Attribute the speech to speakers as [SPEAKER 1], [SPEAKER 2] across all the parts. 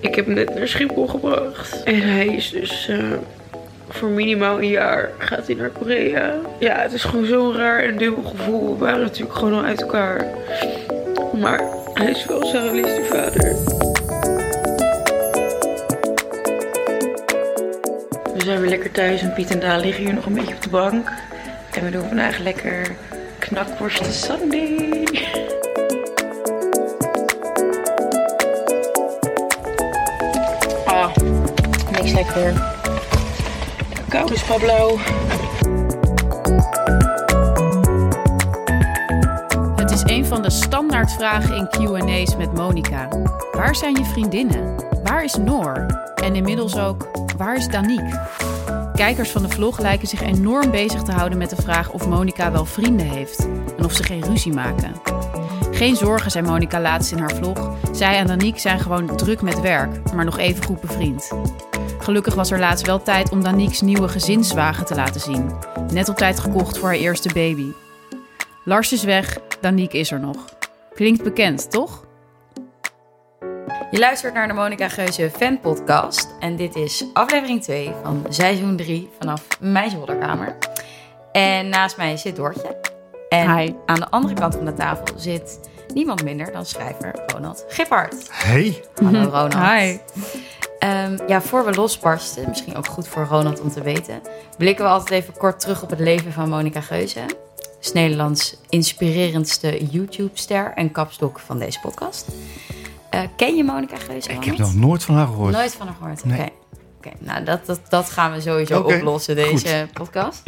[SPEAKER 1] Ik heb hem net naar Schiphol gebracht. En hij is dus eh, voor minimaal een jaar gaat hij naar Korea. Ja, het is gewoon zo'n raar en dubbel gevoel. We waren natuurlijk gewoon al uit elkaar. Maar hij is wel zijn liefde vader.
[SPEAKER 2] We zijn weer lekker thuis en Piet en Daan liggen hier nog een beetje op de bank. En we doen vandaag lekker knakworsten Sunday. Ah, niks lekker. Cacao is blauw.
[SPEAKER 3] Het is een van de standaardvragen in QA's met Monica. Waar zijn je vriendinnen? Waar is Noor? En inmiddels ook, waar is Danique? Kijkers van de vlog lijken zich enorm bezig te houden met de vraag of Monica wel vrienden heeft en of ze geen ruzie maken. Geen zorgen, zei Monica laatst in haar vlog. Zij en Danique zijn gewoon druk met werk, maar nog even goed bevriend. Gelukkig was er laatst wel tijd om Danique's nieuwe gezinswagen te laten zien. Net op tijd gekocht voor haar eerste baby. Lars is weg, Danique is er nog. Klinkt bekend, toch?
[SPEAKER 2] Je luistert naar de Monica Geuze Fan Podcast. En dit is aflevering 2 van seizoen 3 vanaf mijn zolderkamer. En naast mij zit Doortje. En
[SPEAKER 3] Hi.
[SPEAKER 2] aan de andere kant van de tafel zit niemand minder dan schrijver Ronald Gippard.
[SPEAKER 4] Hey,
[SPEAKER 2] Hallo Ronald.
[SPEAKER 3] Hi.
[SPEAKER 2] Ehm, ja, voor we losbarsten, misschien ook goed voor Ronald om te weten, blikken we altijd even kort terug op het leven van Monica Geuze. Is Nederlands inspirerendste YouTube-ster en kapstok van deze podcast. Eh, ken je Monica Geuze?
[SPEAKER 4] ik heb
[SPEAKER 2] Ronald?
[SPEAKER 4] nog nooit van haar gehoord.
[SPEAKER 2] Nooit van haar gehoord.
[SPEAKER 4] Nee.
[SPEAKER 2] Oké, Oké, nou dat, dat, dat gaan we sowieso
[SPEAKER 4] Oké,
[SPEAKER 2] oplossen, deze podcast.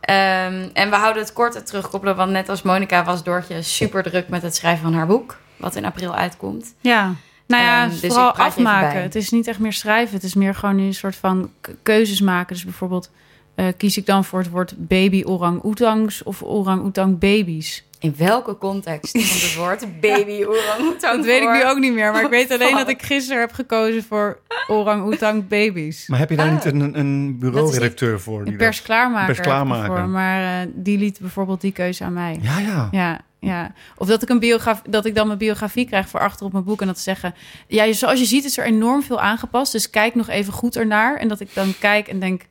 [SPEAKER 2] Ehm, en we houden het kort en terugkoppelen, want net als Monica was Doortje super druk met het schrijven van haar boek, wat in april uitkomt.
[SPEAKER 3] Ja. Nou ja,
[SPEAKER 2] Ehm, dus
[SPEAKER 3] vooral
[SPEAKER 2] ik praat je even bij.
[SPEAKER 3] afmaken. Het is niet echt meer schrijven. Het is meer gewoon nu een soort van k- keuzes maken. Dus bijvoorbeeld eh, kies ik dan voor het woord baby orang-oetangs of orang-oetang babies.
[SPEAKER 2] In welke context komt het woord baby orang
[SPEAKER 3] Dat weet ik nu ook niet meer. Maar ik weet alleen dat ik gisteren heb gekozen voor orang-oetang babies.
[SPEAKER 4] Maar heb je daar
[SPEAKER 2] Ah.
[SPEAKER 4] niet een, een bureau-redacteur voor? die
[SPEAKER 3] Een
[SPEAKER 4] dat-
[SPEAKER 3] pers klaarmaken.
[SPEAKER 4] Pers klaarmaken.
[SPEAKER 3] ervoor. Maar eh, die liet bijvoorbeeld die keuze aan mij.
[SPEAKER 4] Ja,
[SPEAKER 2] dus
[SPEAKER 4] ja.
[SPEAKER 3] Ja, ja. Of dat ik, een biograf, dat ik dan mijn biografie krijg voor achter op mijn boek en dat ze zeggen... Ja, je- zoals je ziet is er enorm veel aangepast, dus kijk nog even goed ernaar. En dat ik dan kijk en denk,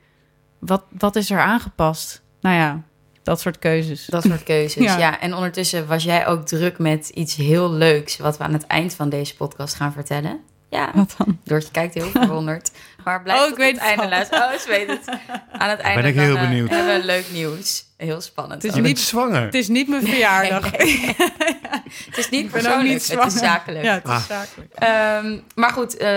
[SPEAKER 3] wat, wat is er aangepast? Nou ja, dat soort keuzes.
[SPEAKER 2] Dat soort keuzes, ja.
[SPEAKER 3] Ja.
[SPEAKER 2] En ondertussen was jij ook druk met iets heel leuks... wat we aan het eind van deze podcast gaan vertellen. Ja,
[SPEAKER 3] Wat dan?
[SPEAKER 2] Doortje kijkt heel verwonderd. Maar blijf
[SPEAKER 3] Oh, ik
[SPEAKER 2] tot
[SPEAKER 3] weet
[SPEAKER 2] het
[SPEAKER 3] het
[SPEAKER 2] einde
[SPEAKER 3] al.
[SPEAKER 2] luisteren. Oh, ze weet het. Aan het einde
[SPEAKER 4] ik
[SPEAKER 2] dan,
[SPEAKER 4] heel
[SPEAKER 2] eh,
[SPEAKER 4] benieuwd.
[SPEAKER 2] hebben we leuk nieuws. Heel spannend.
[SPEAKER 3] Het
[SPEAKER 2] ook.
[SPEAKER 3] is
[SPEAKER 4] Je
[SPEAKER 3] niet-
[SPEAKER 4] bent zwanger.
[SPEAKER 3] Het is niet mijn verjaardag.
[SPEAKER 2] het is niet
[SPEAKER 3] ben ook
[SPEAKER 2] persoonlijk,
[SPEAKER 3] niet
[SPEAKER 2] het is
[SPEAKER 3] zwanger.
[SPEAKER 2] zakelijk.
[SPEAKER 3] Ja, het is
[SPEAKER 4] Ah.
[SPEAKER 3] zakelijk.
[SPEAKER 2] Ehm, maar goed, eh,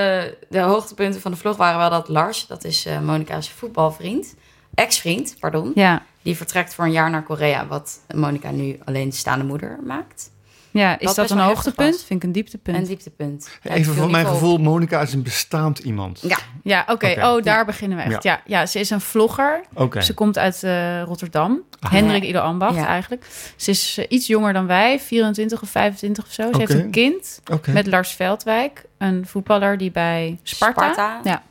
[SPEAKER 2] de hoogtepunten van de vlog waren wel dat Lars... dat is eh Monica's voetbalvriend, ex-vriend, pardon...
[SPEAKER 3] Ja,
[SPEAKER 2] die vertrekt voor een jaar naar Korea... wat Monica nu alleen staande moeder maakt.
[SPEAKER 3] ja is nou
[SPEAKER 2] best
[SPEAKER 3] dat,
[SPEAKER 2] wel
[SPEAKER 3] een
[SPEAKER 2] heftig
[SPEAKER 3] hoogtepunt?
[SPEAKER 2] was.
[SPEAKER 3] Vind ik een dieptepunt.
[SPEAKER 2] Een dieptepunt. Ja, ik
[SPEAKER 4] Even
[SPEAKER 2] viel
[SPEAKER 4] van
[SPEAKER 2] niet
[SPEAKER 4] mijn
[SPEAKER 2] op.
[SPEAKER 4] gevoel, Monica is een bestaand iemand.
[SPEAKER 2] Ja,
[SPEAKER 3] Ja, oké.
[SPEAKER 4] Oké.
[SPEAKER 3] Oh, daar beginnen we echt. Ja. Ja, ze is een vlogger.
[SPEAKER 4] Oké. Ah.
[SPEAKER 3] Ze komt uit eh, Rotterdam. Hendrik Ido Ambacht
[SPEAKER 2] Ja.
[SPEAKER 3] eigenlijk. Ze is eh, iets jonger dan wij, 24 of 25 of zo. Ze
[SPEAKER 4] Oké.
[SPEAKER 3] heeft een kind
[SPEAKER 4] Oké.
[SPEAKER 3] met Lars Veldwijk, een voetballer die bij Sparta. Ja.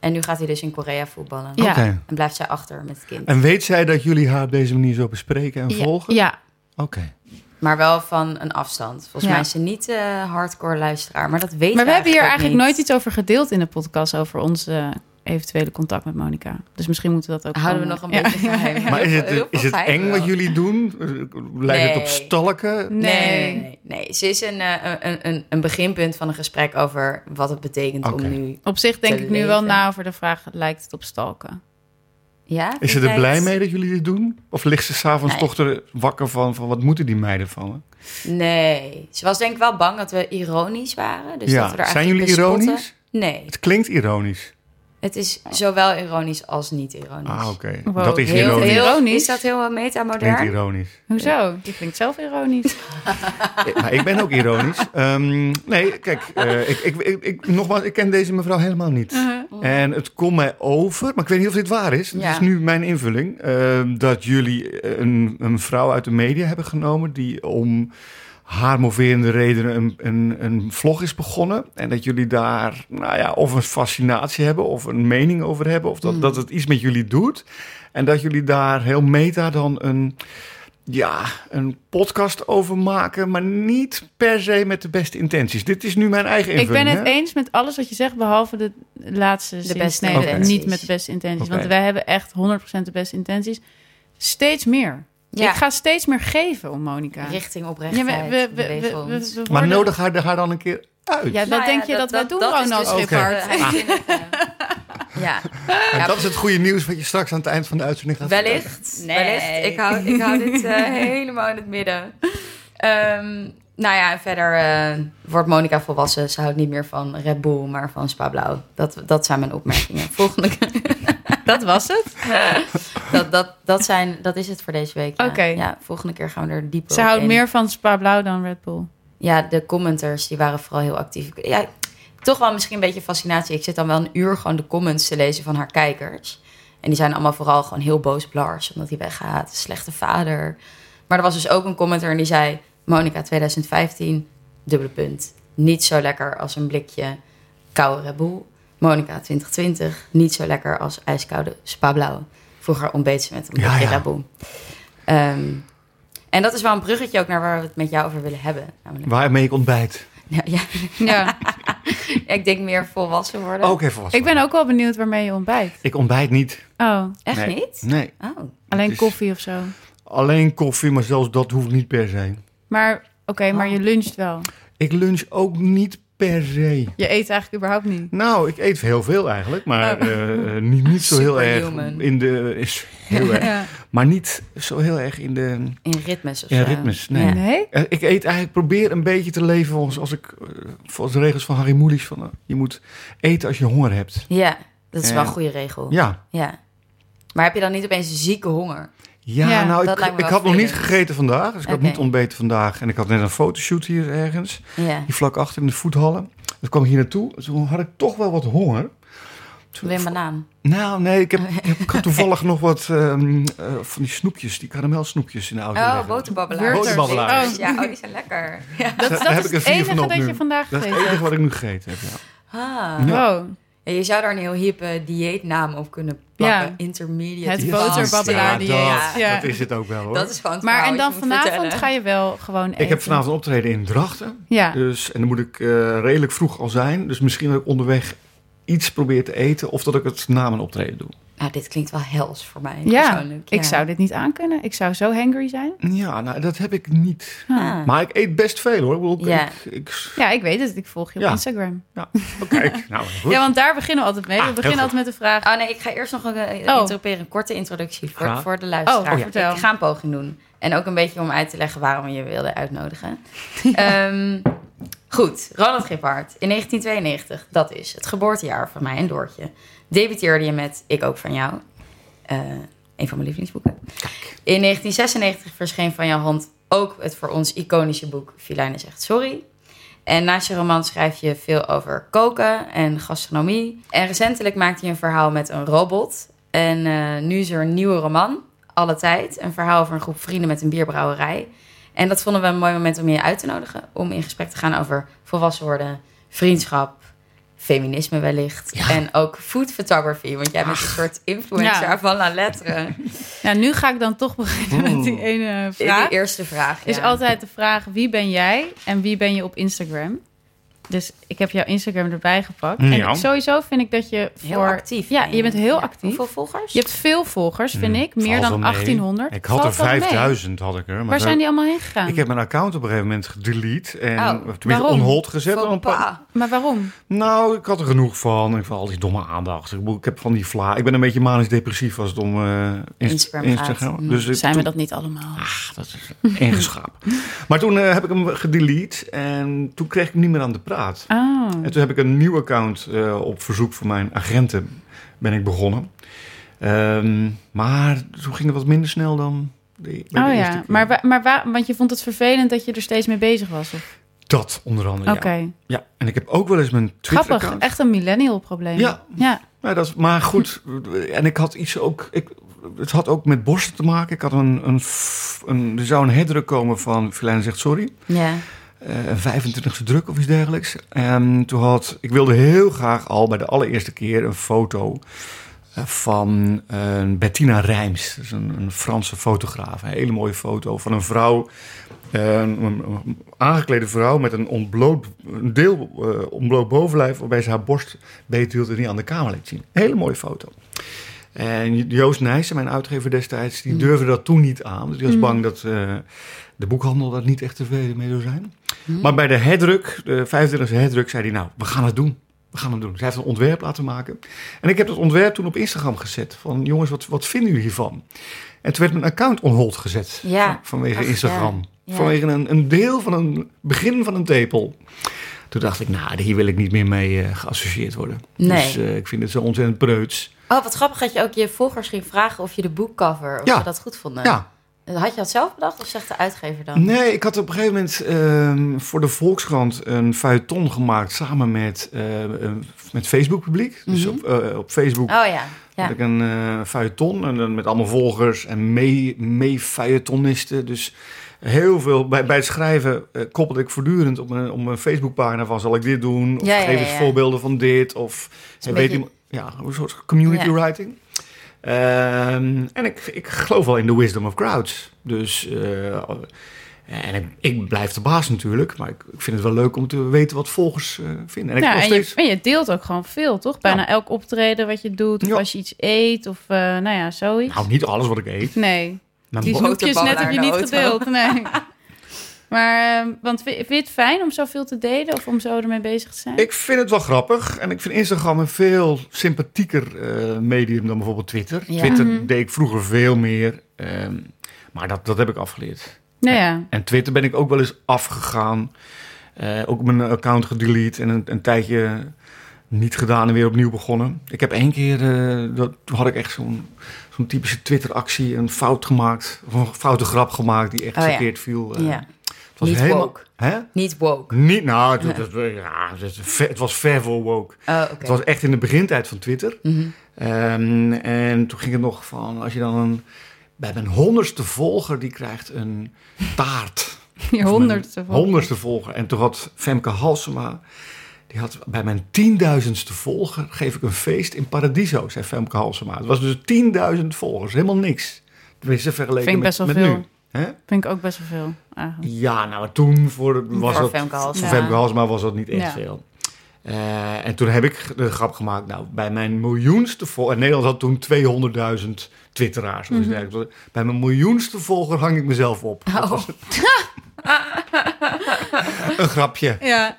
[SPEAKER 2] En nu gaat hij dus in Korea voetballen.
[SPEAKER 3] Ja.
[SPEAKER 4] Oké.
[SPEAKER 2] En blijft zij achter met het kind.
[SPEAKER 4] En weet zij dat jullie haar op deze manier zo bespreken en
[SPEAKER 3] Ja,
[SPEAKER 4] volgen?
[SPEAKER 3] Ja,
[SPEAKER 4] Oké.
[SPEAKER 2] Maar wel van een afstand. Volgens
[SPEAKER 3] Ja.
[SPEAKER 2] mij is ze niet eh hardcore luisteraar. Maar dat weet
[SPEAKER 3] maar we hebben hier
[SPEAKER 2] ook
[SPEAKER 3] eigenlijk
[SPEAKER 2] niet.
[SPEAKER 3] nooit iets over gedeeld in de podcast over ons eh, eventuele contact met Monica. Dus misschien moeten we dat ook
[SPEAKER 2] Houden we
[SPEAKER 3] gewoon-
[SPEAKER 2] nog een
[SPEAKER 3] Ja.
[SPEAKER 2] beetje geheim.
[SPEAKER 4] Maar is
[SPEAKER 2] Heel
[SPEAKER 4] het,
[SPEAKER 2] veel- heel
[SPEAKER 4] is
[SPEAKER 2] veel
[SPEAKER 4] het
[SPEAKER 2] geheim
[SPEAKER 4] eng
[SPEAKER 2] wel.
[SPEAKER 4] wat jullie doen? Lijkt het op
[SPEAKER 2] Nee.
[SPEAKER 4] stalken?
[SPEAKER 2] Nee.
[SPEAKER 3] Nee.
[SPEAKER 2] nee, nee. Ze is een, eh, een, een, een beginpunt van een gesprek over wat het betekent
[SPEAKER 4] Oké.
[SPEAKER 2] om nu...
[SPEAKER 3] Op zich denk
[SPEAKER 2] Te
[SPEAKER 3] ik nu wel
[SPEAKER 2] leven.
[SPEAKER 3] na over de vraag, lijkt het op stalken?
[SPEAKER 2] Ja?
[SPEAKER 4] Is ze er blij mee dat jullie dit doen? Of ligt ze s'avonds
[SPEAKER 2] Nee. Dus
[SPEAKER 4] toch er wakker van, van wat moeten die meiden van? me?
[SPEAKER 2] Nee. Ze was denk ik wel bang dat we ironisch waren. Dus
[SPEAKER 4] Ja.
[SPEAKER 2] dat we er
[SPEAKER 4] Zijn
[SPEAKER 2] eigenlijk
[SPEAKER 4] jullie
[SPEAKER 2] bespotten.
[SPEAKER 4] ironisch?
[SPEAKER 2] Nee.
[SPEAKER 4] Het klinkt ironisch.
[SPEAKER 2] Het is zowel ironisch als niet ironisch.
[SPEAKER 4] Ah, oké.
[SPEAKER 3] Wow.
[SPEAKER 4] Dat is
[SPEAKER 2] Heel,
[SPEAKER 4] ironisch.
[SPEAKER 2] heel-
[SPEAKER 3] Ironisch?
[SPEAKER 2] Is dat heel
[SPEAKER 4] Klinkt
[SPEAKER 2] metamodern?
[SPEAKER 4] ironisch.
[SPEAKER 3] Hoezo? Je klinkt zelf ironisch.
[SPEAKER 4] Maar ik ben ook ironisch. Ehm, nee, kijk, eh, ik, ik, ik, ik- nogmaals, ik ken deze mevrouw helemaal niet. En het komt mij over, maar ik weet niet of dit waar is. Dat
[SPEAKER 2] Ja.
[SPEAKER 4] is nu mijn invulling. ehm, dat jullie een, een vrouw uit de media hebben genomen die om haar moverende redenen een, een, een vlog is begonnen. En dat jullie daar nou ja, of een fascinatie hebben of een mening over hebben. Of dat, dat het iets met jullie doet. En dat jullie daar heel meta dan een ja, een podcast over maken, maar niet per se met de beste intenties. Dit is nu mijn eigen
[SPEAKER 3] Ik
[SPEAKER 4] invulling.
[SPEAKER 3] ben het
[SPEAKER 4] hè?
[SPEAKER 3] eens met alles wat je zegt, behalve de laatste zin.
[SPEAKER 2] beste
[SPEAKER 3] Nee,
[SPEAKER 2] intenties.
[SPEAKER 3] niet met de beste intenties.
[SPEAKER 4] Oké.
[SPEAKER 3] Want wij hebben echt 100% de beste intenties. Steeds meer.
[SPEAKER 2] Ja.
[SPEAKER 3] Ik ga steeds meer geven om Monica.
[SPEAKER 2] Richting
[SPEAKER 3] Ja,
[SPEAKER 2] oprechtheid.
[SPEAKER 3] we, we, we, we,
[SPEAKER 2] beweeg
[SPEAKER 3] we-
[SPEAKER 2] ons.
[SPEAKER 3] we
[SPEAKER 4] Maar
[SPEAKER 3] worden-
[SPEAKER 4] nodig haar, haar dan een keer uit.
[SPEAKER 3] Ja, dat
[SPEAKER 2] Nou
[SPEAKER 3] denk
[SPEAKER 2] ja,
[SPEAKER 3] je dat, wij doen,
[SPEAKER 2] is
[SPEAKER 3] Ronald
[SPEAKER 2] dus
[SPEAKER 4] Oké.
[SPEAKER 3] Schiphard.
[SPEAKER 2] de uitzending. Ja.
[SPEAKER 4] En
[SPEAKER 2] Ja,
[SPEAKER 4] dat is het goede nieuws wat je straks aan het eind van de uitzending gaat vertellen.
[SPEAKER 2] Wellicht.
[SPEAKER 3] Nee.
[SPEAKER 2] Wellicht. Ik hou, ik hou dit eh, helemaal in het midden. Ehm, nou ja, en verder eh, wordt Monica volwassen. Ze houdt niet meer van Red Bull, maar van Spa Blauw. Dat, dat zijn mijn opmerkingen. Volgende keer.
[SPEAKER 3] Dat was het.
[SPEAKER 2] Dat, dat, dat, zijn, dat is het voor deze week. ja.
[SPEAKER 3] Oké.
[SPEAKER 2] Ja, volgende keer gaan we er dieper
[SPEAKER 3] Ze
[SPEAKER 2] op
[SPEAKER 3] houdt
[SPEAKER 2] in.
[SPEAKER 3] meer van Spa Blauw dan Red Bull.
[SPEAKER 2] Ja, de commenters die waren vooral heel actief. Ik- Ja, toch wel misschien een beetje fascinatie. Ik zit dan wel een uur gewoon de comments te lezen van haar kijkers. En die zijn allemaal vooral gewoon heel boos op Lars, omdat hij weggaat. Slechte vader. Maar er was dus ook een commenter en die zei... Monica 2015, dubbele punt. Niet zo lekker als een blikje koude Red Bull. Monica 2020, niet zo lekker als ijskoude Spa Blauw. Vroeger ontbeet ze met een
[SPEAKER 4] Ja,
[SPEAKER 2] blikje
[SPEAKER 4] ja.
[SPEAKER 2] Red Bull. Ehm, en dat is wel een bruggetje ook naar waar we het met jou over willen hebben. Namelijk,
[SPEAKER 4] Waarmee ik ontbijt.
[SPEAKER 2] ja, ja,
[SPEAKER 3] Ja.
[SPEAKER 2] ik denk meer volwassen worden.
[SPEAKER 4] Ook even was.
[SPEAKER 3] Ik ben ook wel benieuwd waarmee je ontbijt.
[SPEAKER 4] Ik ontbijt niet.
[SPEAKER 3] Oh,
[SPEAKER 2] Echt
[SPEAKER 4] Nee.
[SPEAKER 2] niet?
[SPEAKER 4] Nee.
[SPEAKER 2] Oh.
[SPEAKER 3] alleen
[SPEAKER 4] is-
[SPEAKER 3] koffie of zo.
[SPEAKER 4] Alleen koffie, maar zelfs dat hoeft niet per se.
[SPEAKER 3] Maar oké, maar
[SPEAKER 2] Oh.
[SPEAKER 3] je luncht wel.
[SPEAKER 4] Ik lunch ook niet per se.
[SPEAKER 3] Je eet eigenlijk überhaupt niet.
[SPEAKER 4] Nou, ik eet heel veel eigenlijk, maar
[SPEAKER 3] Oh.
[SPEAKER 4] eh, eh, niet, niet zo heel erg
[SPEAKER 2] Superhuman.
[SPEAKER 4] in de is heel erg,
[SPEAKER 3] Ja.
[SPEAKER 4] maar niet zo heel erg in de
[SPEAKER 2] In ritmes of
[SPEAKER 4] in
[SPEAKER 2] zo.
[SPEAKER 4] ritmes. Nee.
[SPEAKER 3] Nee?
[SPEAKER 4] Eh, Ik eet eigenlijk probeer een beetje te leven volgens als ik eh, volgens de regels van Harry Moelis van eh, je moet eten als je honger hebt.
[SPEAKER 2] Ja, dat is wel een
[SPEAKER 4] Eh,
[SPEAKER 2] goede regel. Ja.
[SPEAKER 4] Ja.
[SPEAKER 2] Maar heb je dan niet opeens zieke honger?
[SPEAKER 4] Ja,
[SPEAKER 3] Ja,
[SPEAKER 4] nou,
[SPEAKER 2] dat
[SPEAKER 4] ik,
[SPEAKER 2] lijkt me
[SPEAKER 4] ik
[SPEAKER 2] wel
[SPEAKER 4] had nog niet
[SPEAKER 2] vervelend.
[SPEAKER 4] gegeten vandaag, dus ik had
[SPEAKER 2] Oké.
[SPEAKER 4] niet ontbeten vandaag. En ik had net een fotoshoot hier ergens.
[SPEAKER 2] Ja.
[SPEAKER 4] Hier vlak achter in de voethallen. Toen kwam ik hier naartoe. dus Toen had ik toch wel wat honger. Toen-
[SPEAKER 2] Wil je een banaan?
[SPEAKER 4] nou, nee, ik, heb, ik, heb- ik had toevallig nog wat ehm, eh, van die snoepjes, die karamelsnoepjes in de auto.
[SPEAKER 2] Oh,
[SPEAKER 4] liggen.
[SPEAKER 2] boterbabbelaars.
[SPEAKER 4] Boterbabbelaars.
[SPEAKER 2] Ja, oh, die zijn lekker. Ja.
[SPEAKER 3] Dat,
[SPEAKER 4] Daar
[SPEAKER 3] dat
[SPEAKER 4] heb
[SPEAKER 3] is
[SPEAKER 4] ik
[SPEAKER 3] het
[SPEAKER 4] er vier van
[SPEAKER 3] enige
[SPEAKER 4] op
[SPEAKER 3] dat
[SPEAKER 4] nu.
[SPEAKER 3] je vandaag
[SPEAKER 4] Dat is
[SPEAKER 3] gegeten
[SPEAKER 4] het enige
[SPEAKER 3] hebt.
[SPEAKER 4] wat ik nu gegeten heb, ja.
[SPEAKER 2] Ah.
[SPEAKER 4] Ja.
[SPEAKER 3] Wow.
[SPEAKER 2] Ja, je zou daar een heel hippe dieetnaam op kunnen plakken.
[SPEAKER 3] Ja.
[SPEAKER 2] Intermediate
[SPEAKER 3] Het
[SPEAKER 2] fast.
[SPEAKER 3] boterbabbelaar
[SPEAKER 4] Ja,
[SPEAKER 3] dieet.
[SPEAKER 4] dat,
[SPEAKER 3] Ja.
[SPEAKER 4] dat is het ook wel, hoor.
[SPEAKER 2] Dat is gewoon het
[SPEAKER 3] Maar
[SPEAKER 2] verhaal
[SPEAKER 3] en
[SPEAKER 2] wat
[SPEAKER 3] dan
[SPEAKER 2] je moet
[SPEAKER 3] vanavond
[SPEAKER 2] vertellen.
[SPEAKER 3] ga je wel gewoon eten.
[SPEAKER 4] Ik heb vanavond een optreden in Drachten.
[SPEAKER 3] Ja.
[SPEAKER 4] Dus, en dan moet ik eh, redelijk vroeg al zijn. Dus misschien dat ik onderweg iets probeer te eten. Of dat ik het na mijn optreden doe.
[SPEAKER 2] Nou, dit klinkt wel hels voor mij
[SPEAKER 3] Ja.
[SPEAKER 2] persoonlijk.
[SPEAKER 3] Ik zou dit niet aankunnen. Ik zou zo hangry zijn.
[SPEAKER 4] Ja, nou, dat heb ik niet.
[SPEAKER 2] Ah.
[SPEAKER 4] Maar ik eet best veel, hoor. Ik bedoel, ik-
[SPEAKER 2] Ja.
[SPEAKER 4] ik, ik-
[SPEAKER 3] Ja, ik weet het. Ik volg je op
[SPEAKER 4] Ja.
[SPEAKER 3] Instagram.
[SPEAKER 4] oh, kijk, nou, goed.
[SPEAKER 3] Ja, want daar beginnen we altijd mee.
[SPEAKER 4] Ah,
[SPEAKER 3] We beginnen
[SPEAKER 4] heel
[SPEAKER 3] altijd met de vraag.
[SPEAKER 2] Oh nee, ik ga eerst nog een, eh,
[SPEAKER 3] Oh.
[SPEAKER 2] interroperen, een korte introductie voor,
[SPEAKER 4] Graag.
[SPEAKER 2] voor de luisteraar.
[SPEAKER 3] Oh, oh ja. vertel.
[SPEAKER 2] Ik ga een poging doen. En ook een beetje om uit te leggen waarom we je wilde uitnodigen. Ehm, goed, Ronald Gippard. In 1992, dat is het geboortejaar van mij en Doortje. Debuteerde je met Ik ook van jou. Eh, een van mijn lievelingsboeken. In 1996 verscheen van jouw hand ook het voor ons iconische boek Filijn zegt sorry. En naast je roman schrijf je veel over koken en gastronomie. En recentelijk maakte je een verhaal met een robot. En eh, nu is er een nieuwe roman, Alle Tijd. Een verhaal over een groep vrienden met een bierbrouwerij. En dat vonden we een mooi moment om je uit te nodigen. Om in gesprek te gaan over volwassen worden, vriendschap, feminisme wellicht. En ook food photography. Want jij bent een soort influencer
[SPEAKER 3] Ja.
[SPEAKER 2] van La Lettre.
[SPEAKER 3] Ja, nu ga ik dan toch beginnen met
[SPEAKER 4] Mm.
[SPEAKER 3] die ene
[SPEAKER 2] De
[SPEAKER 3] vraag.
[SPEAKER 2] eerste vraag.
[SPEAKER 3] Is
[SPEAKER 2] ja.
[SPEAKER 3] altijd de vraag: wie ben jij en wie ben je op Instagram? Dus ik heb jouw Instagram erbij gepakt.
[SPEAKER 4] Mm. Ja.
[SPEAKER 3] En sowieso vind ik dat je voor.
[SPEAKER 2] heel actief.
[SPEAKER 3] Ja, je bent heel
[SPEAKER 2] Ja.
[SPEAKER 3] actief.
[SPEAKER 2] Hoeveel volgers?
[SPEAKER 3] Je hebt veel volgers, vind
[SPEAKER 4] Hmm,
[SPEAKER 3] ik. Meer
[SPEAKER 4] valt wel
[SPEAKER 3] dan
[SPEAKER 4] mee.
[SPEAKER 3] 1800.
[SPEAKER 4] Ik had er
[SPEAKER 3] Valt wel mee.
[SPEAKER 4] 5000, had ik er. Maar
[SPEAKER 3] Waar
[SPEAKER 4] zo-
[SPEAKER 3] zijn die allemaal heen gegaan?
[SPEAKER 4] Ik heb mijn account op een gegeven moment gedelete. En,
[SPEAKER 2] Oh,
[SPEAKER 4] of tenminste,
[SPEAKER 3] waarom?
[SPEAKER 4] on hold gezet. en een paar-
[SPEAKER 2] pa.
[SPEAKER 3] Maar waarom?
[SPEAKER 4] Nou, ik had er genoeg van. Ik vond al die domme aandacht. Ik, bedoel, ik heb van die vla. Ik ben een beetje manisch-depressief als het om eh, inst-
[SPEAKER 2] Instagram gaat.
[SPEAKER 4] Instagram. Dus ik,
[SPEAKER 3] Mm. Zijn we
[SPEAKER 4] toen-
[SPEAKER 3] dat niet allemaal?
[SPEAKER 4] Ach, dat is ingeschaap. maar toen eh, heb ik hem gedelete en toen kreeg ik hem niet meer aan de praat.
[SPEAKER 3] Oh.
[SPEAKER 4] En toen heb ik een nieuw account eh, op verzoek van mijn agenten ben ik begonnen. Ehm, maar toen ging het wat minder snel dan de, bij de
[SPEAKER 3] Oh
[SPEAKER 4] eerste
[SPEAKER 3] ja,
[SPEAKER 4] keer.
[SPEAKER 3] maar, wa- maar wa- want je vond het vervelend dat je er steeds mee bezig was. Of?
[SPEAKER 4] Dat onder andere,
[SPEAKER 3] Oké,
[SPEAKER 4] ja. ja. En ik heb ook wel eens mijn Twitter-account...
[SPEAKER 3] grappig. eh. Echt een millennial probleem.
[SPEAKER 4] Ja.
[SPEAKER 3] ja.
[SPEAKER 4] Ja, dat is, maar goed, en ik had iets ook. Ik, het had ook met borsten te maken. Ik had een, een, f- een er zou een herdruk komen van Filijn zegt sorry.
[SPEAKER 2] Ja.
[SPEAKER 4] eh, Een 25e druk of iets dergelijks. En toen had ik wilde heel graag al bij de allereerste keer een foto van eh, Bettina Rijms. Dat is een, een Franse fotograaf. Een hele mooie foto van een vrouw. eh, Een, een aangeklede vrouw met een ontbloot, een deel eh, ontbloot bovenlijf... waarbij ze haar borst beet hield en die aan de camera liet zien. Hele mooie foto. En Joost Nijssen, mijn uitgever destijds,
[SPEAKER 2] Mm.
[SPEAKER 4] die durfde dat toen niet aan. Dus die was bang dat eh, de boekhandel daar niet echt tevreden mee zou zijn.
[SPEAKER 2] Mm.
[SPEAKER 4] Maar bij de herdruk, de 25e herdruk, zei hij nou, we gaan het doen. We gaan het doen. Zij heeft een ontwerp laten maken. En ik heb dat ontwerp toen op Instagram gezet. Van jongens, wat, wat vinden jullie hiervan? En toen werd mijn account on hold gezet.
[SPEAKER 2] Ja.
[SPEAKER 4] van- vanwege
[SPEAKER 2] Ach,
[SPEAKER 4] Instagram.
[SPEAKER 2] ja. Ja.
[SPEAKER 4] Vanwege een, een deel van een begin van een tepel. Toen dacht ik, nou, hier wil ik niet meer mee eh, geassocieerd worden.
[SPEAKER 2] Nee.
[SPEAKER 4] Dus eh, ik vind het zo ontzettend preuts.
[SPEAKER 2] Oh, wat grappig dat je ook je volgers ging vragen of je de boekcover, of
[SPEAKER 4] Ja.
[SPEAKER 2] ze dat goed vonden.
[SPEAKER 4] Ja,
[SPEAKER 2] Had je dat zelf bedacht of zegt de uitgever dan?
[SPEAKER 4] Nee, ik had op een gegeven moment ehm, voor de Volkskrant een feuilleton gemaakt samen met, eh, een- met Facebook-publiek. Dus op, eh, op Facebook
[SPEAKER 2] Mhm. Oh ja, ja.
[SPEAKER 4] had ik een eh feuilleton en dan met allemaal volgers en mee- mee-feuilletonisten. dus heel veel, bij, bij het schrijven eh, koppelde ik voortdurend op mijn, op mijn Facebookpagina van zal ik dit doen? Of
[SPEAKER 2] Ja, ja,
[SPEAKER 4] geef eens
[SPEAKER 2] ja.
[SPEAKER 4] voorbeelden van dit? Of eh,
[SPEAKER 2] een
[SPEAKER 4] weet
[SPEAKER 2] beetje-
[SPEAKER 4] iemand- ja, een soort community
[SPEAKER 2] Ja.
[SPEAKER 4] writing. Ehm, en ik, ik geloof wel in de wisdom of crowds. Dus, eh, en ik, ik blijf de baas natuurlijk, maar ik, ik vind het wel leuk om te weten wat volgers eh, vinden. En ik
[SPEAKER 3] Ja,
[SPEAKER 4] nog
[SPEAKER 3] en,
[SPEAKER 4] steeds...
[SPEAKER 3] je, en je deelt ook gewoon veel, toch? Bijna elk optreden wat je doet, of
[SPEAKER 4] Ja.
[SPEAKER 3] als je iets eet, of eh, nou ja, zoiets.
[SPEAKER 4] Nou, niet alles wat ik eet.
[SPEAKER 3] nee,
[SPEAKER 4] Mijn
[SPEAKER 3] die
[SPEAKER 4] bo-
[SPEAKER 2] boterballen
[SPEAKER 3] snoepjes net heb
[SPEAKER 2] naar
[SPEAKER 3] je
[SPEAKER 2] de
[SPEAKER 3] niet
[SPEAKER 2] auto.
[SPEAKER 3] gedeeld. Nee. maar, eh, want vi- vind je het fijn om zoveel te delen of om zo ermee bezig te zijn?
[SPEAKER 4] Ik vind het wel grappig en ik vind Instagram een veel sympathieker eh, medium dan bijvoorbeeld Twitter.
[SPEAKER 2] Ja.
[SPEAKER 4] Twitter
[SPEAKER 3] Mhm.
[SPEAKER 4] deed ik vroeger veel meer, ehm, maar dat, dat heb ik afgeleerd.
[SPEAKER 3] nou ja.
[SPEAKER 4] En Twitter ben ik ook wel eens afgegaan, Eh, ook mijn account gedelete en een, een tijdje niet gedaan en weer opnieuw begonnen. Ik heb één keer, eh, dat, toen had ik echt zo'n zo'n typische Twitter-actie, een fout gemaakt, of een foute grap gemaakt die echt
[SPEAKER 2] Oh ja.
[SPEAKER 4] verkeerd viel. Eh,
[SPEAKER 2] ja.
[SPEAKER 4] Het was
[SPEAKER 2] Niet
[SPEAKER 4] helemaal...
[SPEAKER 2] woke.
[SPEAKER 4] Hè?
[SPEAKER 2] Niet woke.
[SPEAKER 4] Niet, nou, het, het- het- ja, het, het was ver voor woke.
[SPEAKER 2] Oh, oké.
[SPEAKER 4] Het was echt in de begintijd van Twitter.
[SPEAKER 2] Mhm.
[SPEAKER 4] Ehm, en toen ging het nog van, als je dan een, bij mijn honderdste volger, die krijgt een taart.
[SPEAKER 3] Je honderdste
[SPEAKER 4] Mijn
[SPEAKER 3] volgers.
[SPEAKER 4] Honderdste volger. En toen had Femke Halsema, die had bij mijn tienduizendste volger, geef ik een feest in Paradiso, zei Femke Halsema. Het was dus 10.000 volgers, helemaal niks. Tenminste, vergeleken
[SPEAKER 3] Vind ik
[SPEAKER 4] met,
[SPEAKER 3] best wel
[SPEAKER 4] met
[SPEAKER 3] veel.
[SPEAKER 4] nu. Hè?
[SPEAKER 3] Vind ik ook best wel veel. eigenlijk.
[SPEAKER 4] Ja, nou, maar toen voor, de- was
[SPEAKER 2] Voor
[SPEAKER 4] dat,
[SPEAKER 2] Femke Halsema.
[SPEAKER 4] voor Femke Halsema was dat niet echt
[SPEAKER 3] Ja.
[SPEAKER 4] veel. Eh, en toen heb ik de grap gemaakt, nou, bij mijn miljoenste volger... En Nederland had toen 200.000 twitteraars. of iets
[SPEAKER 3] Mhm.
[SPEAKER 4] dergelijks. Bij mijn miljoenste volger hang ik mezelf op.
[SPEAKER 3] Oh.
[SPEAKER 4] Dat was het. een grapje.
[SPEAKER 3] Ja,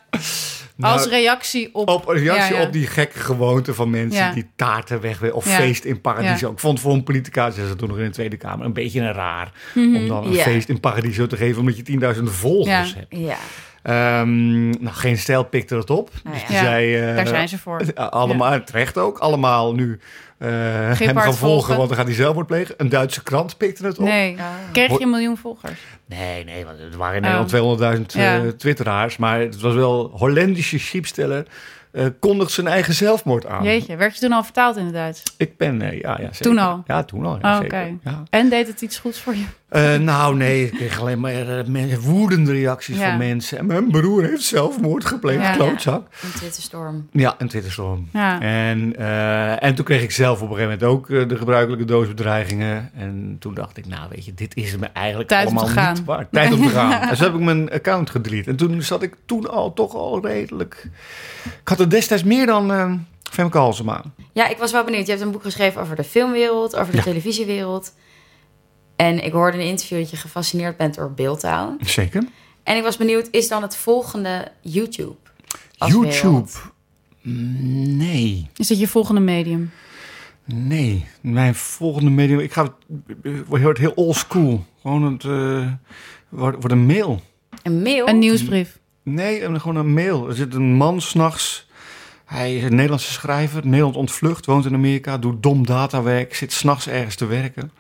[SPEAKER 4] Nou,
[SPEAKER 3] als reactie op...
[SPEAKER 4] op een reactie
[SPEAKER 3] Ja, ja.
[SPEAKER 4] op die gekke gewoonte van mensen
[SPEAKER 3] Ja.
[SPEAKER 4] die taarten wegwerken of
[SPEAKER 3] Ja.
[SPEAKER 4] feest in Paradiso. Ik vond voor een politica, zei ze toen nog in de Tweede Kamer, een beetje een raar
[SPEAKER 3] Mhm.
[SPEAKER 4] om dan een
[SPEAKER 2] Ja.
[SPEAKER 4] feest in Paradiso te geven omdat je 10.000 volgers
[SPEAKER 3] Ja.
[SPEAKER 4] hebt.
[SPEAKER 2] Oh, Ja.
[SPEAKER 4] Ehm, nou, geen stijl pikte dat op.
[SPEAKER 2] Nou
[SPEAKER 4] Dus
[SPEAKER 2] ja.
[SPEAKER 4] die
[SPEAKER 3] Ja,
[SPEAKER 4] zei, eh,
[SPEAKER 3] Daar zijn ze voor.
[SPEAKER 4] Allemaal, terecht ook, allemaal nu eh, hem
[SPEAKER 3] hard
[SPEAKER 4] gaan volgen,
[SPEAKER 3] volgen.
[SPEAKER 4] want dan gaat hij zelfmoord plegen. Een Duitse krant pikte het op.
[SPEAKER 3] Nee,
[SPEAKER 2] Ah.
[SPEAKER 3] kreeg je een miljoen volgers.
[SPEAKER 4] nee, nee, want er waren in
[SPEAKER 3] Oh.
[SPEAKER 4] Nederland 200.000 eh,
[SPEAKER 3] Ja.
[SPEAKER 4] twitteraars. Maar het was wel Hollandische sheepsteller. eh kondigt zijn eigen zelfmoord aan.
[SPEAKER 3] Jeetje, werd je toen al vertaald in het Duits?
[SPEAKER 4] Ik ben, eh, ja, ja zeker.
[SPEAKER 3] Toen al?
[SPEAKER 4] Ja, toen al, ja,
[SPEAKER 3] Oh,
[SPEAKER 4] zeker.
[SPEAKER 3] oké.
[SPEAKER 4] Ja.
[SPEAKER 3] En deed het iets goeds voor je?
[SPEAKER 4] Eh, nou, nee, ik kreeg alleen maar eh, men- woedende reacties
[SPEAKER 3] Ja.
[SPEAKER 4] van mensen. En mijn broer heeft zelfmoord gepleegd,
[SPEAKER 3] Ja.
[SPEAKER 4] klootzak.
[SPEAKER 2] Een Twitterstorm.
[SPEAKER 4] Ja, een Twitterstorm.
[SPEAKER 3] Ja.
[SPEAKER 4] En, eh, en toen kreeg ik zelf op een gegeven moment ook eh, de gebruikelijke doos bedreigingen. En toen dacht ik, nou weet je, dit is me eigenlijk
[SPEAKER 3] Tijd om te
[SPEAKER 4] allemaal
[SPEAKER 3] gaan.
[SPEAKER 4] niet waard. Tijd om te gaan. En zo heb ik mijn account gedelete. En toen zat ik toen al toch al redelijk... Ik had er destijds meer dan eh Femke Halsema.
[SPEAKER 2] Ja, ik was wel benieuwd. Je hebt een boek geschreven over de filmwereld, over de
[SPEAKER 4] Ja.
[SPEAKER 2] televisiewereld. En ik hoorde in een interview dat je gefascineerd bent door beeldtaal.
[SPEAKER 4] Zeker.
[SPEAKER 2] En ik was benieuwd, is dan het volgende YouTube? als
[SPEAKER 4] YouTube.
[SPEAKER 2] wereld?
[SPEAKER 4] Mm, Nee.
[SPEAKER 3] Is dat je volgende medium?
[SPEAKER 4] Nee, mijn volgende medium. Ik ga het het wordt heel old school. Gewoon het eh, wordt, wordt een mail.
[SPEAKER 2] Een mail?
[SPEAKER 3] Een nieuwsbrief.
[SPEAKER 4] Nee, een- gewoon een mail. Er zit een man s'nachts. Hij is een Nederlandse schrijver, Nederland ontvlucht, woont in Amerika, doet dom datawerk, zit s'nachts ergens te werken.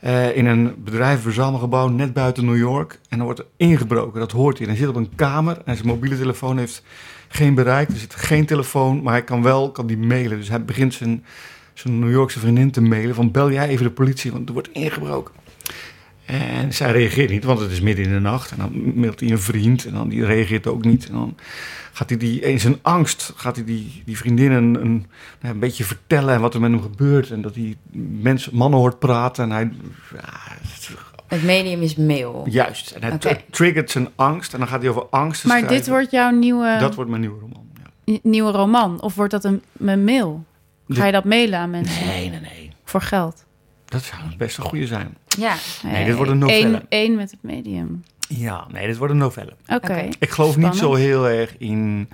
[SPEAKER 4] Eh, in een bedrijfverzamelgebouw net buiten New York. En dan wordt er ingebroken, dat hoort hij. En hij zit op een kamer en zijn mobiele telefoon heeft geen bereik. Er zit geen telefoon, maar hij kan wel, kan die mailen. Dus hij begint zijn, zijn New Yorkse vriendin te mailen van bel jij even de politie, want er wordt ingebroken. En zij reageert niet, want het is midden in de nacht. En dan mailt hij een vriend en dan die reageert ook niet. En dan gaat hij die, in zijn angst, gaat hij die, die vriendin een, een, nou ja, een beetje vertellen wat er met hem gebeurt. En dat hij mensen, mannen hoort praten. En hij, ja, het-
[SPEAKER 2] Het medium is mail.
[SPEAKER 4] juist. En hij
[SPEAKER 2] Oké.
[SPEAKER 4] tr- triggert zijn angst en dan gaat hij over angst
[SPEAKER 3] Maar dit wordt eh, jouw nieuwe,
[SPEAKER 4] Dat wordt mijn nieuwe roman, ja.
[SPEAKER 3] nieuwe roman. Of wordt dat een, een mail? Ga je dat mailen aan mensen
[SPEAKER 4] Nee, nee, nee.
[SPEAKER 3] voor geld?
[SPEAKER 4] Dat zou best een goede zijn.
[SPEAKER 2] Ja.
[SPEAKER 4] Nee, dit wordt een novelle.
[SPEAKER 3] Eén, één met het medium.
[SPEAKER 4] Ja, nee, dit wordt een novelle.
[SPEAKER 3] Oké.
[SPEAKER 2] Oké.
[SPEAKER 4] Ik geloof niet zo
[SPEAKER 3] Spannend.
[SPEAKER 4] heel erg in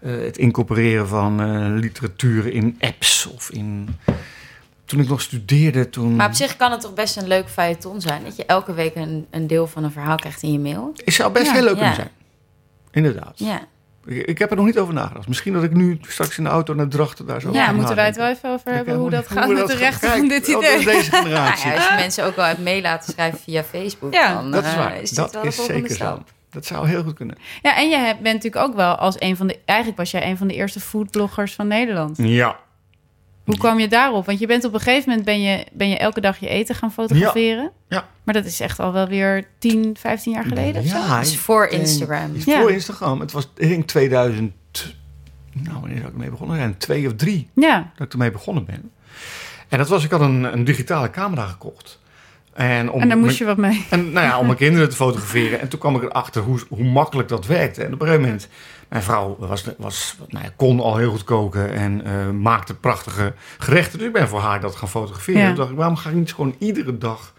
[SPEAKER 4] eh, het incorporeren van eh, literatuur in apps of in. Toen ik nog studeerde, toen.
[SPEAKER 2] Maar op zich kan het toch best een leuk feuilleton zijn. Dat je elke week een, een deel van een verhaal krijgt in je mail.
[SPEAKER 4] Het zou best
[SPEAKER 3] Ja,
[SPEAKER 4] heel leuk
[SPEAKER 2] ja.
[SPEAKER 4] kunnen zijn. Inderdaad.
[SPEAKER 2] Ja.
[SPEAKER 4] Ik, ik heb er nog niet over nagedacht. Misschien dat ik nu straks in de auto naar Drachten daar zo. over
[SPEAKER 3] Ja,
[SPEAKER 4] ga
[SPEAKER 3] moeten wij het
[SPEAKER 4] nadenken.
[SPEAKER 3] wel even over
[SPEAKER 4] Ik
[SPEAKER 3] hebben
[SPEAKER 4] heb
[SPEAKER 3] hoe
[SPEAKER 4] helemaal
[SPEAKER 3] dat
[SPEAKER 4] niet-
[SPEAKER 3] gaat met de
[SPEAKER 4] dat
[SPEAKER 3] rechten
[SPEAKER 4] gaat.
[SPEAKER 3] van dit
[SPEAKER 4] Kijk, oh, dat is
[SPEAKER 3] idee.
[SPEAKER 4] Deze generatie.
[SPEAKER 2] Nou ja, als je mensen ook wel hebt mee laten schrijven via Facebook,
[SPEAKER 3] Ja,
[SPEAKER 2] dan
[SPEAKER 4] dat is
[SPEAKER 2] eh,
[SPEAKER 4] waar.
[SPEAKER 2] dit
[SPEAKER 4] dat
[SPEAKER 2] wel de
[SPEAKER 4] is
[SPEAKER 2] volgende
[SPEAKER 4] zeker
[SPEAKER 2] stap.
[SPEAKER 4] zo. Dat zou heel goed kunnen.
[SPEAKER 3] Ja, en jij hebt- bent natuurlijk ook wel als een van de... Eigenlijk was jij een van de eerste foodbloggers van Nederland.
[SPEAKER 4] Ja.
[SPEAKER 3] Hoe kwam je daarop? Want je bent op een gegeven moment ben je, ben je elke dag je eten gaan fotograferen.
[SPEAKER 4] Ja.
[SPEAKER 3] Maar dat is echt al wel weer 10, 15 jaar geleden of zo.
[SPEAKER 4] Ja,
[SPEAKER 2] Dat is
[SPEAKER 4] ik
[SPEAKER 2] Dus voor
[SPEAKER 4] denk-
[SPEAKER 2] Instagram.
[SPEAKER 4] is
[SPEAKER 3] Ja.
[SPEAKER 4] Voor Instagram. Het was, ik denk 2000. Nou, wanneer zou ik ermee begonnen? zijn? Twee of drie.
[SPEAKER 3] Ja,
[SPEAKER 4] dat ik ermee begonnen ben. En dat was, ik had een, een digitale camera gekocht. En, om
[SPEAKER 3] en daar
[SPEAKER 4] mijn-
[SPEAKER 3] moest je wat mee.
[SPEAKER 4] en nou ja, om mijn kinderen te fotograferen. En toen kwam ik erachter hoe, hoe makkelijk dat werkte. En op een gegeven moment, mijn vrouw was, was, nou ja, kon al heel goed koken en eh, maakte prachtige gerechten. Dus ik ben voor haar dat gaan fotograferen.
[SPEAKER 3] Ja.
[SPEAKER 4] Toen dacht ik, waarom ga ik niet gewoon iedere dag...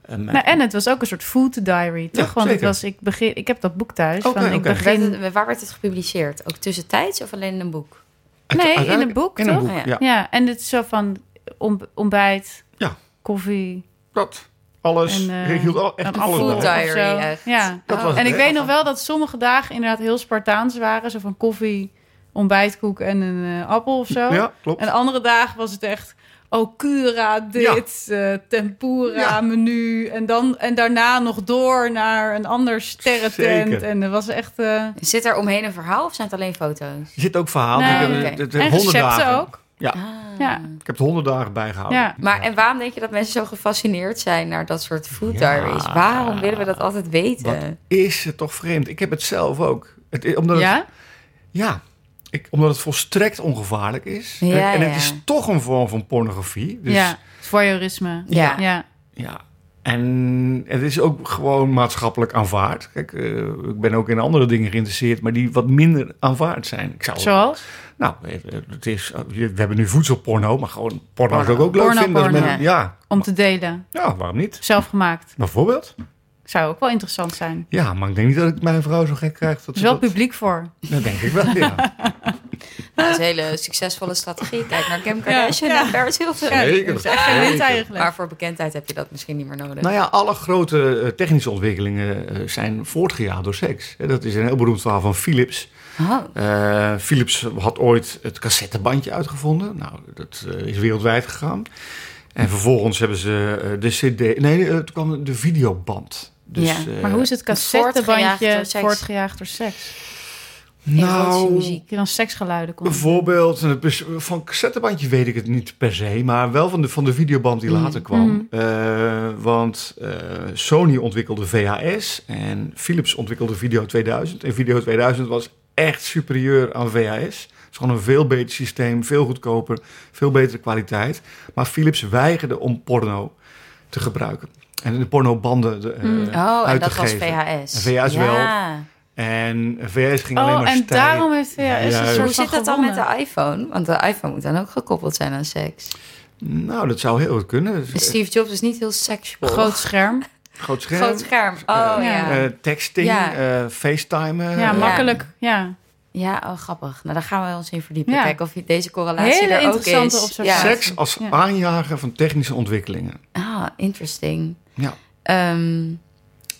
[SPEAKER 4] eh, mijn-
[SPEAKER 3] Nou, en het was ook een soort food diary, toch? Want het
[SPEAKER 4] zeker.
[SPEAKER 3] was, ik, begin, ik heb dat boek thuis.
[SPEAKER 4] Oké,
[SPEAKER 3] van, ik
[SPEAKER 4] oké.
[SPEAKER 2] Werd
[SPEAKER 3] begin,
[SPEAKER 2] het- waar werd het gepubliceerd? Ook tussentijds of alleen in een boek?
[SPEAKER 3] nee,
[SPEAKER 4] uiteindelijk-
[SPEAKER 3] in een boek,
[SPEAKER 4] In een
[SPEAKER 3] toch?
[SPEAKER 4] boek,
[SPEAKER 2] Ja.
[SPEAKER 4] ja.
[SPEAKER 3] ja, en het is zo van om- ontbijt,
[SPEAKER 4] Ja.
[SPEAKER 3] koffie.
[SPEAKER 4] Dat, alles.
[SPEAKER 3] En, eh,
[SPEAKER 4] ik hield al, echt
[SPEAKER 3] een
[SPEAKER 4] alles
[SPEAKER 2] Food
[SPEAKER 4] bij.
[SPEAKER 3] afvoer.
[SPEAKER 2] diary,
[SPEAKER 3] of zo.
[SPEAKER 2] echt.
[SPEAKER 3] Ja.
[SPEAKER 4] Dat
[SPEAKER 2] Oh.
[SPEAKER 4] was
[SPEAKER 3] En ik
[SPEAKER 4] hè?
[SPEAKER 3] weet nog wel dat sommige dagen inderdaad heel Spartaans waren. Zo van koffie, ontbijtkoek en een eh, appel of zo.
[SPEAKER 4] Ja, klopt.
[SPEAKER 3] En andere dagen was het echt okura, dit, eh, tempura,
[SPEAKER 4] Ja.
[SPEAKER 3] menu. En, dan, en daarna nog door naar een ander sterrentent.
[SPEAKER 4] Zeker.
[SPEAKER 3] En dat was echt... eh,
[SPEAKER 2] Zit er omheen een verhaal of zijn het alleen foto's?
[SPEAKER 4] Er zit ook verhaal.
[SPEAKER 3] Nee,
[SPEAKER 4] ik heb,
[SPEAKER 2] oké.
[SPEAKER 4] eh, de- de
[SPEAKER 3] en
[SPEAKER 4] 100
[SPEAKER 3] recepten
[SPEAKER 4] dagen.
[SPEAKER 3] ook.
[SPEAKER 2] Ah.
[SPEAKER 3] Ja.
[SPEAKER 4] Ik heb de honderd dagen bijgehouden.
[SPEAKER 3] Ja.
[SPEAKER 2] Maar en waarom denk je dat mensen zo gefascineerd zijn naar dat soort food
[SPEAKER 4] Ja.
[SPEAKER 2] diaries? Waarom willen we dat altijd weten?
[SPEAKER 4] is het toch vreemd. Ik heb het zelf ook. Het, omdat het-
[SPEAKER 3] Ja?
[SPEAKER 4] ja, ik, omdat het volstrekt ongevaarlijk is.
[SPEAKER 2] Ja,
[SPEAKER 4] en, en
[SPEAKER 2] ja.
[SPEAKER 4] het is toch een vorm van pornografie. Dus,
[SPEAKER 3] ja. Voyeurisme.
[SPEAKER 2] Ja.
[SPEAKER 3] Ja.
[SPEAKER 4] ja. En het is ook gewoon maatschappelijk aanvaard. Kijk, eh, ik ben ook in andere dingen geïnteresseerd, maar die wat minder aanvaard zijn. Ik zou,
[SPEAKER 3] Zoals?
[SPEAKER 4] Nou, eh, het is, we hebben nu voedselporno, maar gewoon porno zou ik ook leuk
[SPEAKER 3] Porno,
[SPEAKER 4] vinden.
[SPEAKER 3] porno.
[SPEAKER 4] men- ja.
[SPEAKER 3] Om te delen.
[SPEAKER 4] ja, waarom niet?
[SPEAKER 3] Zelfgemaakt.
[SPEAKER 4] Bijvoorbeeld?
[SPEAKER 3] Zou ook wel interessant zijn. Er
[SPEAKER 4] Ja, maar ik denk niet dat ik mijn vrouw zo gek krijg. Dat
[SPEAKER 3] is
[SPEAKER 4] ze
[SPEAKER 3] wel
[SPEAKER 4] dat,
[SPEAKER 3] publiek voor.
[SPEAKER 4] dat denk ik wel, ja.
[SPEAKER 2] Dat is een hele succesvolle strategie. Kijk naar Kim Kardashian
[SPEAKER 3] Ja.
[SPEAKER 2] en Paris Hilton.
[SPEAKER 4] Zeker.
[SPEAKER 3] Dat is echt geen wind eigenlijk.
[SPEAKER 2] Maar voor bekendheid heb je dat misschien niet meer nodig.
[SPEAKER 4] Nou ja, alle grote eh, technische ontwikkelingen eh, zijn voortgejaagd door seks. Eh, Dat is een heel beroemd verhaal van Philips.
[SPEAKER 2] Oh.
[SPEAKER 4] Eh, Philips had ooit het cassettebandje uitgevonden. Nou, dat eh, is wereldwijd gegaan. En vervolgens hebben ze eh, de CD. Nee, eh, toen kwam de videoband. Dus,
[SPEAKER 2] Ja,
[SPEAKER 4] eh,
[SPEAKER 3] Maar hoe is het
[SPEAKER 2] Voortgejaagd door
[SPEAKER 3] cassettebandje
[SPEAKER 2] seks.
[SPEAKER 3] voortgejaagd door seks?
[SPEAKER 2] erotische
[SPEAKER 4] nou,
[SPEAKER 2] muziek?
[SPEAKER 3] Heb je dan seksgeluiden komt?
[SPEAKER 4] Bijvoorbeeld, en het bes- van een cassettebandje weet ik het niet per se, maar wel van de, van de videoband die
[SPEAKER 2] Mm.
[SPEAKER 4] later kwam.
[SPEAKER 3] Mhm.
[SPEAKER 4] Eh, want eh, Sony ontwikkelde VHS en Philips ontwikkelde Video 2000. En Video 2000 was echt superieur aan VHS. Het is gewoon een veel beter systeem, veel goedkoper, veel betere kwaliteit. Maar Philips weigerde om porno te gebruiken. En de pornobanden de, eh,
[SPEAKER 3] Mm.
[SPEAKER 2] Oh, en
[SPEAKER 4] uit
[SPEAKER 2] dat
[SPEAKER 4] te
[SPEAKER 2] was
[SPEAKER 4] geven.
[SPEAKER 2] VHS.
[SPEAKER 4] VHS wel.
[SPEAKER 2] Ja.
[SPEAKER 4] En VHS ging alleen
[SPEAKER 3] Oh,
[SPEAKER 4] maar
[SPEAKER 3] en
[SPEAKER 4] stijl.
[SPEAKER 3] daarom heeft VHS een
[SPEAKER 4] Juist.
[SPEAKER 3] soort
[SPEAKER 2] Dus Hoe
[SPEAKER 3] van
[SPEAKER 2] zit dat dan met
[SPEAKER 3] gewonnen.
[SPEAKER 2] de iPhone? Want de iPhone moet dan ook gekoppeld zijn aan seks.
[SPEAKER 4] Nou, dat zou heel goed kunnen.
[SPEAKER 2] Steve Jobs is niet heel seksueel.
[SPEAKER 3] Groot scherm.
[SPEAKER 4] Groot scherm.
[SPEAKER 2] Groot scherm. Oh
[SPEAKER 4] Eh,
[SPEAKER 2] ja.
[SPEAKER 4] eh, texting,
[SPEAKER 2] Ja.
[SPEAKER 4] eh, facetimen.
[SPEAKER 3] Ja,
[SPEAKER 4] eh,
[SPEAKER 3] makkelijk. Ja.
[SPEAKER 2] Ja, oh, grappig. Nou, daar gaan we ons in verdiepen.
[SPEAKER 3] Ja.
[SPEAKER 2] Kijken of je- deze correlatie
[SPEAKER 3] Hele
[SPEAKER 2] er ook
[SPEAKER 3] interessante
[SPEAKER 2] is.
[SPEAKER 3] observatie.
[SPEAKER 2] Ja.
[SPEAKER 4] Seks als
[SPEAKER 3] Ja.
[SPEAKER 4] aanjager van technische ontwikkelingen.
[SPEAKER 2] Ah, interesting.
[SPEAKER 4] Ja.
[SPEAKER 2] Ehm,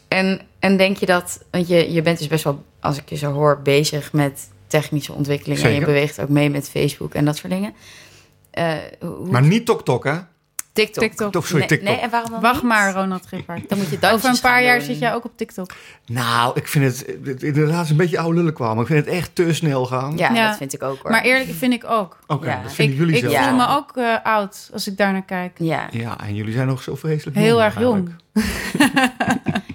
[SPEAKER 2] en, en denk je dat... Want je, je bent dus best wel, als ik je zo hoor, bezig met technische ontwikkelingen. En je
[SPEAKER 4] Zeker.
[SPEAKER 2] beweegt ook mee met Facebook en dat soort dingen. Eh, hoe,
[SPEAKER 4] Maar niet TokTok, hè?
[SPEAKER 2] TikTok.
[SPEAKER 3] TikTok.
[SPEAKER 4] Toch, sorry,
[SPEAKER 2] nee,
[SPEAKER 4] TikTok.
[SPEAKER 2] nee, en waarom dan
[SPEAKER 3] Wacht
[SPEAKER 2] niet?
[SPEAKER 3] maar, Ronald Gippard.
[SPEAKER 2] Dan moet je dansjes
[SPEAKER 3] Over een paar
[SPEAKER 2] gaan
[SPEAKER 3] jaar
[SPEAKER 2] doen.
[SPEAKER 3] zit jij ook op TikTok.
[SPEAKER 4] Nou, ik vind het het- het inderdaad is een beetje oude lullen kwam. Ik vind het echt te snel gaan.
[SPEAKER 2] Ja,
[SPEAKER 3] Ja.
[SPEAKER 2] dat vind ik ook hoor.
[SPEAKER 3] Maar eerlijk vind ik ook.
[SPEAKER 4] Oké,
[SPEAKER 2] Ja.
[SPEAKER 4] dat vinden
[SPEAKER 3] ik
[SPEAKER 4] jullie
[SPEAKER 3] ik
[SPEAKER 4] zelf.
[SPEAKER 2] Ja.
[SPEAKER 3] voel
[SPEAKER 4] wel.
[SPEAKER 3] me ook eh, oud als ik daarnaar kijk.
[SPEAKER 2] Ja.
[SPEAKER 4] Ja, en jullie zijn nog zo vreselijk
[SPEAKER 3] Heel
[SPEAKER 4] jong
[SPEAKER 3] erg jong.
[SPEAKER 4] eigenlijk.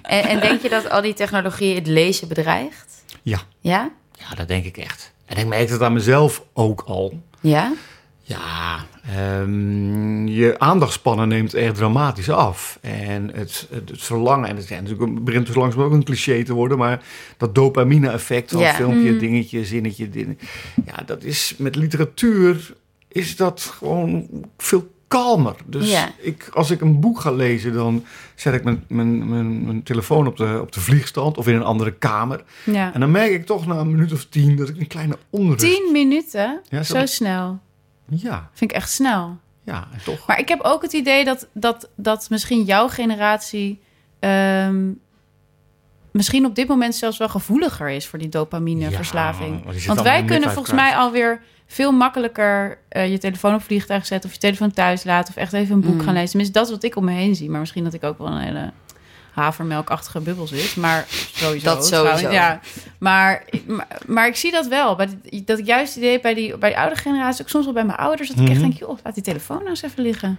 [SPEAKER 2] En, en denk je dat al die technologie het lezen bedreigt?
[SPEAKER 4] Ja.
[SPEAKER 2] Ja?
[SPEAKER 4] Ja, dat denk ik echt. En ik merk dat aan mezelf ook al.
[SPEAKER 2] Ja?
[SPEAKER 4] Ja, ehm, je aandachtspannen neemt echt dramatisch af. En het, het, het verlangen, en het, ja, natuurlijk begint dus langzaam ook een cliché te worden, maar dat dopamine-effect van
[SPEAKER 2] Ja.
[SPEAKER 4] filmpje,
[SPEAKER 3] Mhm.
[SPEAKER 4] dingetje, zinnetje, ding. Ja, dat is met literatuur is dat gewoon veel kalmer. Dus
[SPEAKER 2] Ja.
[SPEAKER 4] ik, als ik een boek ga lezen, dan zet ik mijn, mijn, mijn, mijn telefoon op de, op de vliegstand of in een andere kamer.
[SPEAKER 3] Ja.
[SPEAKER 4] En dan merk ik toch na een minuut of tien dat ik een kleine onrust...
[SPEAKER 3] Tien minuten,
[SPEAKER 4] Ja,
[SPEAKER 3] zo
[SPEAKER 4] zo-
[SPEAKER 3] snel.
[SPEAKER 4] Ja,
[SPEAKER 3] Vind ik echt snel.
[SPEAKER 4] ja, en toch.
[SPEAKER 3] Maar ik heb ook het idee dat, dat, dat misschien jouw generatie... ehm, misschien op dit moment zelfs wel gevoeliger is voor die dopamineverslaving.
[SPEAKER 4] Ja, want die zit
[SPEAKER 3] Want
[SPEAKER 4] allemaal
[SPEAKER 3] wij
[SPEAKER 4] in de
[SPEAKER 3] kunnen
[SPEAKER 4] midlife
[SPEAKER 3] volgens mij alweer veel makkelijker... eh, je telefoon op vliegtuig zetten of je telefoon thuis laten... of echt even een boek
[SPEAKER 2] Mm.
[SPEAKER 3] gaan lezen. Tenminste, dat is wat ik om me heen zie. Maar misschien dat ik ook wel een hele havermelkachtige bubbel zit. Maar sowieso.
[SPEAKER 2] Dat sowieso.
[SPEAKER 3] trouwens, ja. maar, maar, maar ik zie dat wel. Bij die- dat ik juist het idee bij die, bij die oude generatie... ook soms wel bij mijn ouders... dat ik echt
[SPEAKER 4] Mhm.
[SPEAKER 3] denk, joh, laat die telefoon nou eens even liggen.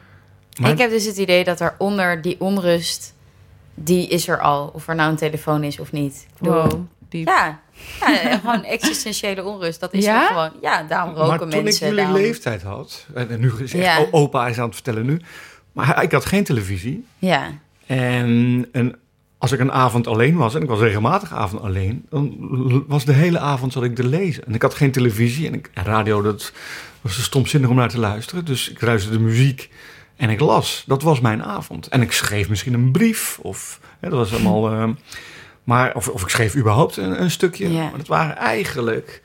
[SPEAKER 4] Maar-
[SPEAKER 2] Ik heb dus het idee dat daaronder die onrust, die is er al. Of er nou een telefoon is of niet. Ik bedoel-
[SPEAKER 3] Wow, diep.
[SPEAKER 2] Ja, ja eh, gewoon existentiële onrust. Dat is
[SPEAKER 3] Ja?
[SPEAKER 2] er gewoon. Ja, daarom roken
[SPEAKER 4] maar
[SPEAKER 2] mensen.
[SPEAKER 4] toen ik jullie
[SPEAKER 2] daarom-
[SPEAKER 4] leeftijd had, en en nu is echt,
[SPEAKER 2] Ja.
[SPEAKER 4] o- opa is aan het vertellen nu, maar ik had geen televisie.
[SPEAKER 2] Ja,
[SPEAKER 4] En, en als ik een avond alleen was, en ik was regelmatig avond alleen, dan l- was de hele avond zat ik te lezen. En ik had geen televisie en, ik, en radio, dat was te stomzinnig om naar te luisteren. Dus ik luisterde muziek en ik las. Dat was mijn avond. En ik schreef misschien een brief of hè, dat was
[SPEAKER 2] Hm.
[SPEAKER 4] allemaal. eh, maar, of, of ik schreef überhaupt een, een stukje.
[SPEAKER 2] Ja.
[SPEAKER 4] Maar dat waren eigenlijk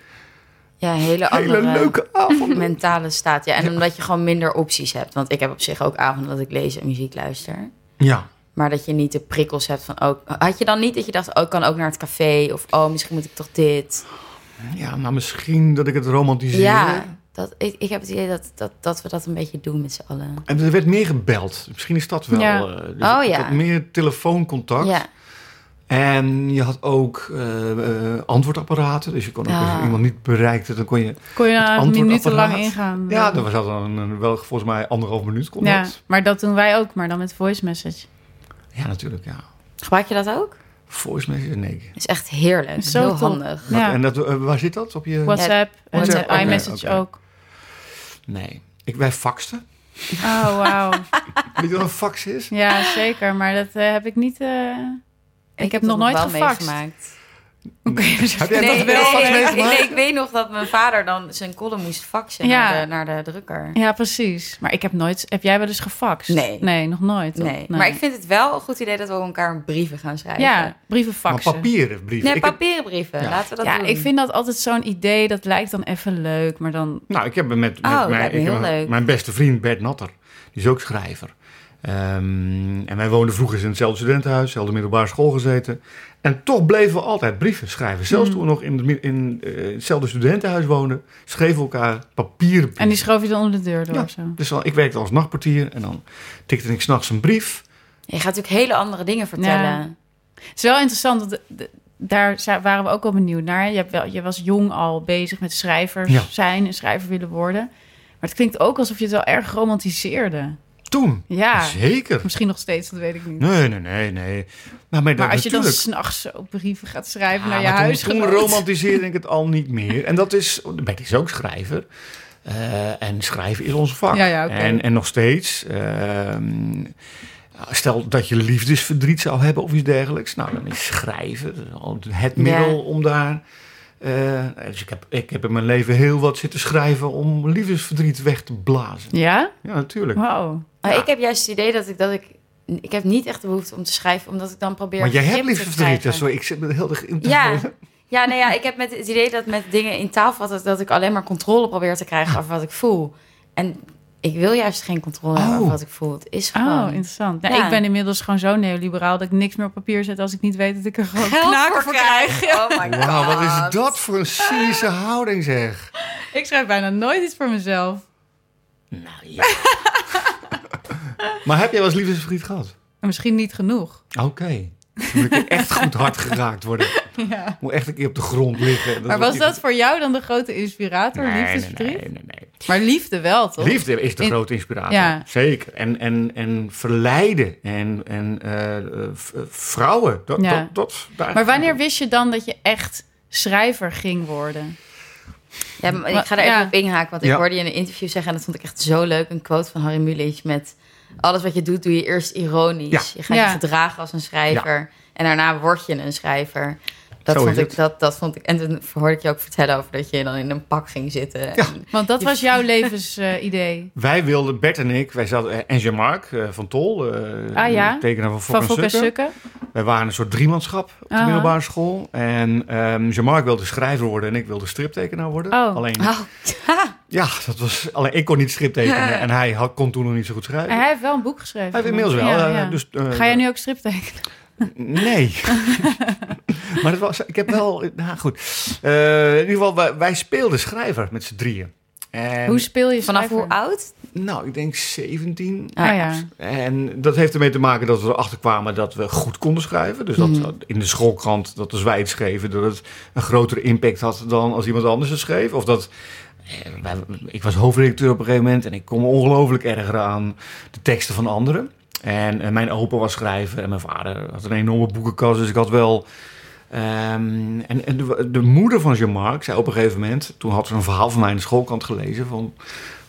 [SPEAKER 2] ja hele andere
[SPEAKER 4] hele leuke avonden.
[SPEAKER 2] mentale staat. Ja, en omdat je gewoon minder opties hebt. Want ik heb op zich ook avonden dat ik lees en muziek luister.
[SPEAKER 4] Ja.
[SPEAKER 2] Maar dat je niet de prikkels hebt van ook. Had je dan niet dat je dacht, oh, ik kan ook naar het café. Of oh, misschien moet ik toch dit.
[SPEAKER 4] Ja, maar misschien dat ik het romantiseer.
[SPEAKER 2] Ja, dat, ik, ik heb het idee dat, dat, dat we dat een beetje doen met z'n allen.
[SPEAKER 4] En er werd meer gebeld. Misschien is dat wel.
[SPEAKER 3] Ja.
[SPEAKER 4] eh, dus
[SPEAKER 2] Oh,
[SPEAKER 4] ik
[SPEAKER 2] ja.
[SPEAKER 4] had meer telefooncontact.
[SPEAKER 2] Ja,
[SPEAKER 4] En je had ook eh, eh, antwoordapparaten. Dus je kon ook
[SPEAKER 2] Ah.
[SPEAKER 4] als je iemand niet bereikte, dan kon je.
[SPEAKER 3] Kon je
[SPEAKER 4] Het
[SPEAKER 3] nou
[SPEAKER 4] antwoordapparaat.
[SPEAKER 3] minutenlang ingaan.
[SPEAKER 4] Ja, dat was dat dan een- wel volgens mij anderhalf minuut. Kon
[SPEAKER 3] Ja,
[SPEAKER 4] dat.
[SPEAKER 3] maar dat doen wij ook, maar dan met voice message.
[SPEAKER 4] ja, natuurlijk. Ja.
[SPEAKER 2] gebruik je dat ook?
[SPEAKER 4] Voice message, nee.
[SPEAKER 2] is echt heerlijk.
[SPEAKER 3] Zo
[SPEAKER 2] Heel
[SPEAKER 3] top.
[SPEAKER 2] handig.
[SPEAKER 4] Wat-
[SPEAKER 3] Ja.
[SPEAKER 4] En dat, eh, waar zit dat op je?
[SPEAKER 3] WhatsApp en
[SPEAKER 4] WhatsApp,
[SPEAKER 3] eh,
[SPEAKER 4] oké,
[SPEAKER 3] iMessage
[SPEAKER 4] oké.
[SPEAKER 3] ook.
[SPEAKER 4] Nee. Ik, wij faxten.
[SPEAKER 3] Oh, wauw.
[SPEAKER 4] Weet je wat een fax is?
[SPEAKER 3] ja, zeker, maar dat eh, heb ik niet... eh, ik, heb
[SPEAKER 2] dat
[SPEAKER 3] nog nooit
[SPEAKER 2] wel
[SPEAKER 3] gefaxt.
[SPEAKER 2] meegemaakt.
[SPEAKER 4] Heb jij
[SPEAKER 2] nee,
[SPEAKER 4] dat wel
[SPEAKER 2] nee,
[SPEAKER 4] fax
[SPEAKER 2] nee,
[SPEAKER 4] meegemaakt?
[SPEAKER 2] nee, ik weet nog dat mijn vader dan zijn column moest faxen
[SPEAKER 3] Ja.
[SPEAKER 2] naar, de, naar de drukker.
[SPEAKER 3] Ja, precies. Maar ik heb nooit... Heb jij wel eens gefaxt?
[SPEAKER 2] Nee.
[SPEAKER 3] Nee, nog nooit. toch?
[SPEAKER 2] Nee. maar ik vind het wel een goed idee dat we elkaar brieven gaan schrijven.
[SPEAKER 3] Ja, brieven
[SPEAKER 4] Maar
[SPEAKER 3] faxen.
[SPEAKER 4] papieren brieven.
[SPEAKER 2] Nee,
[SPEAKER 4] Ik heb-
[SPEAKER 2] papieren brieven.
[SPEAKER 4] Ja.
[SPEAKER 2] Laten we dat
[SPEAKER 3] ja,
[SPEAKER 2] doen.
[SPEAKER 3] ik vind dat altijd zo'n idee. Dat lijkt dan even leuk, maar dan...
[SPEAKER 4] Nou, ik heb met, met
[SPEAKER 2] Oh,
[SPEAKER 4] mijn,
[SPEAKER 2] lijkt me
[SPEAKER 4] ik
[SPEAKER 2] heel
[SPEAKER 4] heb-
[SPEAKER 2] leuk.
[SPEAKER 4] mijn beste vriend Bert Natter. Die is ook schrijver. Ehm, en wij woonden vroeger in hetzelfde studentenhuis, dezelfde middelbare school gezeten. En toch bleven we altijd brieven schrijven. Zelfs toen we nog in, het mi- in eh, hetzelfde studentenhuis woonden, schreven we elkaar papieren
[SPEAKER 3] En die
[SPEAKER 4] brieven.
[SPEAKER 3] schoof je dan onder de deur door
[SPEAKER 4] Ja.
[SPEAKER 3] of zo.
[SPEAKER 4] Dus dan, ik werkte als nachtportier en dan tikte ik s'nachts een brief.
[SPEAKER 2] Je gaat natuurlijk hele andere dingen vertellen.
[SPEAKER 3] Het is wel interessant, want de- de- daar za- waren we ook al benieuwd naar. Je, hebt wel, je was jong al bezig met schrijvers
[SPEAKER 4] Ja.
[SPEAKER 3] zijn en schrijver willen worden. Maar het klinkt ook alsof je het wel erg romantiseerde.
[SPEAKER 4] Toen.
[SPEAKER 3] Ja,
[SPEAKER 4] Zeker.
[SPEAKER 3] misschien nog steeds, dat weet ik niet.
[SPEAKER 4] Nee, nee, nee, nee. Nou, maar dat
[SPEAKER 3] maar als je dan
[SPEAKER 4] natuurlijk.
[SPEAKER 3] s'nachts zo brieven gaat schrijven
[SPEAKER 4] Ja,
[SPEAKER 3] naar je
[SPEAKER 4] maar toen-
[SPEAKER 3] huisgenoot.
[SPEAKER 4] Toen romantiseerde ik het al niet meer. En dat is, Bert is ook schrijver. Eh, en schrijven is ons vak.
[SPEAKER 3] Ja, ja, oké.
[SPEAKER 4] en, en nog steeds. ehm, stel dat je liefdesverdriet zou hebben of iets dergelijks. Nou, dan is schrijven het middel
[SPEAKER 2] Ja.
[SPEAKER 4] om daar... eh, dus ik heb, ik heb in mijn leven heel wat zitten schrijven om liefdesverdriet weg te blazen.
[SPEAKER 3] Ja?
[SPEAKER 4] Ja, natuurlijk.
[SPEAKER 3] Wauw. Oh,
[SPEAKER 2] Maar
[SPEAKER 4] Ja.
[SPEAKER 2] ik heb juist het idee dat ik dat ik. Ik heb niet echt de behoefte om te schrijven, omdat ik dan probeer.
[SPEAKER 4] Maar jij hebt
[SPEAKER 2] grip te
[SPEAKER 4] liefdesverdriet. Ja,
[SPEAKER 2] krijgen.
[SPEAKER 4] sorry, ik zit me heel erg in te
[SPEAKER 2] Ja. Ja, nee, ja, ik heb met het idee dat met dingen in taal vatten, dat ik alleen maar controle probeer te krijgen over wat ik voel. En ik wil juist geen controle hebben over
[SPEAKER 4] Oh.
[SPEAKER 2] wat ik voel. Het is gewoon.
[SPEAKER 3] Oh, interessant. Nou,
[SPEAKER 2] Ja.
[SPEAKER 3] Ik ben inmiddels gewoon zo neoliberaal dat ik niks meer op papier zet als ik niet weet dat ik er gewoon
[SPEAKER 2] Geld
[SPEAKER 3] knaken voor krijg.
[SPEAKER 2] Oh my god.
[SPEAKER 4] Wauw, wat is dat voor een cynische houding zeg.
[SPEAKER 3] Ik schrijf bijna nooit iets voor mezelf.
[SPEAKER 4] Nou ja. Maar heb jij wel eens liefdesverdriet gehad?
[SPEAKER 3] Misschien niet genoeg.
[SPEAKER 4] Oké. Dan moet ik echt goed hard geraakt worden.
[SPEAKER 3] Ja.
[SPEAKER 4] Moet echt een keer op de grond liggen.
[SPEAKER 3] Maar was dat voor jou dan de grote inspirator, liefdesverdriet?
[SPEAKER 4] Nee, nee, nee, nee.
[SPEAKER 3] Maar liefde wel, toch?
[SPEAKER 4] Liefde is de
[SPEAKER 3] In-
[SPEAKER 4] grote inspirator.
[SPEAKER 3] Ja.
[SPEAKER 4] Zeker. En, en, en verleiden. En, en eh, eh, v- eh, vrouwen. Dat,
[SPEAKER 3] Ja.
[SPEAKER 4] dat, dat, daar-
[SPEAKER 3] Maar wanneer wist je dan dat je echt schrijver ging worden?
[SPEAKER 2] Ja, maar ik ga er even
[SPEAKER 3] Ja.
[SPEAKER 2] op inhaken, want ik
[SPEAKER 4] Ja.
[SPEAKER 2] hoorde je in een interview zeggen... en dat vond ik echt zo leuk, een quote van Harry Mulisch met... alles wat je doet, doe je eerst ironisch.
[SPEAKER 4] Ja.
[SPEAKER 2] Je gaat
[SPEAKER 3] Ja.
[SPEAKER 2] je gedragen als een schrijver en daarna word je een schrijver. Dat
[SPEAKER 4] Zo
[SPEAKER 2] vond
[SPEAKER 4] is
[SPEAKER 2] ik,
[SPEAKER 4] het.
[SPEAKER 2] dat, dat vond ik. En toen hoorde ik je ook vertellen over dat je dan in een pak ging zitten.
[SPEAKER 4] Ja.
[SPEAKER 2] En-
[SPEAKER 3] Want dat
[SPEAKER 2] Je-
[SPEAKER 3] was jouw levensidee.
[SPEAKER 4] Wij wilden, Bert en ik, wij zaten, eh, en Jean-Marc eh, van Tol, eh,
[SPEAKER 3] Ah, ja.
[SPEAKER 4] tekenaar van
[SPEAKER 3] van
[SPEAKER 4] Fokker
[SPEAKER 3] Fokker
[SPEAKER 4] en Sukker.
[SPEAKER 3] Sukken.
[SPEAKER 4] Wij waren een soort driemanschap op de
[SPEAKER 3] Aha.
[SPEAKER 4] middelbare school. En ehm Jean-Marc wilde schrijver worden en ik wilde striptekenaar worden.
[SPEAKER 3] Oh.
[SPEAKER 4] Alleen,
[SPEAKER 2] Oh,
[SPEAKER 4] ja, dat was, alleen ik kon niet striptekenen en hij had, kon toen nog niet zo goed schrijven.
[SPEAKER 3] En hij heeft wel een boek geschreven.
[SPEAKER 4] Hij heeft inmiddels wel.
[SPEAKER 3] Ja,
[SPEAKER 4] eh,
[SPEAKER 3] ja.
[SPEAKER 4] Dus, eh,
[SPEAKER 3] Ga jij nu ook strip tekenen?
[SPEAKER 4] Nee. maar dat was, ik heb wel, nou goed. Eh, in ieder geval, wij, wij speelden schrijver met z'n drieën. En,
[SPEAKER 3] Hoe speel je
[SPEAKER 2] vanaf
[SPEAKER 3] schrijver?
[SPEAKER 2] hoe oud?
[SPEAKER 4] Nou, ik denk 17.
[SPEAKER 2] Ah,
[SPEAKER 3] Ah,
[SPEAKER 2] ja.
[SPEAKER 3] ja.
[SPEAKER 4] En dat heeft ermee te maken dat we erachter kwamen dat we goed konden schrijven. Dus dat
[SPEAKER 2] Mhm.
[SPEAKER 4] in de schoolkrant, dat als wij het schreven, dat het een grotere impact had dan als iemand anders het schreef. Of dat, eh, wij- ik was hoofdredacteur op een gegeven moment en ik kon me ongelooflijk erger aan de teksten van anderen. En eh, mijn opa was schrijver en mijn vader had een enorme boekenkast, dus ik had wel... ehm, en en de, de moeder van Jean-Marc zei op een gegeven moment, toen had ze een verhaal van mij in de schoolkant gelezen van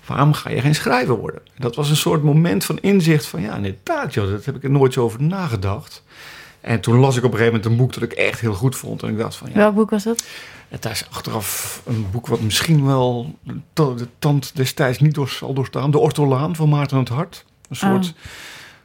[SPEAKER 4] waarom ga je geen schrijver worden? Dat was een soort moment van inzicht van, ja, inderdaad, joh, dat heb ik er nooit zo over nagedacht. En toen las ik op een gegeven moment een boek dat ik echt heel goed vond. En ik dacht van, ja,
[SPEAKER 3] Welk boek was dat?
[SPEAKER 4] het is achteraf een boek wat misschien wel de ta- de tand destijds niet door zal doorstaan. De Ortolaan van Maarten het Hart. Een soort,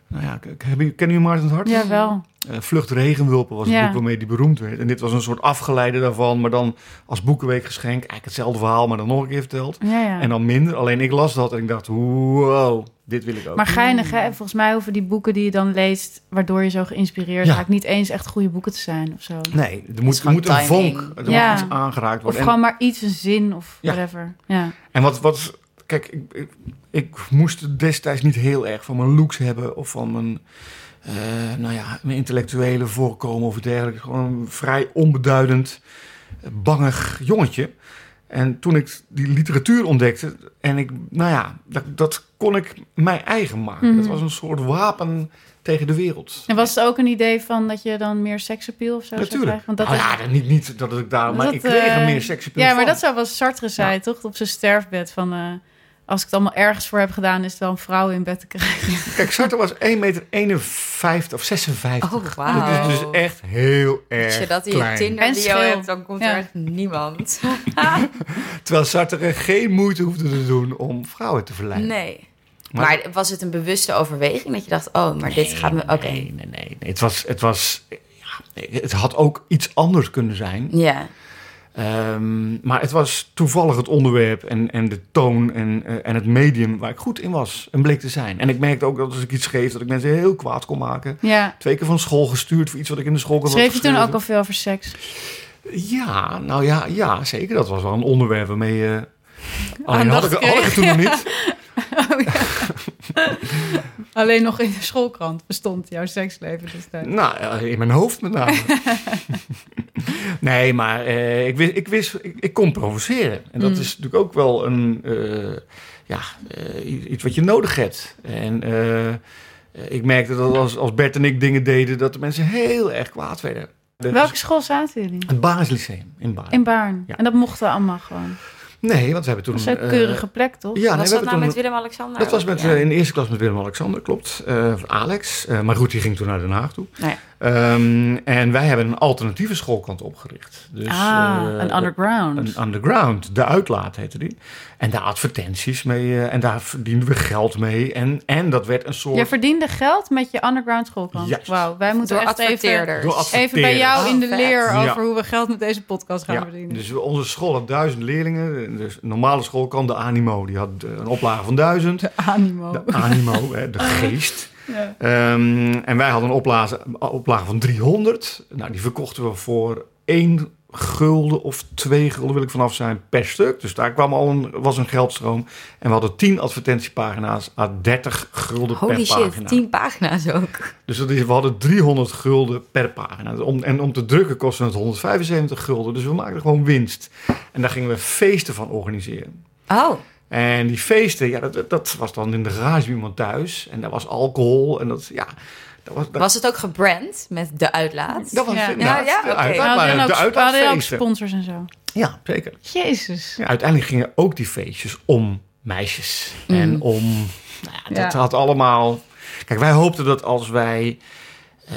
[SPEAKER 4] nou ja, k- heb je- kennen jullie Maarten het Hart?
[SPEAKER 3] Ah. Ja, wel.
[SPEAKER 4] Eh, Vlucht Regenwulpen was het
[SPEAKER 3] Ja.
[SPEAKER 4] boek waarmee die beroemd werd. En dit was een soort afgeleide daarvan, maar dan als boekenweekgeschenk. Eigenlijk hetzelfde verhaal, maar dan nog een keer verteld.
[SPEAKER 3] Ja, ja.
[SPEAKER 4] En dan minder. Alleen ik las dat en ik dacht, wow, dit wil ik ook.
[SPEAKER 3] Maar geinig, hè? Volgens mij hoeven die boeken die je dan leest, waardoor je zo geïnspireerd
[SPEAKER 4] Ja.
[SPEAKER 3] raakt, niet eens echt goede boeken te zijn of zo.
[SPEAKER 4] nee, er moet, er
[SPEAKER 2] gewoon
[SPEAKER 4] moet een
[SPEAKER 2] timing.
[SPEAKER 4] vonk, er
[SPEAKER 3] Ja.
[SPEAKER 4] moet iets aangeraakt
[SPEAKER 3] Of
[SPEAKER 4] worden.
[SPEAKER 3] gewoon maar iets, een zin of
[SPEAKER 4] Ja.
[SPEAKER 3] whatever. Ja.
[SPEAKER 4] En, en wat, wat kijk, ik, ik, ik moest destijds niet heel erg van mijn looks hebben of van mijn, eh, nou ja, mijn intellectuele voorkomen of dergelijke. Gewoon een vrij onbeduidend, eh, bangig jongetje. En toen ik die literatuur ontdekte en ik, nou ja, dat, dat kon ik mij eigen maken.
[SPEAKER 3] Mhm.
[SPEAKER 4] Dat was een soort wapen tegen de wereld.
[SPEAKER 3] En was het ook een idee van dat je dan meer seksappeal of zo zou
[SPEAKER 4] Natuurlijk.
[SPEAKER 3] krijgen? Want dat
[SPEAKER 4] Nou
[SPEAKER 3] is-
[SPEAKER 4] ja, dat- niet, niet dat ik daar... Maar
[SPEAKER 3] Dat,
[SPEAKER 4] ik kreeg er
[SPEAKER 3] eh,
[SPEAKER 4] meer seksueel
[SPEAKER 3] ja, maar dat zou was Sartre zei, toch? Op zijn sterfbed van... eh, als ik het allemaal ergens voor heb gedaan, is het wel een vrouw in bed te krijgen.
[SPEAKER 4] Kijk, Sartre was 1,51 meter 51 of 56.
[SPEAKER 2] Oh, wauw.
[SPEAKER 4] Dat is dus echt heel
[SPEAKER 2] Als
[SPEAKER 4] erg
[SPEAKER 2] je dat in je
[SPEAKER 4] klein.
[SPEAKER 2] Tinder
[SPEAKER 3] En
[SPEAKER 2] bio
[SPEAKER 3] schil.
[SPEAKER 2] hebt, dan komt
[SPEAKER 3] Ja.
[SPEAKER 2] er echt niemand.
[SPEAKER 4] Terwijl Sartre geen moeite hoefde te doen om vrouwen te verleiden.
[SPEAKER 2] Nee.
[SPEAKER 4] Maar-
[SPEAKER 2] Maar, was het een bewuste overweging dat je dacht, oh, maar dit gaat me... Oké.
[SPEAKER 4] Nee, nee, nee. nee. Het, was, het, was, ja, het had ook iets anders kunnen zijn.
[SPEAKER 2] Ja.
[SPEAKER 4] Ehm, maar het was toevallig het onderwerp en, en de toon en, eh, en het medium waar ik goed in was en bleek te zijn. En ik merkte ook dat als ik iets schreef, dat ik mensen heel kwaad kon maken.
[SPEAKER 3] Ja.
[SPEAKER 4] Twee keer van school gestuurd voor iets wat ik in de school had
[SPEAKER 3] Schreef je toen ook
[SPEAKER 4] geschreven.
[SPEAKER 3] al veel over seks?
[SPEAKER 4] Ja, nou ja, ja, zeker. Dat was wel een onderwerp waarmee je... Alleen had ik,
[SPEAKER 3] Aandacht
[SPEAKER 4] had ik het toen nog niet.
[SPEAKER 3] Oh, Alleen nog in de schoolkrant bestond jouw seksleven destijds.
[SPEAKER 4] Nou, eh, in mijn hoofd met name. nee, maar eh, ik, wist, ik, wist ik, ik kon provoceren. En dat
[SPEAKER 3] Mm.
[SPEAKER 4] is natuurlijk ook wel een, eh, ja, eh, iets wat je nodig hebt. En eh, ik merkte dat als, als Bert en ik dingen deden, dat de mensen heel erg kwaad werden. De-
[SPEAKER 3] Welke school zaten jullie?
[SPEAKER 4] Het Basislyceum in Baarn.
[SPEAKER 3] In Baarn.
[SPEAKER 4] Ja.
[SPEAKER 3] En dat mochten we allemaal gewoon.
[SPEAKER 4] Nee, want we hebben toen...
[SPEAKER 3] Dat is een
[SPEAKER 4] eh,
[SPEAKER 3] keurige plek, toch?
[SPEAKER 4] ja, nee, we
[SPEAKER 2] was dat
[SPEAKER 4] hebben
[SPEAKER 2] nou
[SPEAKER 4] toen
[SPEAKER 2] met Willem-Alexander?
[SPEAKER 4] Dat was
[SPEAKER 2] ook?
[SPEAKER 4] met,
[SPEAKER 2] Ja.
[SPEAKER 4] eh, in de eerste klas met Willem-Alexander, klopt. Eh, Alex. Eh, maar goed, die ging toen naar Den Haag toe.
[SPEAKER 2] Nou ja.
[SPEAKER 4] Ehm, en wij hebben een alternatieve schoolkant opgericht. Dus,
[SPEAKER 3] ah,
[SPEAKER 4] eh,
[SPEAKER 3] een underground.
[SPEAKER 4] Een underground. De Uitlaat heette die. En daar advertenties mee. eh, en daar verdienden we geld mee. En, en dat werd een soort...
[SPEAKER 3] Je verdiende geld met je underground schoolkrant.
[SPEAKER 4] Juist.
[SPEAKER 3] Wauw, wij moeten
[SPEAKER 2] Door
[SPEAKER 3] echt even,
[SPEAKER 2] adverteerders.
[SPEAKER 4] Door adver-
[SPEAKER 3] even bij jou
[SPEAKER 2] Oh,
[SPEAKER 3] in de
[SPEAKER 2] vet.
[SPEAKER 3] leer
[SPEAKER 4] Ja.
[SPEAKER 3] over hoe we geld met deze podcast gaan verdienen.
[SPEAKER 4] dus onze school had duizend leerlingen. Dus een normale schoolkant, de Animo, die had eh, een oplage van duizend.
[SPEAKER 3] Animo.
[SPEAKER 4] De
[SPEAKER 2] Oh.
[SPEAKER 4] Animo, hè, de geest.
[SPEAKER 3] Ja.
[SPEAKER 4] Ehm, en wij hadden een oplage, oplage van 300. Nou, die verkochten we voor 1,50 één gulden of twee gulden wil ik vanaf zijn per stuk. Dus daar kwam al een, was een geldstroom. En we hadden tien advertentiepagina's à 30 gulden
[SPEAKER 2] Holy
[SPEAKER 4] per
[SPEAKER 2] shit,
[SPEAKER 4] pagina.
[SPEAKER 2] 10 pagina's ook.
[SPEAKER 4] Dus dat is, we hadden 300 gulden per pagina. Om, en om te drukken kostte het 175 gulden. Dus we maakten gewoon winst. En daar gingen we feesten van organiseren.
[SPEAKER 2] Oh,
[SPEAKER 4] En die feesten, ja, dat, dat was dan in de garage bij iemand thuis. En daar was alcohol. En dat, ja, dat was... Dat,
[SPEAKER 2] was het ook gebrand met de uitlaat?
[SPEAKER 4] dat was
[SPEAKER 3] Ja.
[SPEAKER 4] inderdaad
[SPEAKER 2] Ja, ja,
[SPEAKER 4] de
[SPEAKER 2] oké.
[SPEAKER 4] uitlaat,
[SPEAKER 3] We
[SPEAKER 4] maar
[SPEAKER 3] hadden
[SPEAKER 4] de
[SPEAKER 3] ook, we hadden ook
[SPEAKER 4] uitlaatfeesten.
[SPEAKER 3] sponsors en zo.
[SPEAKER 4] Ja, zeker.
[SPEAKER 3] Jezus.
[SPEAKER 4] Ja, uiteindelijk gingen ook die feestjes om meisjes. En om. Nou Mhm. ja, dat
[SPEAKER 3] Ja.
[SPEAKER 4] had allemaal. Kijk, wij hoopten dat als wij. eh,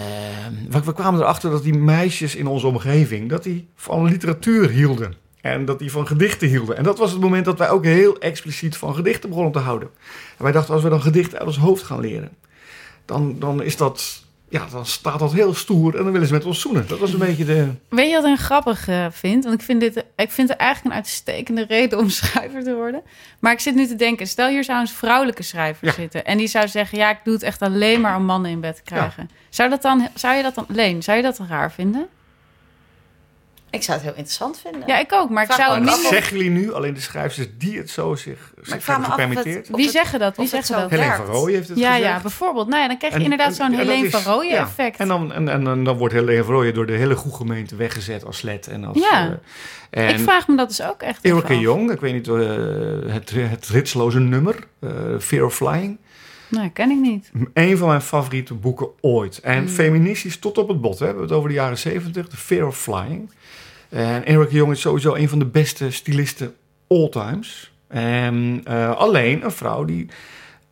[SPEAKER 4] we, we kwamen erachter dat die meisjes in onze omgeving. dat die van literatuur hielden. En dat die van gedichten hielden. En dat was het moment dat wij ook heel expliciet van gedichten begonnen te houden. En wij dachten, als we dan gedichten uit ons hoofd gaan leren. dan, dan is dat. Ja, dan staat dat heel stoer. En dan willen ze met ons zoenen. Dat was een beetje de.
[SPEAKER 3] Weet je wat ik een grappig eh, vind? Want ik vind, dit, ik vind het eigenlijk een uitstekende reden om schrijver te worden. Maar ik zit nu te denken, stel hier zou een vrouwelijke schrijver
[SPEAKER 4] Ja.
[SPEAKER 3] zitten. En die zou zeggen, ja, ik doe het echt alleen maar om mannen in bed te krijgen. Zou, dat dan, zou je dat dan, Leen, zou je dat dan raar vinden?
[SPEAKER 2] Ik zou het heel interessant vinden.
[SPEAKER 3] Ja, ik ook, maar ik
[SPEAKER 2] Vraag
[SPEAKER 3] zou
[SPEAKER 2] me
[SPEAKER 4] Maar dat
[SPEAKER 2] af
[SPEAKER 3] niet...
[SPEAKER 2] of-
[SPEAKER 4] zeggen jullie nu, alleen de schrijvers die het zo zich,
[SPEAKER 2] Oh, maar ik
[SPEAKER 4] zich
[SPEAKER 2] vraag me
[SPEAKER 4] hebben
[SPEAKER 2] af of het-
[SPEAKER 4] gepermitteerd.
[SPEAKER 2] of
[SPEAKER 3] Wie
[SPEAKER 2] het-
[SPEAKER 3] zeggen dat? Wie
[SPEAKER 2] of het
[SPEAKER 3] zeggen
[SPEAKER 2] zo
[SPEAKER 3] dat?
[SPEAKER 4] Helene van
[SPEAKER 2] werkt.
[SPEAKER 4] Rooij heeft het
[SPEAKER 3] Ja,
[SPEAKER 4] gezegd.
[SPEAKER 3] ja, bijvoorbeeld. Nou ja, dan krijg je
[SPEAKER 4] En-
[SPEAKER 3] inderdaad
[SPEAKER 4] en-
[SPEAKER 3] zo'n
[SPEAKER 4] ja, dat
[SPEAKER 3] Helene
[SPEAKER 4] is-
[SPEAKER 3] van Rooyen
[SPEAKER 4] ja.
[SPEAKER 3] effect.
[SPEAKER 4] En dan, en, en, en dan wordt Helene van Rooyen door de hele goede gemeente weggezet als slet. En als,
[SPEAKER 3] Ja.
[SPEAKER 4] eh, en
[SPEAKER 3] ik vraag me dat dus ook echt even
[SPEAKER 4] Eureka
[SPEAKER 3] af.
[SPEAKER 4] Jong, ik weet niet, eh, het, het ritsloze nummer, eh, Fear of Flying.
[SPEAKER 3] Nee, ken ik niet.
[SPEAKER 4] Een van mijn favoriete boeken ooit. En feministisch tot op het bot. Hè. We hebben het over de jaren 70, The Fear of Flying. En Eric de Jong is sowieso een van de beste stylisten all times. En, eh, alleen een vrouw die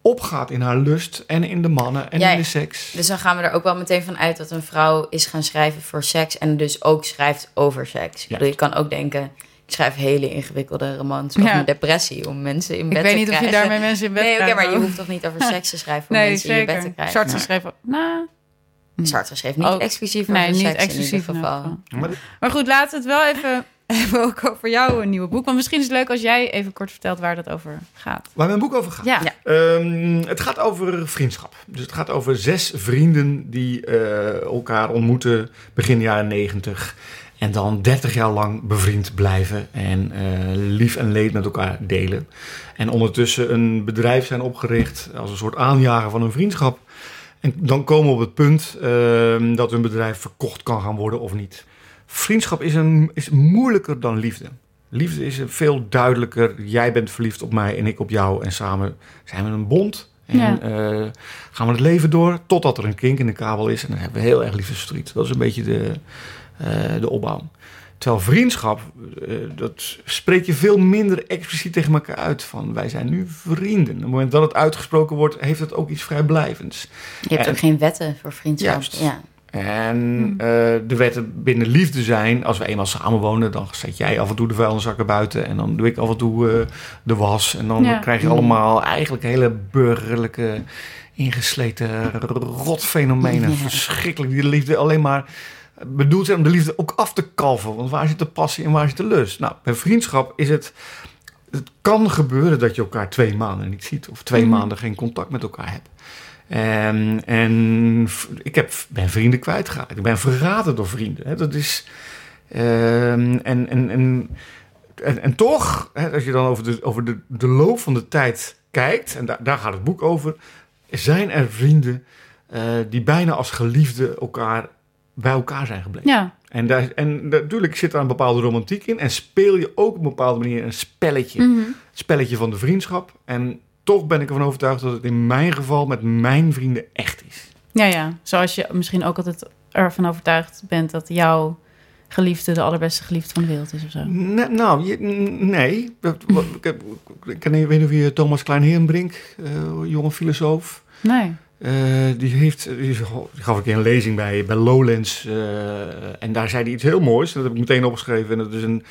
[SPEAKER 4] opgaat in haar lust en in de mannen en
[SPEAKER 2] Ja,
[SPEAKER 4] in de
[SPEAKER 2] ja.
[SPEAKER 4] seks.
[SPEAKER 2] Dus dan gaan we er ook wel meteen van uit dat een vrouw is gaan schrijven voor seks en dus ook schrijft over seks. Ik bedoel, je kan ook denken, ik schrijf hele ingewikkelde romans over
[SPEAKER 3] Ja.
[SPEAKER 2] mijn depressie om mensen in bed
[SPEAKER 3] Ik
[SPEAKER 2] te
[SPEAKER 3] weet
[SPEAKER 2] krijgen.
[SPEAKER 3] niet of je daarmee mensen in bed
[SPEAKER 2] Nee, oké,
[SPEAKER 3] krijgt,
[SPEAKER 2] maar je
[SPEAKER 3] hoor.
[SPEAKER 2] hoeft toch niet over seks te schrijven om
[SPEAKER 3] Nee,
[SPEAKER 2] mensen in je bed te
[SPEAKER 3] zeker.
[SPEAKER 2] krijgen.
[SPEAKER 3] Sartre schreef... ook- Nou,
[SPEAKER 2] Sartre schreef niet
[SPEAKER 3] Ook-
[SPEAKER 2] exclusief over
[SPEAKER 3] nee, niet
[SPEAKER 2] seks
[SPEAKER 3] exclusief
[SPEAKER 2] in ieder
[SPEAKER 3] in elk
[SPEAKER 2] geval.
[SPEAKER 3] geval.
[SPEAKER 4] Maar
[SPEAKER 3] Maar goed, laten we het wel even hebben ook over jouw nieuwe boek. Want misschien is het leuk als jij even kort vertelt waar dat over gaat.
[SPEAKER 4] Waar mijn boek over gaat.
[SPEAKER 3] Ja.
[SPEAKER 2] Ja.
[SPEAKER 4] Ehm, het gaat over vriendschap. Dus het gaat over zes vrienden die eh, elkaar ontmoeten begin jaren negentig. En dan 30 jaar lang bevriend blijven en eh, lief en leed met elkaar delen. En ondertussen een bedrijf zijn opgericht als een soort aanjager van hun vriendschap. En dan komen we op het punt ehm, dat hun bedrijf verkocht kan gaan worden of niet. Vriendschap is, een, is moeilijker dan liefde. Liefde is een veel duidelijker. Jij bent verliefd op mij en ik op jou. En samen zijn we een bond. En
[SPEAKER 3] Ja.
[SPEAKER 4] eh, gaan we het leven door totdat er een kink in de kabel is. En dan hebben we heel erg liefdesverdriet. Dat is een beetje de, eh, de opbouw. Terwijl vriendschap, eh, dat spreek je veel minder expliciet tegen elkaar uit. Van wij zijn nu vrienden. Op het moment dat het uitgesproken wordt, heeft het ook iets vrijblijvends.
[SPEAKER 2] Je hebt
[SPEAKER 4] En-
[SPEAKER 2] ook geen wetten voor vriendschap.
[SPEAKER 4] Juist.
[SPEAKER 2] Ja.
[SPEAKER 4] En eh, de wetten binnen liefde zijn, als we eenmaal samenwonen, dan zet jij af en toe de vuilniszakken buiten en dan doe ik af en toe eh, de was. En dan
[SPEAKER 3] Ja.
[SPEAKER 4] krijg je allemaal eigenlijk hele burgerlijke, ingesleten rotfenomenen.
[SPEAKER 2] Ja.
[SPEAKER 4] Verschrikkelijk, die de liefde alleen maar bedoeld zijn om de liefde ook af te kalven. Want waar zit de passie en waar zit de lust? Nou, bij vriendschap is het... Het kan gebeuren dat je elkaar twee maanden niet ziet of twee
[SPEAKER 3] Mhm.
[SPEAKER 4] maanden geen contact met elkaar hebt. En, en v- ik heb, ben vrienden kwijtgeraakt. Ik ben verraden door vrienden. Hè. Dat is. ehm, en, en, en, en, en toch, hè, als je dan over, de, over de, de loop van de tijd kijkt, en daar, daar gaat het boek over, zijn er vrienden eh, die bijna als geliefden elkaar, bij elkaar zijn gebleven.
[SPEAKER 3] Ja,
[SPEAKER 4] En, daar, en natuurlijk zit daar een bepaalde romantiek in en speel je ook op een bepaalde manier een spelletje
[SPEAKER 2] Mhm.
[SPEAKER 4] het spelletje van de vriendschap. En toch ben ik ervan overtuigd dat het in mijn geval met mijn vrienden echt is.
[SPEAKER 3] ja, ja. Zoals je misschien ook altijd ervan overtuigd bent dat jouw geliefde de allerbeste geliefde van de wereld is of
[SPEAKER 2] Mm.
[SPEAKER 3] zo.
[SPEAKER 4] Nee, nou, je- n- nee. Dat- wat- Ik, heb- ik, ik weet niet of je Thomas Klein-Herenbrink, eh, jonge filosoof.
[SPEAKER 3] Nee.
[SPEAKER 4] Eh, die, heeft, die gaf ik een lezing bij, bij Lowlands. eh, en daar zei hij iets heel moois. Dat heb ik meteen opgeschreven. En dat is een,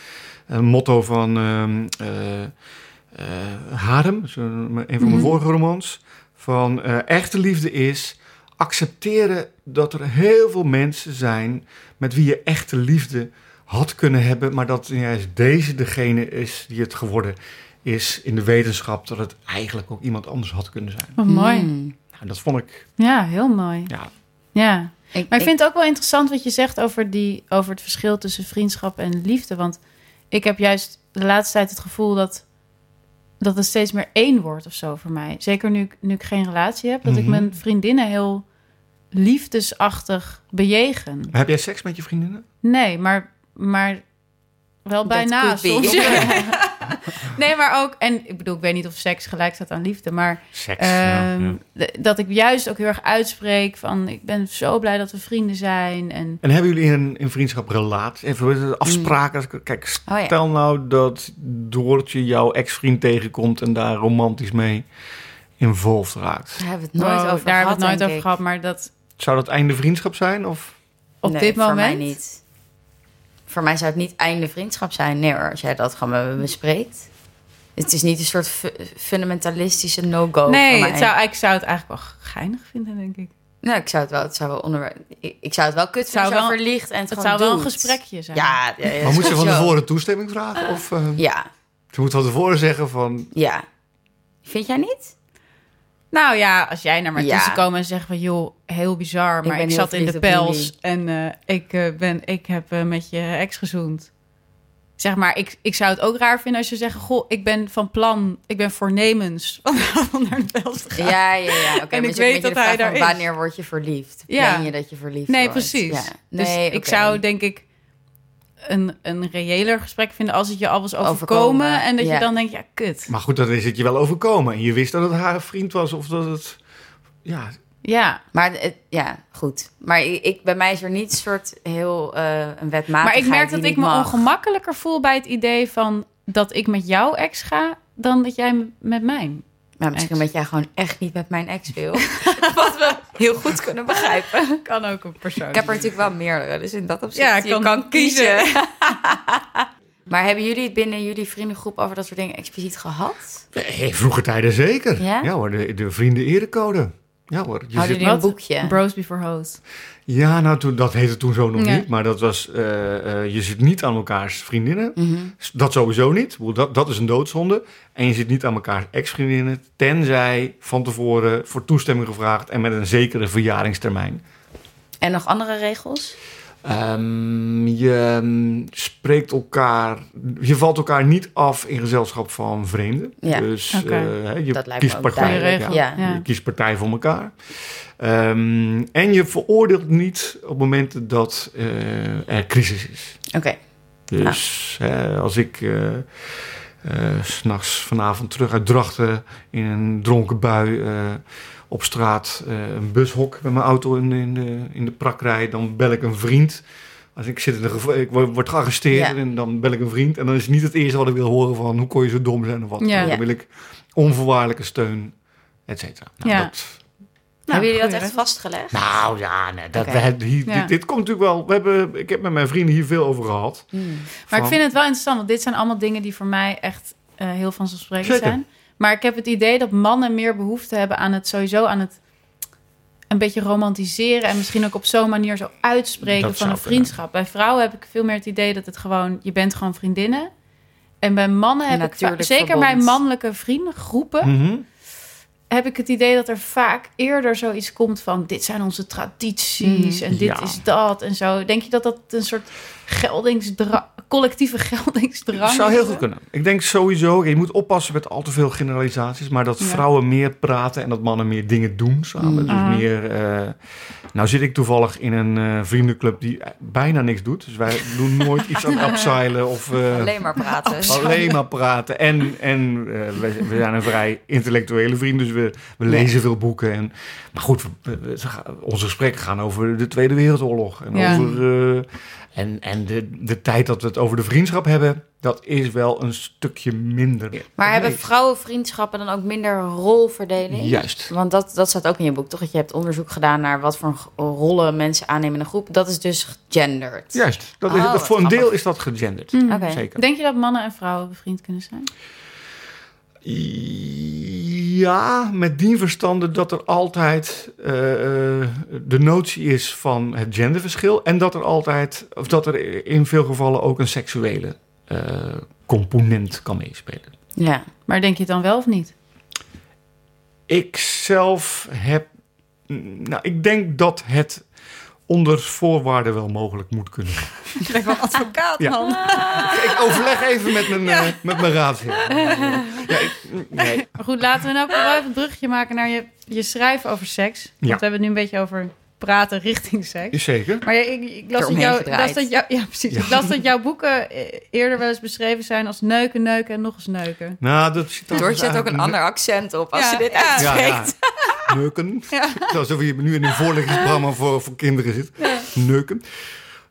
[SPEAKER 4] een motto van ehm eh, eh, Harem. zo'n- een van
[SPEAKER 3] Mhm.
[SPEAKER 4] mijn vorige romans. Van eh, echte liefde is accepteren dat er heel veel mensen zijn... met wie je echte liefde had kunnen hebben... maar dat juist deze degene is die het geworden is in de wetenschap... dat het eigenlijk
[SPEAKER 2] Mm.
[SPEAKER 4] ook iemand anders had kunnen zijn.
[SPEAKER 3] Wat mooi.
[SPEAKER 2] Hmm.
[SPEAKER 4] Nou, dat vond ik...
[SPEAKER 3] Ja, heel mooi.
[SPEAKER 4] Ja,
[SPEAKER 3] Ja.
[SPEAKER 2] Ik,
[SPEAKER 3] Maar ik vind het ook wel interessant wat je zegt over, die, over het verschil tussen vriendschap en liefde. Want ik heb juist de laatste tijd het gevoel dat, dat het steeds meer één wordt of zo voor mij. Zeker nu, ik- nu ik geen relatie heb, dat
[SPEAKER 4] Mhm.
[SPEAKER 3] ik mijn vriendinnen heel liefdesachtig bejegen.
[SPEAKER 4] Heb jij seks met je vriendinnen?
[SPEAKER 3] Nee, maar, maar wel bijna
[SPEAKER 2] could be.
[SPEAKER 3] soms. nee, maar ook... En ik bedoel, ik weet niet of seks gelijk staat aan liefde, maar...
[SPEAKER 4] Seks.
[SPEAKER 3] Ehm, d- Dat ik juist ook heel erg uitspreek van... ik ben zo blij dat we vrienden zijn. En
[SPEAKER 4] En hebben jullie in, in vriendschap relatie? Even afspraken. Kijk,
[SPEAKER 2] Oh ja.
[SPEAKER 4] stel nou dat Doortje jouw ex-vriend tegenkomt en daar romantisch mee involved raakt.
[SPEAKER 2] daar hebben we het nooit
[SPEAKER 3] Wow,
[SPEAKER 2] over
[SPEAKER 3] Oh, daar
[SPEAKER 2] gehad.
[SPEAKER 3] hebben we het nooit
[SPEAKER 2] denk
[SPEAKER 3] over
[SPEAKER 2] ik.
[SPEAKER 3] gehad. Maar dat
[SPEAKER 4] Zou dat einde vriendschap zijn? Of?
[SPEAKER 3] op
[SPEAKER 2] Nee,
[SPEAKER 3] dit moment...
[SPEAKER 2] Voor mij niet. Voor mij zou het niet einde vriendschap zijn. Nee hoor, als jij dat gewoon met me bespreekt. Het is niet een soort fu- fundamentalistische no-go.
[SPEAKER 3] nee,
[SPEAKER 2] voor mij.
[SPEAKER 3] het zou, ik zou het eigenlijk wel geinig vinden, denk ik.
[SPEAKER 2] Nou, ik zou het wel, het zou wel onderwerp. Ik, ik zou het wel kut
[SPEAKER 3] zou
[SPEAKER 2] vinden als je
[SPEAKER 3] wel-
[SPEAKER 2] verlicht en het,
[SPEAKER 3] Het,
[SPEAKER 2] gewoon
[SPEAKER 3] zou wel een
[SPEAKER 2] doet.
[SPEAKER 3] gesprekje zijn.
[SPEAKER 2] Ja, ja, ja,
[SPEAKER 4] Maar moet ze van
[SPEAKER 2] sowieso.
[SPEAKER 4] tevoren toestemming vragen? Of eh,
[SPEAKER 2] Ja,
[SPEAKER 4] ze moet van tevoren zeggen van...
[SPEAKER 2] ja. Vind jij niet?
[SPEAKER 3] Nou ja, als jij naar mij
[SPEAKER 2] Ja.
[SPEAKER 3] toe zou komen en zeggen van... joh, heel bizar, maar
[SPEAKER 2] ben
[SPEAKER 3] ik,
[SPEAKER 2] heel
[SPEAKER 3] zat in de
[SPEAKER 2] verliefd op
[SPEAKER 3] pels... en eh, ik, eh, ben, ik heb eh, met je ex gezoend. Zeg maar, ik, ik zou het ook raar vinden als je zegt... goh, ik ben van plan, ik ben voornemens om naar de pels te gaan.
[SPEAKER 2] Ja, ja, ja.
[SPEAKER 3] En
[SPEAKER 2] Oké,
[SPEAKER 3] ik
[SPEAKER 2] maar het is ook een
[SPEAKER 3] weet
[SPEAKER 2] beetje de
[SPEAKER 3] dat hij
[SPEAKER 2] vraag van
[SPEAKER 3] daar is.
[SPEAKER 2] Wanneer word je verliefd?
[SPEAKER 3] Ja.
[SPEAKER 2] Ben je dat je verliefd
[SPEAKER 3] Nee,
[SPEAKER 2] wordt?
[SPEAKER 3] precies.
[SPEAKER 2] Ja.
[SPEAKER 3] Dus
[SPEAKER 2] Nee,
[SPEAKER 3] ik
[SPEAKER 2] oké.
[SPEAKER 3] zou denk ik een, een reëler gesprek vinden als het je al was overkomen.
[SPEAKER 2] Overkomen,
[SPEAKER 3] en dat
[SPEAKER 2] ja.
[SPEAKER 3] je dan denkt, ja, kut.
[SPEAKER 4] Maar goed, dan is het je wel overkomen. En je wist dat het haar vriend was of dat het... Ja,
[SPEAKER 3] Ja,
[SPEAKER 2] Maar het- ja, goed. Maar ik, ik- bij mij is er niet soort heel eh een wetmatigheid
[SPEAKER 3] maar ik merk
[SPEAKER 2] die
[SPEAKER 3] dat ik me
[SPEAKER 2] niet mag.
[SPEAKER 3] ongemakkelijker voel bij het idee van dat ik met jouw ex ga dan dat jij m- met mijn.
[SPEAKER 2] Maar misschien
[SPEAKER 3] ex.
[SPEAKER 2] dat jij gewoon echt niet met mijn ex wil. Wat we heel goed kunnen begrijpen.
[SPEAKER 3] Kan ook een persoon.
[SPEAKER 2] Ik heb er natuurlijk wel meerdere, dus in dat opzicht
[SPEAKER 3] Ja,
[SPEAKER 2] je kan,
[SPEAKER 3] kan
[SPEAKER 2] kiezen.
[SPEAKER 3] kiezen.
[SPEAKER 2] maar hebben jullie het binnen jullie vriendengroep over dat soort dingen expliciet gehad?
[SPEAKER 4] nee, eh, vroeger tijden zeker.
[SPEAKER 2] Ja? Oh,
[SPEAKER 4] hoor, de, de vrienden erecode. Ja hoor. Je
[SPEAKER 2] Houden
[SPEAKER 4] zit-
[SPEAKER 2] jullie een
[SPEAKER 3] Wat?
[SPEAKER 2] boekje?
[SPEAKER 3] Bros before hoes.
[SPEAKER 4] Ja, nou, toen, dat heette toen zo nog
[SPEAKER 3] Ja.
[SPEAKER 4] niet. Maar dat was, eh, eh, je zit niet aan elkaars vriendinnen.
[SPEAKER 2] Mhm.
[SPEAKER 4] Dat sowieso niet. Ik bedoel, Dat, dat is een doodzonde. En je zit niet aan elkaars ex-vriendinnen. Tenzij van tevoren voor toestemming gevraagd en met een zekere verjaringstermijn.
[SPEAKER 2] En nog andere regels?
[SPEAKER 4] Ehm, je mm, spreekt elkaar, je valt elkaar niet af in gezelschap van vreemden.
[SPEAKER 2] Ja,
[SPEAKER 4] Dus
[SPEAKER 3] oké.
[SPEAKER 4] eh, hè, je
[SPEAKER 2] Dat lijkt me
[SPEAKER 4] kiest
[SPEAKER 2] ook
[SPEAKER 4] partij.
[SPEAKER 2] duidelijk,
[SPEAKER 4] ja.
[SPEAKER 2] ja.
[SPEAKER 3] Ja. Nou,
[SPEAKER 4] Je kiest partij voor elkaar. Ehm, en je veroordeelt niet op momenten dat eh, er crisis is.
[SPEAKER 2] Oké.
[SPEAKER 4] Dus hè, als ik eh eh, 's s'nachts vanavond terug uit Drachten in een dronken bui eh, op straat eh, een bushok met mijn auto in, in, de, in de prak rijd, dan bel ik een vriend. Als ik, zit in de gevo- ik word word gearresteerd
[SPEAKER 2] Ja.
[SPEAKER 4] en dan bel ik een vriend. En dan is het niet het eerste wat ik wil horen van hoe kon je zo dom zijn of wat.
[SPEAKER 3] Ja.
[SPEAKER 4] Dan wil ik onvoorwaardelijke steun, et cetera. Nou,
[SPEAKER 3] Ja.
[SPEAKER 4] dat,
[SPEAKER 2] hebben jullie dat
[SPEAKER 3] goeie,
[SPEAKER 2] echt
[SPEAKER 3] hè?
[SPEAKER 2] vastgelegd?
[SPEAKER 4] nou ja, nee, dat,
[SPEAKER 2] Nou, Oké.
[SPEAKER 4] we- die-
[SPEAKER 3] Ja.
[SPEAKER 4] dit, dit komt natuurlijk wel. We hebben, ik heb met mijn vrienden hier veel over gehad.
[SPEAKER 2] Hmm.
[SPEAKER 3] Maar ik
[SPEAKER 4] Van-
[SPEAKER 3] vind het wel interessant, want dit zijn allemaal dingen die voor mij echt eh, heel vanzelfsprekend
[SPEAKER 4] Zeker.
[SPEAKER 3] zijn. Maar ik heb het idee dat mannen meer behoefte hebben aan het sowieso aan het een beetje romantiseren en misschien ook op zo'n manier zo uitspreken
[SPEAKER 4] Dat
[SPEAKER 3] van
[SPEAKER 4] zou
[SPEAKER 3] een vriendschap. Bij vrouwen heb ik veel meer het idee dat het gewoon je bent gewoon vriendinnen. En bij mannen
[SPEAKER 2] Een
[SPEAKER 3] heb ik va-
[SPEAKER 2] natuurlijk
[SPEAKER 3] zeker bij
[SPEAKER 2] verbond.
[SPEAKER 3] mannelijke vriendengroepen
[SPEAKER 4] Mhm.
[SPEAKER 3] heb ik het idee dat er vaak eerder zoiets komt van dit zijn onze tradities
[SPEAKER 2] Mhm.
[SPEAKER 3] en dit
[SPEAKER 4] Mm, Ja.
[SPEAKER 3] is dat en zo. Denk je dat dat een soort geldingsdrang, collectieve geldingsdrang
[SPEAKER 4] Het zou heel
[SPEAKER 3] is?
[SPEAKER 4] goed kunnen. Ik denk sowieso, je moet oppassen met al te veel generalisaties, maar dat
[SPEAKER 3] Ja.
[SPEAKER 4] vrouwen meer praten en dat mannen meer dingen doen samen.
[SPEAKER 2] Mm.
[SPEAKER 4] Dus
[SPEAKER 3] Ah.
[SPEAKER 4] meer. eh, nou zit ik toevallig in een eh, vriendenclub die bijna niks doet. Dus wij doen nooit iets aan abseilen of eh, alleen,
[SPEAKER 2] Alleen maar praten.
[SPEAKER 4] maar praten. En, en eh, we, we zijn een vrij intellectuele vriend, dus we, we lezen veel boeken. En, maar goed, we- we- ze gaan- onze gesprekken gaan over de Tweede Wereldoorlog en
[SPEAKER 3] Ja.
[SPEAKER 4] over over, eh, en, en de, de tijd dat we het over de vriendschap hebben, dat is wel een stukje minder.
[SPEAKER 2] Maar hebben
[SPEAKER 4] Nee.
[SPEAKER 2] vrouwenvriendschappen dan ook minder rolverdeling?
[SPEAKER 4] Juist.
[SPEAKER 2] Want dat, dat staat ook in je boek, toch? Dat je hebt onderzoek gedaan naar wat voor rollen mensen aannemen in een groep. Dat is dus gegenderd.
[SPEAKER 4] Juist. Dat is,
[SPEAKER 2] Oh,
[SPEAKER 4] dat- voor een
[SPEAKER 2] wat
[SPEAKER 4] deel
[SPEAKER 2] grappig. Hmm.
[SPEAKER 4] is dat gegenderd.
[SPEAKER 3] Mhm.
[SPEAKER 2] Oké.
[SPEAKER 4] Zeker.
[SPEAKER 3] Denk je dat mannen en vrouwen bevriend kunnen zijn?
[SPEAKER 4] Ja, met die verstande dat er altijd eh, eh, de notie is van het genderverschil. En dat er altijd, of dat er in veel gevallen ook een seksuele eh, component kan meespelen.
[SPEAKER 2] Ja.
[SPEAKER 3] Maar denk je het dan wel of niet?
[SPEAKER 4] Ik zelf heb. Nou, ik denk dat het onder voorwaarden wel mogelijk moet kunnen.
[SPEAKER 5] Ik ben wel advocaat,
[SPEAKER 4] Ja.
[SPEAKER 5] man.
[SPEAKER 4] ik overleg even met mijn, eh, met mijn raadgever. Ja, ik- nee.
[SPEAKER 3] Maar goed, laten we nou ook wel even een bruggetje maken naar je, je schrijven over seks. Want we hebben het nu een beetje over praten richting seks.
[SPEAKER 4] Zeker.
[SPEAKER 3] Maar ja, ik, ik, las dat
[SPEAKER 5] Eromheen
[SPEAKER 3] jou, ik
[SPEAKER 5] gedraaid.
[SPEAKER 3] las dat jou, ja, precies.
[SPEAKER 4] Ja.
[SPEAKER 3] Ik las dat jouw boeken eh, eerder wel eens beschreven zijn als neuken, neuken en nog eens neuken.
[SPEAKER 4] Nou, dat zit dan
[SPEAKER 5] Door zet ook
[SPEAKER 4] eigenlijk-
[SPEAKER 5] een ander accent op als
[SPEAKER 3] Ja,
[SPEAKER 5] je dit
[SPEAKER 3] ja.
[SPEAKER 4] Ja, ja.
[SPEAKER 5] uitspreekt.
[SPEAKER 4] Neuken. Het is Alsof je nu in een voorlichtingsprogramma voor, voor kinderen zit. Neuken.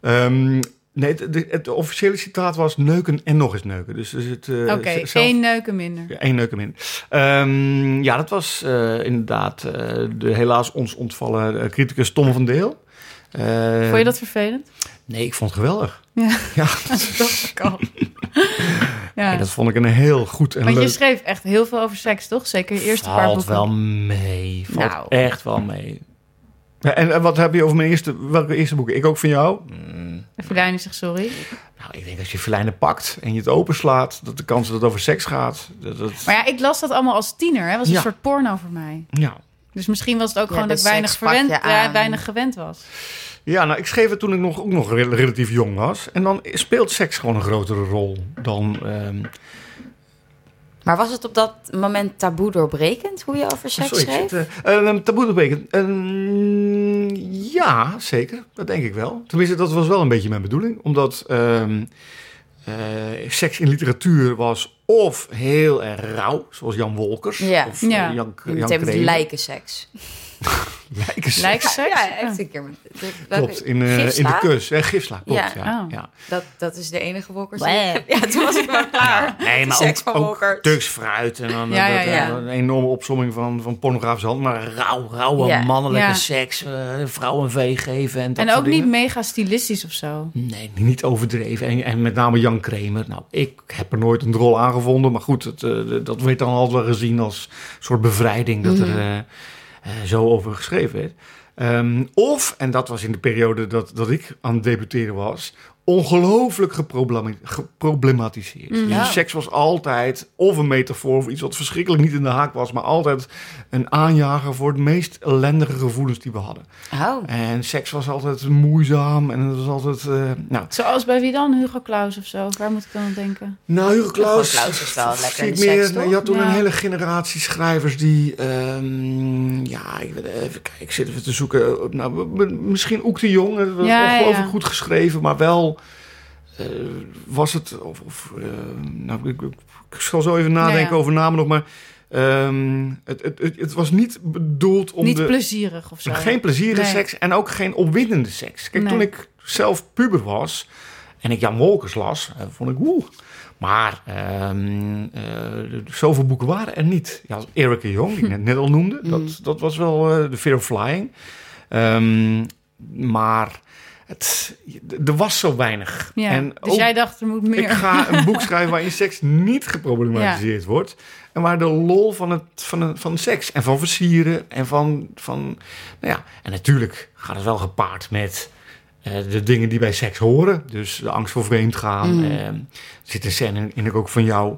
[SPEAKER 4] Ehm, nee, het, het- het officiële citaat was neuken en nog eens neuken. Dus er zit eh,
[SPEAKER 3] Oké,
[SPEAKER 4] z- zelf-
[SPEAKER 3] één neuken minder.
[SPEAKER 4] Ja, één neuken minder. Ehm, ja, dat was eh, inderdaad eh, de helaas ons ontvallen eh, criticus Tom van Deel. Eh,
[SPEAKER 3] Vond je dat vervelend?
[SPEAKER 4] Nee, ik vond het geweldig.
[SPEAKER 3] Ja.
[SPEAKER 4] Ja,
[SPEAKER 3] Dat dacht ik al. ja.
[SPEAKER 4] nee, dat vond ik een heel goed en
[SPEAKER 3] Want je
[SPEAKER 4] leuk...
[SPEAKER 3] schreef echt heel veel over seks, toch? Zeker je eerste paar
[SPEAKER 4] valt
[SPEAKER 3] boeken.
[SPEAKER 4] wel mee. Valt
[SPEAKER 3] Nou.
[SPEAKER 4] echt wel mee. Ja, En, en wat heb je over mijn eerste, welke eerste boeken? Ik ook van jou?
[SPEAKER 3] Verduin zegt sorry.
[SPEAKER 4] Mm, Nou, ik denk als je verlijnen pakt en je het openslaat, dat de kans dat het over seks gaat. Dat, dat,
[SPEAKER 3] Maar ja, ik las dat allemaal als tiener. Hè? was een
[SPEAKER 4] Ja.
[SPEAKER 3] soort porno voor mij.
[SPEAKER 4] ja.
[SPEAKER 3] Dus misschien was het ook
[SPEAKER 5] Ja,
[SPEAKER 3] gewoon
[SPEAKER 5] de
[SPEAKER 3] dat ik weinig,
[SPEAKER 5] seks pak je
[SPEAKER 3] verwend, ja,
[SPEAKER 5] aan.
[SPEAKER 3] weinig gewend was.
[SPEAKER 4] ja, nou, ik schreef het toen ik nog, ook nog rel- relatief jong was. En dan speelt seks gewoon een grotere rol dan. ehm,
[SPEAKER 2] Maar was het op dat moment taboe doorbrekend hoe je over seks
[SPEAKER 4] sorry, ik
[SPEAKER 2] schreef?
[SPEAKER 4] zit, eh, eh, ehm, taboe doorbreken. Ehm, ja, zeker. Dat denk ik wel. Tenminste, dat was wel een beetje mijn bedoeling. Omdat ehm, eh, seks in literatuur was of heel erg rauw, zoals Jan Wolkers.
[SPEAKER 2] Ja.
[SPEAKER 4] Of eh,
[SPEAKER 3] Ja.
[SPEAKER 4] Jan,
[SPEAKER 2] Je
[SPEAKER 4] Jan
[SPEAKER 2] meteen met
[SPEAKER 4] Kreven.
[SPEAKER 2] lijkenseks.
[SPEAKER 4] Lijkenseks.
[SPEAKER 3] Lijkseks?
[SPEAKER 2] Ja, echt een keer. Met, welke-
[SPEAKER 4] Klopt, in, eh, in de
[SPEAKER 2] Gifsla?
[SPEAKER 4] kus. Eh, gifsla, klopt. Ja.
[SPEAKER 2] Ja.
[SPEAKER 4] Ja,
[SPEAKER 3] Oh.
[SPEAKER 2] Dat, dat is de enige Wolkers. die-
[SPEAKER 5] Bleh.
[SPEAKER 2] Ja, toen was ik wel klaar.
[SPEAKER 4] Nee, maar
[SPEAKER 5] Seks
[SPEAKER 4] ook,
[SPEAKER 5] van
[SPEAKER 4] ook
[SPEAKER 5] Wolkert.
[SPEAKER 4] Turks fruit en dan eh,
[SPEAKER 3] Ja,
[SPEAKER 4] dat,
[SPEAKER 3] ja,
[SPEAKER 4] eh,
[SPEAKER 2] ja.
[SPEAKER 4] een enorme opsomming van, van pornografische hand. Maar rauw, rauwe
[SPEAKER 2] Ja.
[SPEAKER 4] mannelijke
[SPEAKER 3] Ja.
[SPEAKER 4] seks, eh, vrouwen vee geven en dat
[SPEAKER 3] en ook
[SPEAKER 4] soort
[SPEAKER 3] niet
[SPEAKER 4] dingen.
[SPEAKER 3] mega stilistisch of zo.
[SPEAKER 4] Nee, niet overdreven. En, en met name Jan Kramer. Nou, ik heb er nooit een rol aan gevonden. Maar goed, het, eh, dat werd dan altijd wel gezien als een soort bevrijding dat
[SPEAKER 3] Mhm.
[SPEAKER 4] er eh, eh, zo over geschreven werd. Ehm, of, en dat was in de periode dat, dat ik aan het debuteren was, ongelooflijk geproblemi- geproblematiseerd.
[SPEAKER 3] Mhm.
[SPEAKER 4] Dus
[SPEAKER 3] Ja.
[SPEAKER 4] seks was altijd of een metafoor of iets wat verschrikkelijk niet in de haak was, maar altijd een aanjager voor het meest ellendige gevoelens die we hadden.
[SPEAKER 2] Oh.
[SPEAKER 4] En seks was altijd moeizaam en het was altijd. eh, nou,
[SPEAKER 3] Zoals bij wie dan? Hugo Claus of zo? Waar moet ik dan aan denken?
[SPEAKER 4] nou, Hugo Claus.
[SPEAKER 2] Hugo Claus is wel lekker
[SPEAKER 4] zie
[SPEAKER 2] in
[SPEAKER 4] ik
[SPEAKER 2] de
[SPEAKER 4] meer,
[SPEAKER 2] seks, toch?
[SPEAKER 4] Je had toen
[SPEAKER 3] Ja.
[SPEAKER 4] een hele generatie schrijvers die. ehm, ja, ik, weet- even kijken, zitten we te zoeken. Nou, m- m- misschien Oek de Jong. Dat was
[SPEAKER 3] Ja, ja,
[SPEAKER 4] ongelooflijk
[SPEAKER 3] ja.
[SPEAKER 4] goed geschreven, maar wel. eh, was het. Of, of, eh, nou, ik, ik- ik zal zo even nadenken
[SPEAKER 3] Ja, ja.
[SPEAKER 4] over namen nog, maar. ehm, het, het, het, het was niet bedoeld om
[SPEAKER 3] niet
[SPEAKER 4] de.
[SPEAKER 3] plezierig of zo.
[SPEAKER 4] Geen plezier in
[SPEAKER 3] Nee.
[SPEAKER 4] seks en ook geen opwindende seks. Kijk,
[SPEAKER 3] Nee.
[SPEAKER 4] toen ik zelf puber was en ik Jan Wolkers las, eh, vond ik woe. Maar ehm, eh, zoveel boeken waren er niet. Ja, Erika Jong, die ik net, net al noemde,
[SPEAKER 3] Mm.
[SPEAKER 4] dat, dat was wel eh, de Fear of Flying. Ehm, maar het, er was zo weinig.
[SPEAKER 3] Ja.
[SPEAKER 4] en
[SPEAKER 3] dus
[SPEAKER 4] ook-
[SPEAKER 3] jij dacht, er moet meer.
[SPEAKER 4] ik ga een boek schrijven waarin seks niet geproblematiseerd wordt. En waar de lol van, het, van, het- van seks en van versieren en van, van... Nou ja, en natuurlijk gaat het wel gepaard met eh, de dingen die bij seks horen. Dus de angst voor vreemdgaan.
[SPEAKER 2] Mm.
[SPEAKER 4] gaan. Eh, er zit een scène in, in ik ook van jou.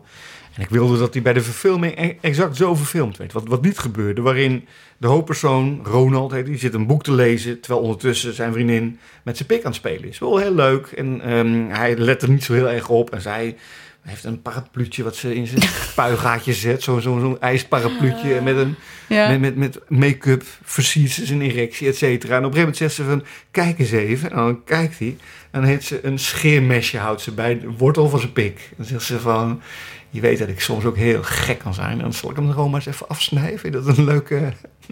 [SPEAKER 4] En ik wilde dat die bij de verfilming e- exact zo verfilmd werd. Wat, wat niet gebeurde, waarin de hoofdpersoon, Ronald heet die, zit een boek te lezen... terwijl ondertussen zijn vriendin met zijn pik aan het spelen is. Wel heel leuk en ehm, hij let er niet zo heel erg op. En zij heeft een parapluutje wat ze in zijn puigaatje zet. Zo'n zo, zo'n ijsparapluutje en met een
[SPEAKER 3] Ja.
[SPEAKER 4] met, met, met make-up, versiert ze zijn erectie, et cetera. En op een gegeven moment zegt ze van, kijk eens even. En dan kijkt hij. En dan heeft ze een scheermesje, houdt ze bij de wortel van zijn pik. En dan zegt ze van, je weet dat ik soms ook heel gek kan zijn. En dan zal ik hem er gewoon maar eens even afsnijden. Vind je dat een leuke...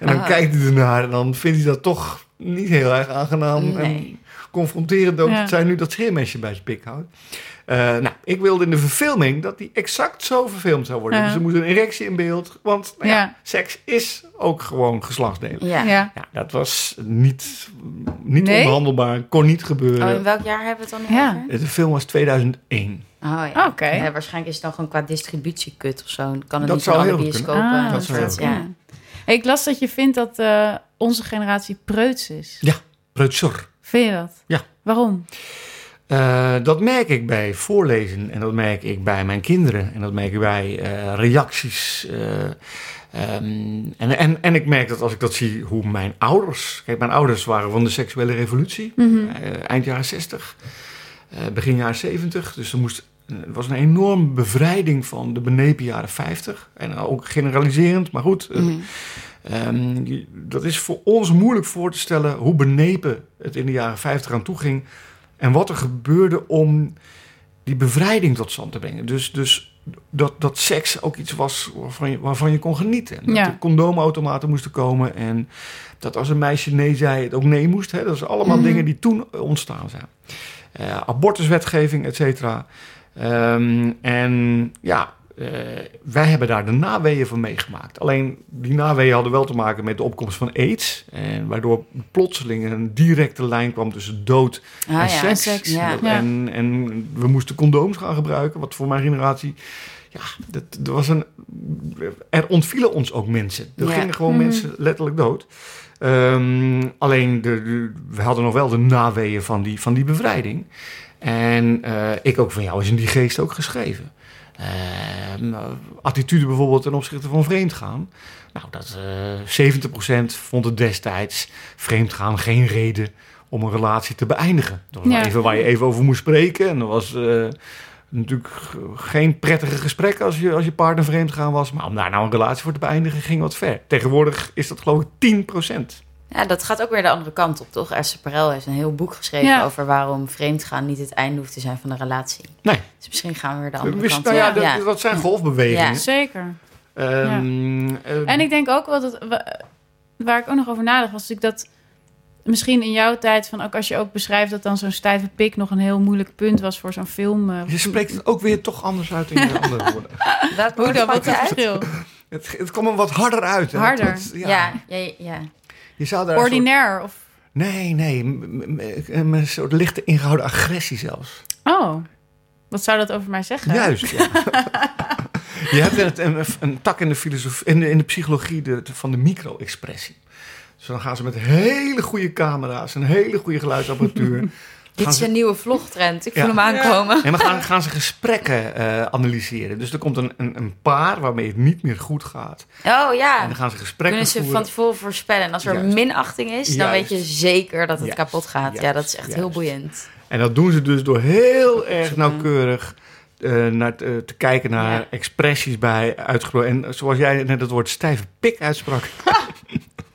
[SPEAKER 4] en dan
[SPEAKER 2] Ah.
[SPEAKER 4] kijkt hij ernaar en dan vindt hij dat toch niet heel erg aangenaam. En
[SPEAKER 2] Nee.
[SPEAKER 4] confronterend ook
[SPEAKER 3] Ja.
[SPEAKER 4] dat zij nu dat scheermesje bij zijn pik houdt. Eh, nou, ik wilde in de verfilming dat die exact zo verfilmd zou worden.
[SPEAKER 3] Ja.
[SPEAKER 4] Dus er moest een erectie in beeld, want nou ja,
[SPEAKER 3] Ja.
[SPEAKER 4] seks is ook gewoon geslachtsdelen.
[SPEAKER 2] Ja.
[SPEAKER 3] ja.
[SPEAKER 4] Ja, dat was niet, niet
[SPEAKER 3] Nee?
[SPEAKER 4] onbehandelbaar, kon niet gebeuren.
[SPEAKER 2] Oh, in welk jaar hebben we het dan nu
[SPEAKER 3] Ja.
[SPEAKER 2] over?
[SPEAKER 4] De film was 2001.
[SPEAKER 2] Oh ja.
[SPEAKER 3] Ah, Oké.
[SPEAKER 2] Ja, waarschijnlijk is het dan gewoon qua distributie kut of zo. Dan Kan het
[SPEAKER 4] Dat
[SPEAKER 2] niet
[SPEAKER 4] zou
[SPEAKER 2] van alle
[SPEAKER 4] heel goed kunnen.
[SPEAKER 2] bioscopen.
[SPEAKER 3] Ah,
[SPEAKER 4] dat zou
[SPEAKER 2] soort,
[SPEAKER 4] heel
[SPEAKER 2] ja.
[SPEAKER 3] Hey, ik las dat je vindt dat eh, onze generatie preuts is.
[SPEAKER 4] Ja. Preutsor.
[SPEAKER 3] Vind je dat?
[SPEAKER 4] Ja.
[SPEAKER 3] Waarom?
[SPEAKER 4] Eh, dat merk ik bij voorlezen en dat merk ik bij mijn kinderen en dat merk ik bij eh, reacties. eh, ehm, en, en, en ik merk dat als ik dat zie, hoe mijn ouders. Kijk, mijn ouders waren van de seksuele revolutie, eh, eind jaren 60, eh, begin jaren 70. Dus er moest, er was een enorme bevrijding van de benepen jaren 50. En ook generaliserend, maar goed. eh,
[SPEAKER 2] Mhm.
[SPEAKER 4] Ehm, je- dat is voor ons moeilijk voor te stellen hoe benepen het in de jaren 50 aan toe ging. En wat er gebeurde om die bevrijding tot stand te brengen. Dus, dus dat, dat seks ook iets was waarvan je, waarvan je kon genieten. En Dat
[SPEAKER 3] Ja.
[SPEAKER 4] er condoomautomaten moesten komen. En dat als een meisje nee zei, het ook nee moest. Hè? Dat zijn allemaal
[SPEAKER 2] Mhm.
[SPEAKER 4] dingen die toen ontstaan zijn. Eh, abortuswetgeving, et cetera. Ehm, en ja, eh, wij hebben daar de naweeën van meegemaakt. Alleen die naweeën hadden wel te maken met de opkomst van AIDS. En waardoor plotseling een directe lijn kwam tussen dood
[SPEAKER 2] Ah,
[SPEAKER 4] en
[SPEAKER 2] ja,
[SPEAKER 4] seks.
[SPEAKER 2] seks,
[SPEAKER 4] En,
[SPEAKER 2] ja.
[SPEAKER 4] dat- en, en we moesten condooms gaan gebruiken, wat voor mijn generatie. Ja, dat, er, was een, er ontvielen ons ook mensen. Er
[SPEAKER 2] Ja.
[SPEAKER 4] gingen gewoon
[SPEAKER 3] Mhm.
[SPEAKER 4] mensen letterlijk dood. Ehm, alleen de, de- we hadden nog wel de naweeën van die, van die bevrijding. En eh, ik ook van jou is in die geest ook geschreven. Ehm, attitude bijvoorbeeld ten opzichte van vreemdgaan. Nou, dat, eh 70% vond het destijds vreemdgaan geen reden om een relatie te beëindigen. Dat was
[SPEAKER 3] Ja.
[SPEAKER 4] even waar je even over moest spreken. En dat was eh, natuurlijk g- geen prettige gesprek als je, als je partner vreemdgaan was. Maar om daar nou een relatie voor te beëindigen ging wat ver. Tegenwoordig is dat geloof ik 10%.
[SPEAKER 2] Ja, dat gaat ook weer de andere kant op, toch? Esther Perel heeft een heel boek geschreven
[SPEAKER 3] Ja.
[SPEAKER 2] over waarom vreemdgaan niet het einde hoeft te zijn van een relatie.
[SPEAKER 4] Nee.
[SPEAKER 2] Dus misschien gaan we weer de andere
[SPEAKER 4] Wist-
[SPEAKER 2] kant
[SPEAKER 4] nou ja,
[SPEAKER 2] op.
[SPEAKER 4] dat, dat zijn golfbewegingen.
[SPEAKER 3] Zeker.
[SPEAKER 4] Ehm, eh,
[SPEAKER 3] En ik denk ook wel dat... wa- Waar ik ook nog over nadacht was natuurlijk dat... Misschien in jouw tijd, van ook als je ook beschrijft... dat dan zo'n stijve pik nog een heel moeilijk punt was voor zo'n film. eh,
[SPEAKER 4] Je spreekt het ook weer toch anders uit in je andere woorden.
[SPEAKER 3] hoe dan?
[SPEAKER 2] Welk woord
[SPEAKER 3] Wat
[SPEAKER 2] maakt
[SPEAKER 3] is het
[SPEAKER 2] het uit?
[SPEAKER 3] verschil?
[SPEAKER 4] Het, het kwam er wat harder uit. hè.
[SPEAKER 3] Harder.
[SPEAKER 4] Het- ja.
[SPEAKER 2] Ja, ja, ja.
[SPEAKER 4] Je zou daar een soort-
[SPEAKER 3] Ordinair of...
[SPEAKER 4] Nee, nee. m- m- m- Een soort lichte ingehouden agressie zelfs.
[SPEAKER 3] Oh, wat zou dat over mij zeggen?
[SPEAKER 4] Juist, ja. Je hebt net een, een tak in de, filosofie, in de, in de psychologie de, de- van de micro-expressie. Dus dan gaan ze met hele goede camera's en hele goede geluidsapparatuur.
[SPEAKER 2] Dit
[SPEAKER 4] gaan
[SPEAKER 2] is
[SPEAKER 4] ze-
[SPEAKER 2] een nieuwe vlogtrend. Ik
[SPEAKER 4] Ja.
[SPEAKER 2] voel hem aankomen.
[SPEAKER 4] En we gaan, gaan ze gesprekken eh, analyseren. Dus er komt een, een, een paar waarmee het niet meer goed gaat.
[SPEAKER 2] Oh
[SPEAKER 4] En
[SPEAKER 2] ja.
[SPEAKER 4] Ah. dan gaan ze gesprekken
[SPEAKER 2] Kunnen ze
[SPEAKER 4] voeren.
[SPEAKER 2] van tevoren voorspellen. En als er
[SPEAKER 4] Juist.
[SPEAKER 2] minachting is, dan
[SPEAKER 4] Juist.
[SPEAKER 2] weet je zeker dat het
[SPEAKER 4] Juist.
[SPEAKER 2] kapot gaat. Ja,
[SPEAKER 4] Juist.
[SPEAKER 2] dat is echt heel
[SPEAKER 4] Juist.
[SPEAKER 2] boeiend.
[SPEAKER 4] En dat doen ze dus door heel erg nauwkeurig eh, naar, te- eh, te kijken naar
[SPEAKER 2] Ja.
[SPEAKER 4] expressies bij uitgesproken. En zoals jij net het woord stijve pik uitsprak.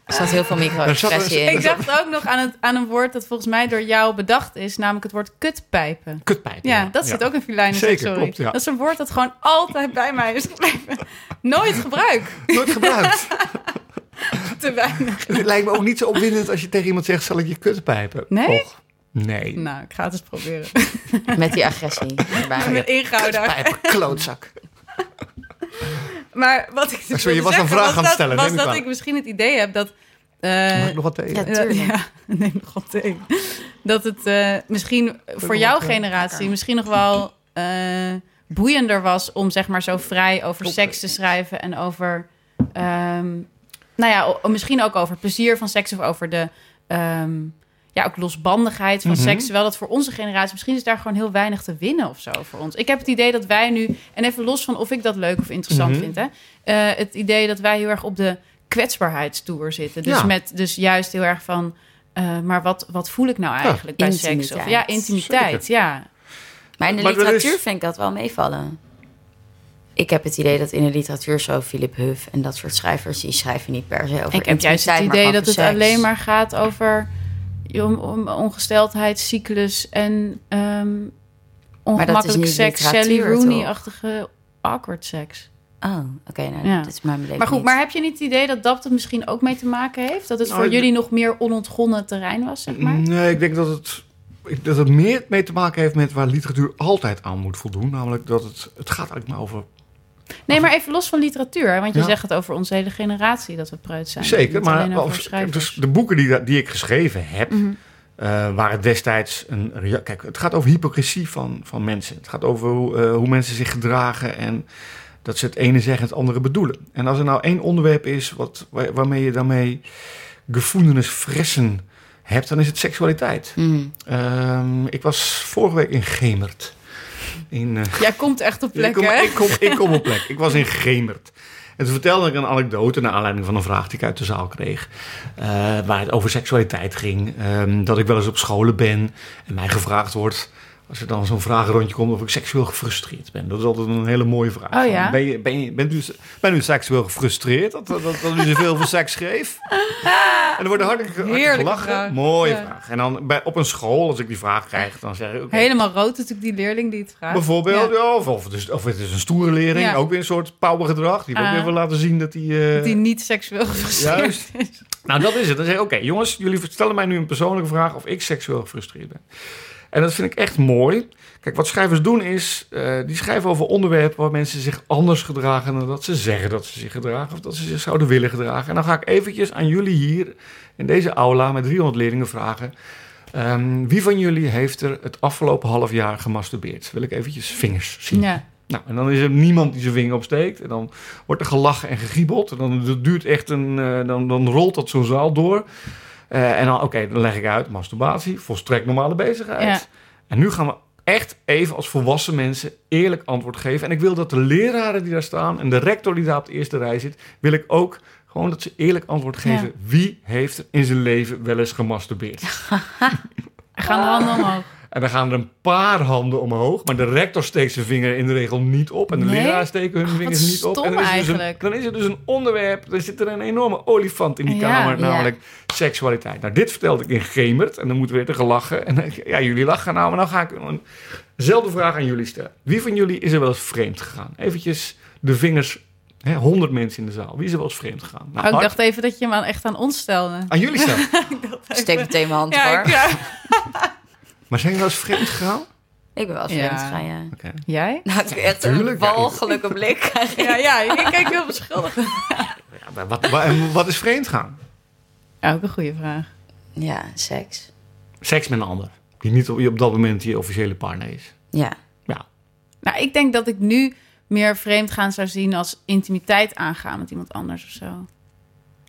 [SPEAKER 2] Er staat heel veel micro-expressie
[SPEAKER 4] Daar Nou, zat-
[SPEAKER 2] in.
[SPEAKER 3] Ik dacht ook nog aan, het, aan een woord dat volgens mij door jou bedacht is, namelijk het woord kutpijpen.
[SPEAKER 4] Kutpijp.
[SPEAKER 3] Ja, dat zit ook in Filijnen.
[SPEAKER 4] Zeker,
[SPEAKER 3] sorry.
[SPEAKER 4] klopt, ja.
[SPEAKER 3] Dat is een woord dat gewoon altijd bij mij is gebleven. Nooit gebruik.
[SPEAKER 4] Nooit gebruikt.
[SPEAKER 3] Te weinig.
[SPEAKER 4] het lijkt me ook niet zo opwindend als je tegen iemand zegt, zal ik je kutpijpen?
[SPEAKER 3] Nee?
[SPEAKER 4] Och, nee.
[SPEAKER 3] Nou, ik ga het eens proberen.
[SPEAKER 2] Met die agressie
[SPEAKER 4] Ah,
[SPEAKER 2] erbij.
[SPEAKER 3] Met ingehouden.
[SPEAKER 4] Kutpijpen, klootzak.
[SPEAKER 3] Maar wat ik
[SPEAKER 4] Ah, Sorry,
[SPEAKER 3] wilde
[SPEAKER 4] je was een
[SPEAKER 3] zeggen
[SPEAKER 4] vraag
[SPEAKER 3] was
[SPEAKER 4] aan het
[SPEAKER 3] dat-
[SPEAKER 4] stellen,
[SPEAKER 3] Was
[SPEAKER 4] neem ik
[SPEAKER 3] dat
[SPEAKER 4] aan.
[SPEAKER 3] ik misschien het idee heb dat... eh,
[SPEAKER 4] Mag ik nog wat tegen?
[SPEAKER 2] Ja, tuurlijk.
[SPEAKER 3] Ja, neem nog wat thee. Dat het eh, misschien voor jouw generatie misschien nog wel eh, boeiender was om zeg maar zo vrij over seks te schrijven en over, ehm, nou ja, o- misschien ook over plezier van seks of over de, ehm, ja, ook losbandigheid van
[SPEAKER 4] Mhm.
[SPEAKER 3] seks. Terwijl dat voor onze generatie misschien is daar gewoon heel weinig te winnen of zo voor ons. Ik heb het idee dat wij nu, en even los van of ik dat leuk of interessant
[SPEAKER 4] Mhm.
[SPEAKER 3] vind, hè, eh, het idee dat wij heel erg op de kwetsbaarheidstoer zitten. Dus
[SPEAKER 4] Ja.
[SPEAKER 3] met dus juist heel erg van, eh, maar wat, wat voel ik nou eigenlijk bij seks? Of,
[SPEAKER 2] Intimiteit.
[SPEAKER 3] ja, intimiteit, ja.
[SPEAKER 2] Maar in de
[SPEAKER 4] Maar er
[SPEAKER 2] literatuur
[SPEAKER 4] is-
[SPEAKER 2] vind ik dat wel meevallen. Ik heb het idee dat in de literatuur zo Philip Huff en dat soort schrijvers... die schrijven niet per se over
[SPEAKER 3] Ik heb juist het
[SPEAKER 2] intimiteit, maar
[SPEAKER 3] idee
[SPEAKER 2] gewoon
[SPEAKER 3] dat het
[SPEAKER 2] over seks.
[SPEAKER 3] alleen maar gaat over om, om ongesteldheid, cyclus en ehm ongemakkelijk
[SPEAKER 2] niet
[SPEAKER 3] seks. Sally
[SPEAKER 2] literatuur, toch?
[SPEAKER 3] Rooney-achtige awkward seks.
[SPEAKER 2] Oh, oké, nou,
[SPEAKER 3] Ja.
[SPEAKER 2] dat is mijn beleving
[SPEAKER 3] Maar goed,
[SPEAKER 2] niet.
[SPEAKER 3] maar heb je niet het idee dat dat er misschien ook mee te maken heeft? Dat het
[SPEAKER 4] Nou,
[SPEAKER 3] voor
[SPEAKER 4] ik-
[SPEAKER 3] jullie nog meer onontgonnen terrein was, zeg maar?
[SPEAKER 4] Nee, ik denk dat het, ik- dat het meer mee te maken heeft met waar literatuur altijd aan moet voldoen. Namelijk dat het, het gaat eigenlijk maar over
[SPEAKER 3] Nee, maar even los van literatuur. Hè? Want je
[SPEAKER 4] Ja.
[SPEAKER 3] zegt het over onze hele generatie dat we preut zijn.
[SPEAKER 4] Zeker,
[SPEAKER 3] Niet alleen
[SPEAKER 4] maar
[SPEAKER 3] over
[SPEAKER 4] als-
[SPEAKER 3] schrijvers.
[SPEAKER 4] dus de boeken die, da- die ik geschreven heb,
[SPEAKER 3] Mhm.
[SPEAKER 4] eh, waren destijds een. rea- Kijk, het gaat over hypocrisie van, van mensen. Het gaat over hoe, eh, hoe mensen zich gedragen en dat ze het ene zeggen en het andere bedoelen. En als er nou één onderwerp is wat, waar- waarmee je daarmee gevoelens fressen hebt, dan is het seksualiteit.
[SPEAKER 2] Mm.
[SPEAKER 4] Ehm, ik was vorige week in Gemert. In, eh,
[SPEAKER 3] Jij komt echt op
[SPEAKER 4] ik,
[SPEAKER 3] plekken,
[SPEAKER 4] kom,
[SPEAKER 3] hè?
[SPEAKER 4] ik, kom, ik kom op plek. Ik was in Gemert. En toen vertelde ik een anekdote naar aanleiding van een vraag die ik uit de zaal kreeg. eh, waar het over seksualiteit ging. Ehm, dat ik wel eens op scholen ben en mij gevraagd wordt. Als er dan zo'n vragenrondje komt of ik seksueel gefrustreerd ben. Dat is altijd een hele mooie vraag.
[SPEAKER 3] Oh ja?
[SPEAKER 4] Ben je, ben je, bent u, ben u seksueel gefrustreerd dat, dat, dat u zoveel voor seks geeft? En er wordt hartelijk, hartelijk
[SPEAKER 3] Heerlijke
[SPEAKER 4] gelachen.
[SPEAKER 3] vraag.
[SPEAKER 4] Mooie
[SPEAKER 3] Ja.
[SPEAKER 4] vraag. En dan bij, op een school, als ik die vraag krijg, dan zeg ik... oké.
[SPEAKER 3] Helemaal rood natuurlijk die leerling die het vraagt.
[SPEAKER 4] Bijvoorbeeld,
[SPEAKER 3] Ja.
[SPEAKER 4] ja. of, of, het is, of het is een stoere lering,
[SPEAKER 3] Ja.
[SPEAKER 4] ook weer een soort powergedrag. Die wil
[SPEAKER 3] Ah.
[SPEAKER 4] weer wil laten zien dat die... eh,
[SPEAKER 3] Dat Die niet seksueel gefrustreerd
[SPEAKER 4] Juist.
[SPEAKER 3] is.
[SPEAKER 4] Nou, dat is het. Dan zeg ik, oké jongens, jullie stellen mij nu een persoonlijke vraag of ik seksueel gefrustreerd ben. En dat vind ik echt mooi. Kijk, wat schrijvers doen is, eh, die schrijven over onderwerpen waar mensen zich anders gedragen dan dat ze zeggen dat ze zich gedragen of dat ze zich zouden willen gedragen. En dan ga ik eventjes aan jullie hier in deze aula met 300 leerlingen vragen. ehm, wie van jullie heeft er het afgelopen half jaar gemasturbeerd? Wil ik eventjes vingers zien.
[SPEAKER 3] Ja.
[SPEAKER 4] Nou, en dan is er niemand die zijn vinger opsteekt. En dan wordt er gelachen en gegiebeld. En dan dat duurt echt een. eh, dan, dan rolt dat zo'n zaal door. Eh, en dan, oké, dan leg ik uit. Masturbatie, volstrekt normale bezigheid.
[SPEAKER 3] Ja.
[SPEAKER 4] En nu gaan we echt even als volwassen mensen eerlijk antwoord geven. En ik wil dat de leraren die daar staan en de rector die daar op de eerste rij zit, wil ik ook gewoon dat ze eerlijk antwoord geven. Wie heeft er in zijn leven wel eens gemasturbeerd?
[SPEAKER 3] Gaan de handen omhoog.
[SPEAKER 4] En dan gaan er een paar handen omhoog. Maar de rector steekt zijn vinger in de regel niet op. En de
[SPEAKER 3] Nee? Oh,
[SPEAKER 4] leraar steken hun vingers niet op.
[SPEAKER 3] stom
[SPEAKER 4] En dan is, er dus een,
[SPEAKER 3] eigenlijk.
[SPEAKER 4] dan is er dus een onderwerp. Er zit er een enorme olifant in die
[SPEAKER 3] Ja,
[SPEAKER 4] kamer.
[SPEAKER 2] ja.
[SPEAKER 4] Namelijk seksualiteit. Nou, dit vertelde ik in Gemert. En dan moeten we weer te gelachen. En dan- ja, jullie lachen nou. Maar dan ga ik een- eenzelfde vraag aan jullie stellen. Wie van jullie is er wel eens vreemd gegaan? Eventjes de vingers. Hè, 100 mensen in de zaal. Wie is er wel eens vreemd gegaan? Nou,
[SPEAKER 3] Oh, ik
[SPEAKER 4] Hart,
[SPEAKER 3] dacht even dat je hem aan- echt aan ons stelde.
[SPEAKER 4] Aan jullie staan.
[SPEAKER 2] Steek meteen mijn hand
[SPEAKER 3] Ja,
[SPEAKER 2] hoor.
[SPEAKER 3] ik,
[SPEAKER 2] Ik,
[SPEAKER 3] ja.
[SPEAKER 4] Maar zijn jullie wel eens vreemd gegaan?
[SPEAKER 2] ben wel
[SPEAKER 3] Ja.
[SPEAKER 2] vreemd gaan, ja.
[SPEAKER 4] Oké.
[SPEAKER 3] Jij?
[SPEAKER 2] Nou, ik heb echt
[SPEAKER 4] Tuurlijk,
[SPEAKER 2] een
[SPEAKER 4] ja.
[SPEAKER 2] walgelijke blik.
[SPEAKER 3] Ja, ja, ik kijk heel beschuldigd.
[SPEAKER 4] Ja, maar wat, wat, en wat is vreemd gaan?
[SPEAKER 3] ook een goede vraag.
[SPEAKER 2] Ja, seks.
[SPEAKER 4] seks met een ander. Die niet op, op dat moment je officiële partner is.
[SPEAKER 2] Ja.
[SPEAKER 4] Ja.
[SPEAKER 3] Nou, ik denk dat ik nu meer vreemd gaan zou zien als intimiteit aangaan met iemand anders of zo.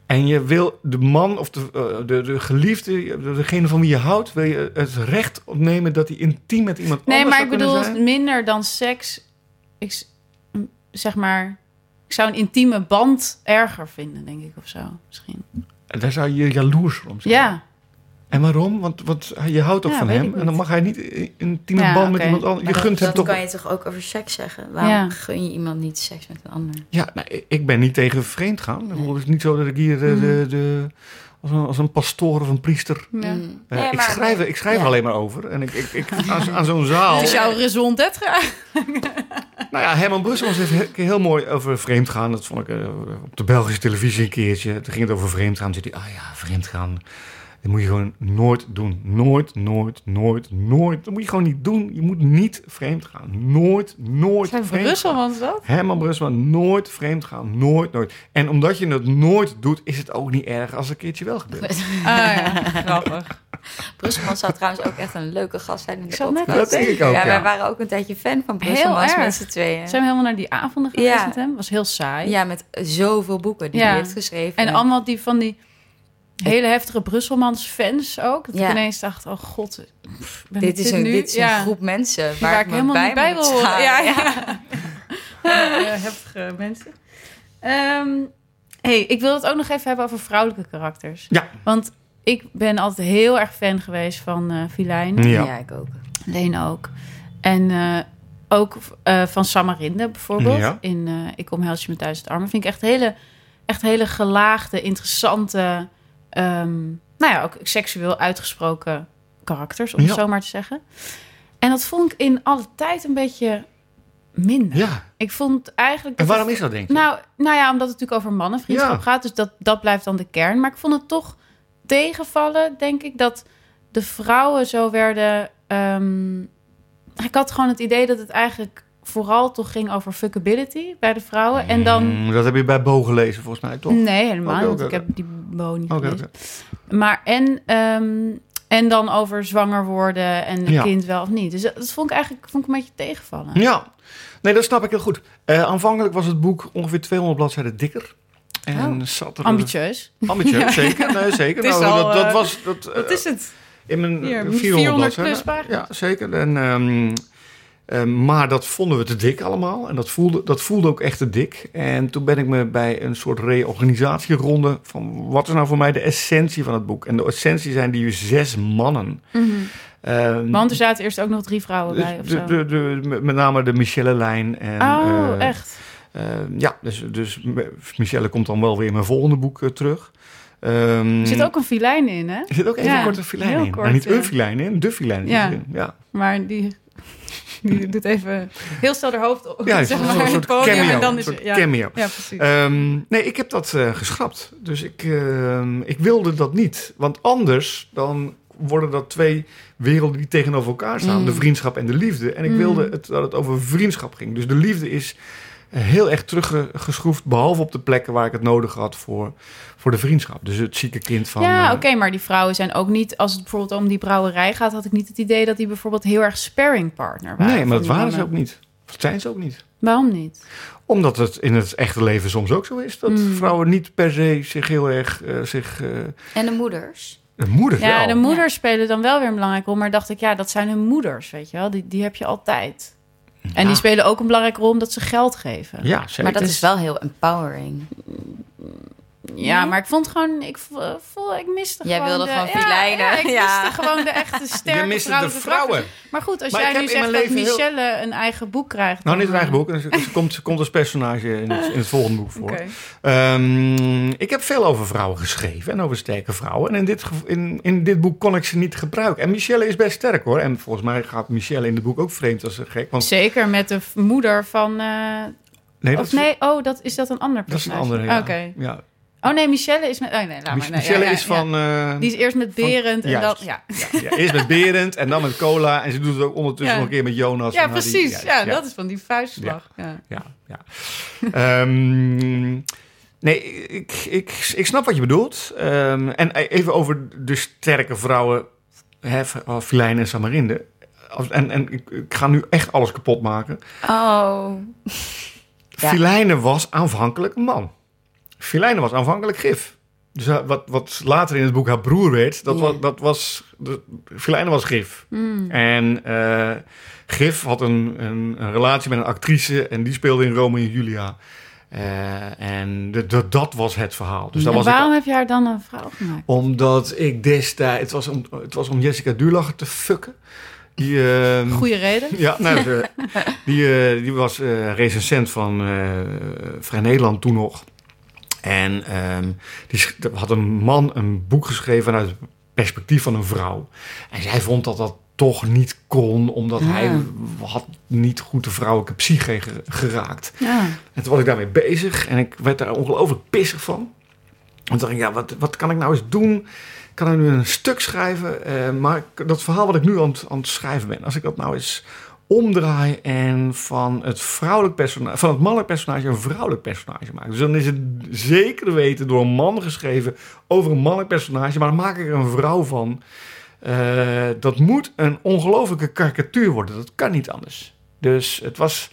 [SPEAKER 4] En je wil de man of de, eh, de, de geliefde, degene van wie je houdt, wil je het recht opnemen dat hij intiem met iemand
[SPEAKER 3] Nee,
[SPEAKER 4] anders
[SPEAKER 3] maar ik
[SPEAKER 4] zou kunnen
[SPEAKER 3] bedoel
[SPEAKER 4] zijn?
[SPEAKER 3] minder dan seks. Ik s- m, zeg maar, ik zou een intieme band erger vinden, denk ik, of zo. Misschien.
[SPEAKER 4] En Daar zou je jaloers om zijn.
[SPEAKER 3] Ja,
[SPEAKER 4] En waarom? Want, want je houdt ook
[SPEAKER 3] Ja,
[SPEAKER 4] van
[SPEAKER 3] weet ik
[SPEAKER 4] hem.
[SPEAKER 3] niet.
[SPEAKER 4] En dan mag hij niet in- intieme
[SPEAKER 3] Ja,
[SPEAKER 4] band met
[SPEAKER 3] oké.
[SPEAKER 4] iemand anders. Je
[SPEAKER 2] Maar
[SPEAKER 4] gunt
[SPEAKER 2] dat,
[SPEAKER 4] hem toch...
[SPEAKER 2] dat kan je toch ook over seks zeggen? Waarom
[SPEAKER 3] Ja.
[SPEAKER 2] gun je iemand niet seks met een ander?
[SPEAKER 4] Ja, nou, ik- ik ben niet tegen vreemd gaan. Ik bedoel, Het is niet zo dat ik hier eh, de,
[SPEAKER 3] Mm-hmm.
[SPEAKER 4] de, als, een, als een pastoor of een priester...
[SPEAKER 3] ja.
[SPEAKER 2] Mm.
[SPEAKER 4] eh,
[SPEAKER 2] Nee,
[SPEAKER 4] ik
[SPEAKER 2] maar-
[SPEAKER 4] schrijf, er- ik schrijf er
[SPEAKER 2] Ja.
[SPEAKER 4] alleen maar over. En ik, ik, ik, aan, zo- aan zo'n zaal...
[SPEAKER 3] Dus jouw raison d'être.
[SPEAKER 4] Nou ja, Herman Brussels heeft heel, heel mooi over vreemdgaan. Dat vond ik eh, op de Belgische televisie een keertje. Toen ging het over vreemdgaan. Toen zei hij, ah ja, vreemdgaan. Dat moet je gewoon nooit doen. Nooit, nooit, nooit, nooit. Dat moet je gewoon niet doen. Je moet niet vreemd gaan. Nooit, nooit
[SPEAKER 3] Zijn
[SPEAKER 4] vreemd gaan.
[SPEAKER 3] Brusselmans dat?
[SPEAKER 4] Herman Brusselman, nooit vreemd gaan. Nooit, nooit. En omdat je het nooit doet, is het ook niet erg als het een keertje wel gebeurt.
[SPEAKER 3] Ah, ja, grappig.
[SPEAKER 2] Brusselman zou trouwens ook echt een leuke gast zijn in de
[SPEAKER 3] zou net
[SPEAKER 2] podcast.
[SPEAKER 4] Nou, dat denk ik ook,
[SPEAKER 2] Ja,
[SPEAKER 4] ja.
[SPEAKER 2] wij waren ook een tijdje fan van
[SPEAKER 3] Heel
[SPEAKER 2] Brusselmans
[SPEAKER 3] erg.
[SPEAKER 2] met z'n tweeën.
[SPEAKER 3] Zijn we helemaal naar die avonden geweest
[SPEAKER 2] Ja.
[SPEAKER 3] met hem? Was heel saai.
[SPEAKER 2] Ja, met zoveel boeken die
[SPEAKER 3] Ja.
[SPEAKER 2] hij heeft geschreven.
[SPEAKER 3] En allemaal die van die hele heftige Brusselmans fans ook. Dat ik
[SPEAKER 2] Ja.
[SPEAKER 3] ineens dacht, oh god, pff, ben ik
[SPEAKER 2] dit is een,
[SPEAKER 3] nu?
[SPEAKER 2] dit is een
[SPEAKER 3] Ja.
[SPEAKER 2] groep mensen waar,
[SPEAKER 3] waar, ik
[SPEAKER 2] me
[SPEAKER 3] helemaal niet bij
[SPEAKER 2] moet
[SPEAKER 3] wil horen.
[SPEAKER 2] schamen.
[SPEAKER 3] Ja, ja. Ja, heftige mensen. Ehm, hey, ik wil het ook nog even hebben over vrouwelijke karakters.
[SPEAKER 4] Ja.
[SPEAKER 3] Want ik ben altijd heel erg fan geweest van eh Filijn.
[SPEAKER 2] Ja.
[SPEAKER 4] Ja.
[SPEAKER 2] ik ook.
[SPEAKER 3] Leen ook. En eh, ook eh, van Samarinde bijvoorbeeld.
[SPEAKER 4] Ja.
[SPEAKER 3] In eh, Ik omhels je met duizend armen. Vind ik echt hele, echt hele gelaagde, interessante... ehm, nou ja, ook seksueel uitgesproken karakters, om
[SPEAKER 4] Ja.
[SPEAKER 3] het zo maar te zeggen. En dat vond ik in alle tijd een beetje minder.
[SPEAKER 4] ja.
[SPEAKER 3] Ik vond eigenlijk...
[SPEAKER 4] En
[SPEAKER 3] dat
[SPEAKER 4] waarom
[SPEAKER 3] het-
[SPEAKER 4] is dat, denk je?
[SPEAKER 3] nou, nou ja, omdat het natuurlijk over mannenvriendschap
[SPEAKER 4] Ja.
[SPEAKER 3] gaat. Dus dat, dat blijft dan de kern. Maar ik vond het toch tegenvallen, denk ik, dat de vrouwen zo werden. ehm, ik had gewoon het idee dat het eigenlijk vooral toch ging over fuckability bij de vrouwen. Nou, En dan.
[SPEAKER 4] Mm, dat heb je bij Bo gelezen, volgens mij, toch?
[SPEAKER 3] Nee, helemaal
[SPEAKER 4] Oké,
[SPEAKER 3] niet.
[SPEAKER 4] oké,
[SPEAKER 3] Ik heb die bo niet
[SPEAKER 4] Oké,
[SPEAKER 3] gelezen.
[SPEAKER 4] oké.
[SPEAKER 3] Maar en, ehm, en dan over zwanger worden en een
[SPEAKER 4] Ja.
[SPEAKER 3] kind wel of niet. Dus dat, dat vond ik eigenlijk vond ik een beetje tegenvallen.
[SPEAKER 4] Ja, nee, dat snap ik heel goed. Eh, aanvankelijk was het boek ongeveer 200 bladzijden dikker. En zat er
[SPEAKER 3] Oh. Ambitieus.
[SPEAKER 4] Ambitieus, zeker. Nee, zeker.
[SPEAKER 3] Het is
[SPEAKER 4] Nou,
[SPEAKER 3] al,
[SPEAKER 4] dat, dat
[SPEAKER 3] eh,
[SPEAKER 4] was, dat, eh,
[SPEAKER 3] Wat is het?
[SPEAKER 4] in mijn
[SPEAKER 3] Hier,
[SPEAKER 4] 400,
[SPEAKER 3] 400
[SPEAKER 4] bladzijden.
[SPEAKER 3] plus pagina's.
[SPEAKER 4] Ja, zeker. En, ehm, ehm, maar dat vonden we te dik allemaal. En dat voelde, dat voelde ook echt te dik. En toen ben ik me bij een soort reorganisatieronde... van wat is nou voor mij de essentie van het boek? En de essentie zijn die zes mannen. Ehm,
[SPEAKER 3] Mhm. Want er zaten eerst ook nog drie vrouwen bij of
[SPEAKER 4] Dus de,
[SPEAKER 3] zo.
[SPEAKER 4] de, de- met name de Michelle-lijn. En,
[SPEAKER 3] oh,
[SPEAKER 4] eh,
[SPEAKER 3] echt?
[SPEAKER 4] eh, ja, dus, dus Michelle komt dan wel weer in mijn volgende boek eh, terug. Ehm,
[SPEAKER 3] Er zit ook een filijn in, hè?
[SPEAKER 4] er zit ook even
[SPEAKER 3] Ja,
[SPEAKER 4] kort een filijn in.
[SPEAKER 3] heel
[SPEAKER 4] Nou,
[SPEAKER 3] kort,
[SPEAKER 4] niet
[SPEAKER 3] ja.
[SPEAKER 4] een filijn in, de filijn. zit
[SPEAKER 3] Ja.
[SPEAKER 4] erin. ja.
[SPEAKER 3] Maar die, die doet even heel snel haar hoofd op.
[SPEAKER 4] Ja,
[SPEAKER 3] zeg
[SPEAKER 4] een
[SPEAKER 3] maar,
[SPEAKER 4] soort,
[SPEAKER 3] op
[SPEAKER 4] soort
[SPEAKER 3] het podium
[SPEAKER 4] cameo.
[SPEAKER 3] En dan
[SPEAKER 4] een
[SPEAKER 3] is
[SPEAKER 4] soort
[SPEAKER 3] het, ja, ja,
[SPEAKER 4] cameo.
[SPEAKER 3] precies.
[SPEAKER 4] Ehm, nee, ik heb dat eh, geschrapt. Dus ik, ehm, ik wilde dat niet. Want anders dan worden dat twee werelden die tegenover elkaar staan.
[SPEAKER 2] Mm.
[SPEAKER 4] De vriendschap en de liefde. En ik
[SPEAKER 3] Mm.
[SPEAKER 4] wilde het, dat het over vriendschap ging. Dus de liefde is heel erg teruggeschroefd. Behalve op de plekken waar ik het nodig had voor, voor de vriendschap. Dus het zieke kind van...
[SPEAKER 3] ja,
[SPEAKER 4] eh,
[SPEAKER 3] oké, maar die vrouwen zijn ook niet... Als het bijvoorbeeld om die brouwerij gaat... had ik niet het idee dat die bijvoorbeeld heel erg sparring partner waren.
[SPEAKER 4] nee,
[SPEAKER 3] van
[SPEAKER 4] maar dat
[SPEAKER 3] die
[SPEAKER 4] waren ze ook
[SPEAKER 3] mannen.
[SPEAKER 4] niet. Dat zijn ze ook niet.
[SPEAKER 3] Waarom niet?
[SPEAKER 4] Omdat het in het echte leven soms ook zo is. Dat
[SPEAKER 3] Mm.
[SPEAKER 4] vrouwen niet per se zich heel erg... eh, zich, eh,
[SPEAKER 2] En de moeders?
[SPEAKER 4] de moeder
[SPEAKER 3] Ja,
[SPEAKER 4] wel.
[SPEAKER 3] de moeders spelen dan wel weer een belangrijke rol. Maar dacht ik, ja, dat zijn hun moeders, weet je wel. Die, die heb je altijd. En die spelen ook een belangrijke rol omdat ze geld geven.
[SPEAKER 4] Ja, zeker.
[SPEAKER 2] Maar dat
[SPEAKER 3] het
[SPEAKER 2] is
[SPEAKER 3] is-
[SPEAKER 2] wel heel empowering.
[SPEAKER 3] Ja, maar ik vond gewoon, ik vo- voel, ik miste
[SPEAKER 2] Jij
[SPEAKER 3] gewoon.
[SPEAKER 2] wilde
[SPEAKER 3] de-
[SPEAKER 2] gewoon
[SPEAKER 3] ja,
[SPEAKER 2] filijnen.
[SPEAKER 3] Ja, ik miste
[SPEAKER 2] Ja.
[SPEAKER 3] gewoon de echte sterke
[SPEAKER 4] Je mist de
[SPEAKER 3] vrouwelijke
[SPEAKER 4] vrouwen.
[SPEAKER 3] karakters. Maar goed, als
[SPEAKER 4] Maar ik
[SPEAKER 3] jij nu
[SPEAKER 4] heb in
[SPEAKER 3] zegt
[SPEAKER 4] mijn
[SPEAKER 3] dat
[SPEAKER 4] leven heel-
[SPEAKER 3] Michelle een eigen boek krijgt.
[SPEAKER 4] Nou, niet
[SPEAKER 3] dan,
[SPEAKER 4] het eigen
[SPEAKER 3] eh,
[SPEAKER 4] boek. Ze, ze komt, ze komt als personage in het, in het volgende boek voor.
[SPEAKER 3] oké.
[SPEAKER 4] Ehm, ik heb veel over vrouwen geschreven en over sterke vrouwen. En in dit, gevo- in, in dit boek kon ik ze niet gebruiken. En Michelle is best sterk hoor. En volgens mij gaat Michelle in het boek ook vreemd als een gek. Want,
[SPEAKER 3] Zeker met de v- moeder van. eh,
[SPEAKER 4] nee, dat,
[SPEAKER 3] of
[SPEAKER 4] is-
[SPEAKER 3] nee, oh, dat, is dat een ander
[SPEAKER 4] dat is een
[SPEAKER 3] personage?
[SPEAKER 4] andere. Ja.
[SPEAKER 3] Oké.
[SPEAKER 4] Ja.
[SPEAKER 3] Oh nee, Michelle is met. Oh nee, laat maar.
[SPEAKER 4] Mich-
[SPEAKER 3] Nee,
[SPEAKER 4] Michelle
[SPEAKER 3] ja, ja,
[SPEAKER 4] is
[SPEAKER 3] ja.
[SPEAKER 4] van. eh,
[SPEAKER 3] Die is eerst met Berend en
[SPEAKER 4] Juist.
[SPEAKER 3] dat. Ja,
[SPEAKER 4] ja, ja, eerst met Berend en dan met Cola. En ze doet het ook ondertussen
[SPEAKER 3] Ja.
[SPEAKER 4] nog een keer met Jonas.
[SPEAKER 3] ja
[SPEAKER 4] en Harry.
[SPEAKER 3] precies. Ja,
[SPEAKER 4] ja.
[SPEAKER 3] dat is van die vuistslag. Ja.
[SPEAKER 4] Ja, ja. Ehm, nee, ik, ik, ik snap wat je bedoelt. Ehm, en even over de sterke vrouwen, hè, Filijn en Samarinde. Als- En, en ik, ik ga nu echt alles kapot maken.
[SPEAKER 2] Oh. Ja.
[SPEAKER 4] Filijne was aanvankelijk een man. Filijne was aanvankelijk gif. Dus haar- wat, wat later in het boek haar broer werd, dat
[SPEAKER 2] Ja.
[SPEAKER 4] was... Dat was dat, Filijne was gif.
[SPEAKER 3] Mm.
[SPEAKER 4] En eh, Gif had een, een, een relatie met een actrice en die speelde in Rome en Julia. Eh, en de, de- dat was het verhaal. Dus daar
[SPEAKER 3] En
[SPEAKER 4] was ik
[SPEAKER 3] waarom heb je haar dan een vrouw gemaakt?
[SPEAKER 4] Omdat ik destijds... Het was om, het was om Jessica Duurlacher te fucken. Die, ehm,
[SPEAKER 3] Goede reden.
[SPEAKER 4] ja, nou, de- die, eh, die was eh, recensent van eh, Vrij Nederland toen nog. En ehm, die sch- had een man een boek geschreven uit het perspectief van een vrouw. En zij vond dat dat toch niet kon, omdat
[SPEAKER 2] Ja.
[SPEAKER 4] hij had niet goed de vrouwelijke psyche ge- geraakt.
[SPEAKER 3] Ja.
[SPEAKER 4] En toen was ik daarmee bezig en ik werd daar ongelooflijk pissig van. En toen dacht ik, ja, wat, wat kan ik nou eens doen? Ik kan nu een stuk schrijven, eh, maar ik- dat verhaal wat ik nu aan, het- aan het schrijven ben, als ik dat nou eens omdraai en van het, vrouwelijk persona- van het mannelijk personage een vrouwelijk personage maak. Dus dan is het zeker weten door een man geschreven over een mannelijk personage, maar dan maak ik er een vrouw van. Eh, dat moet een ongelofelijke karikatuur worden. Dat kan niet anders. Dus het was.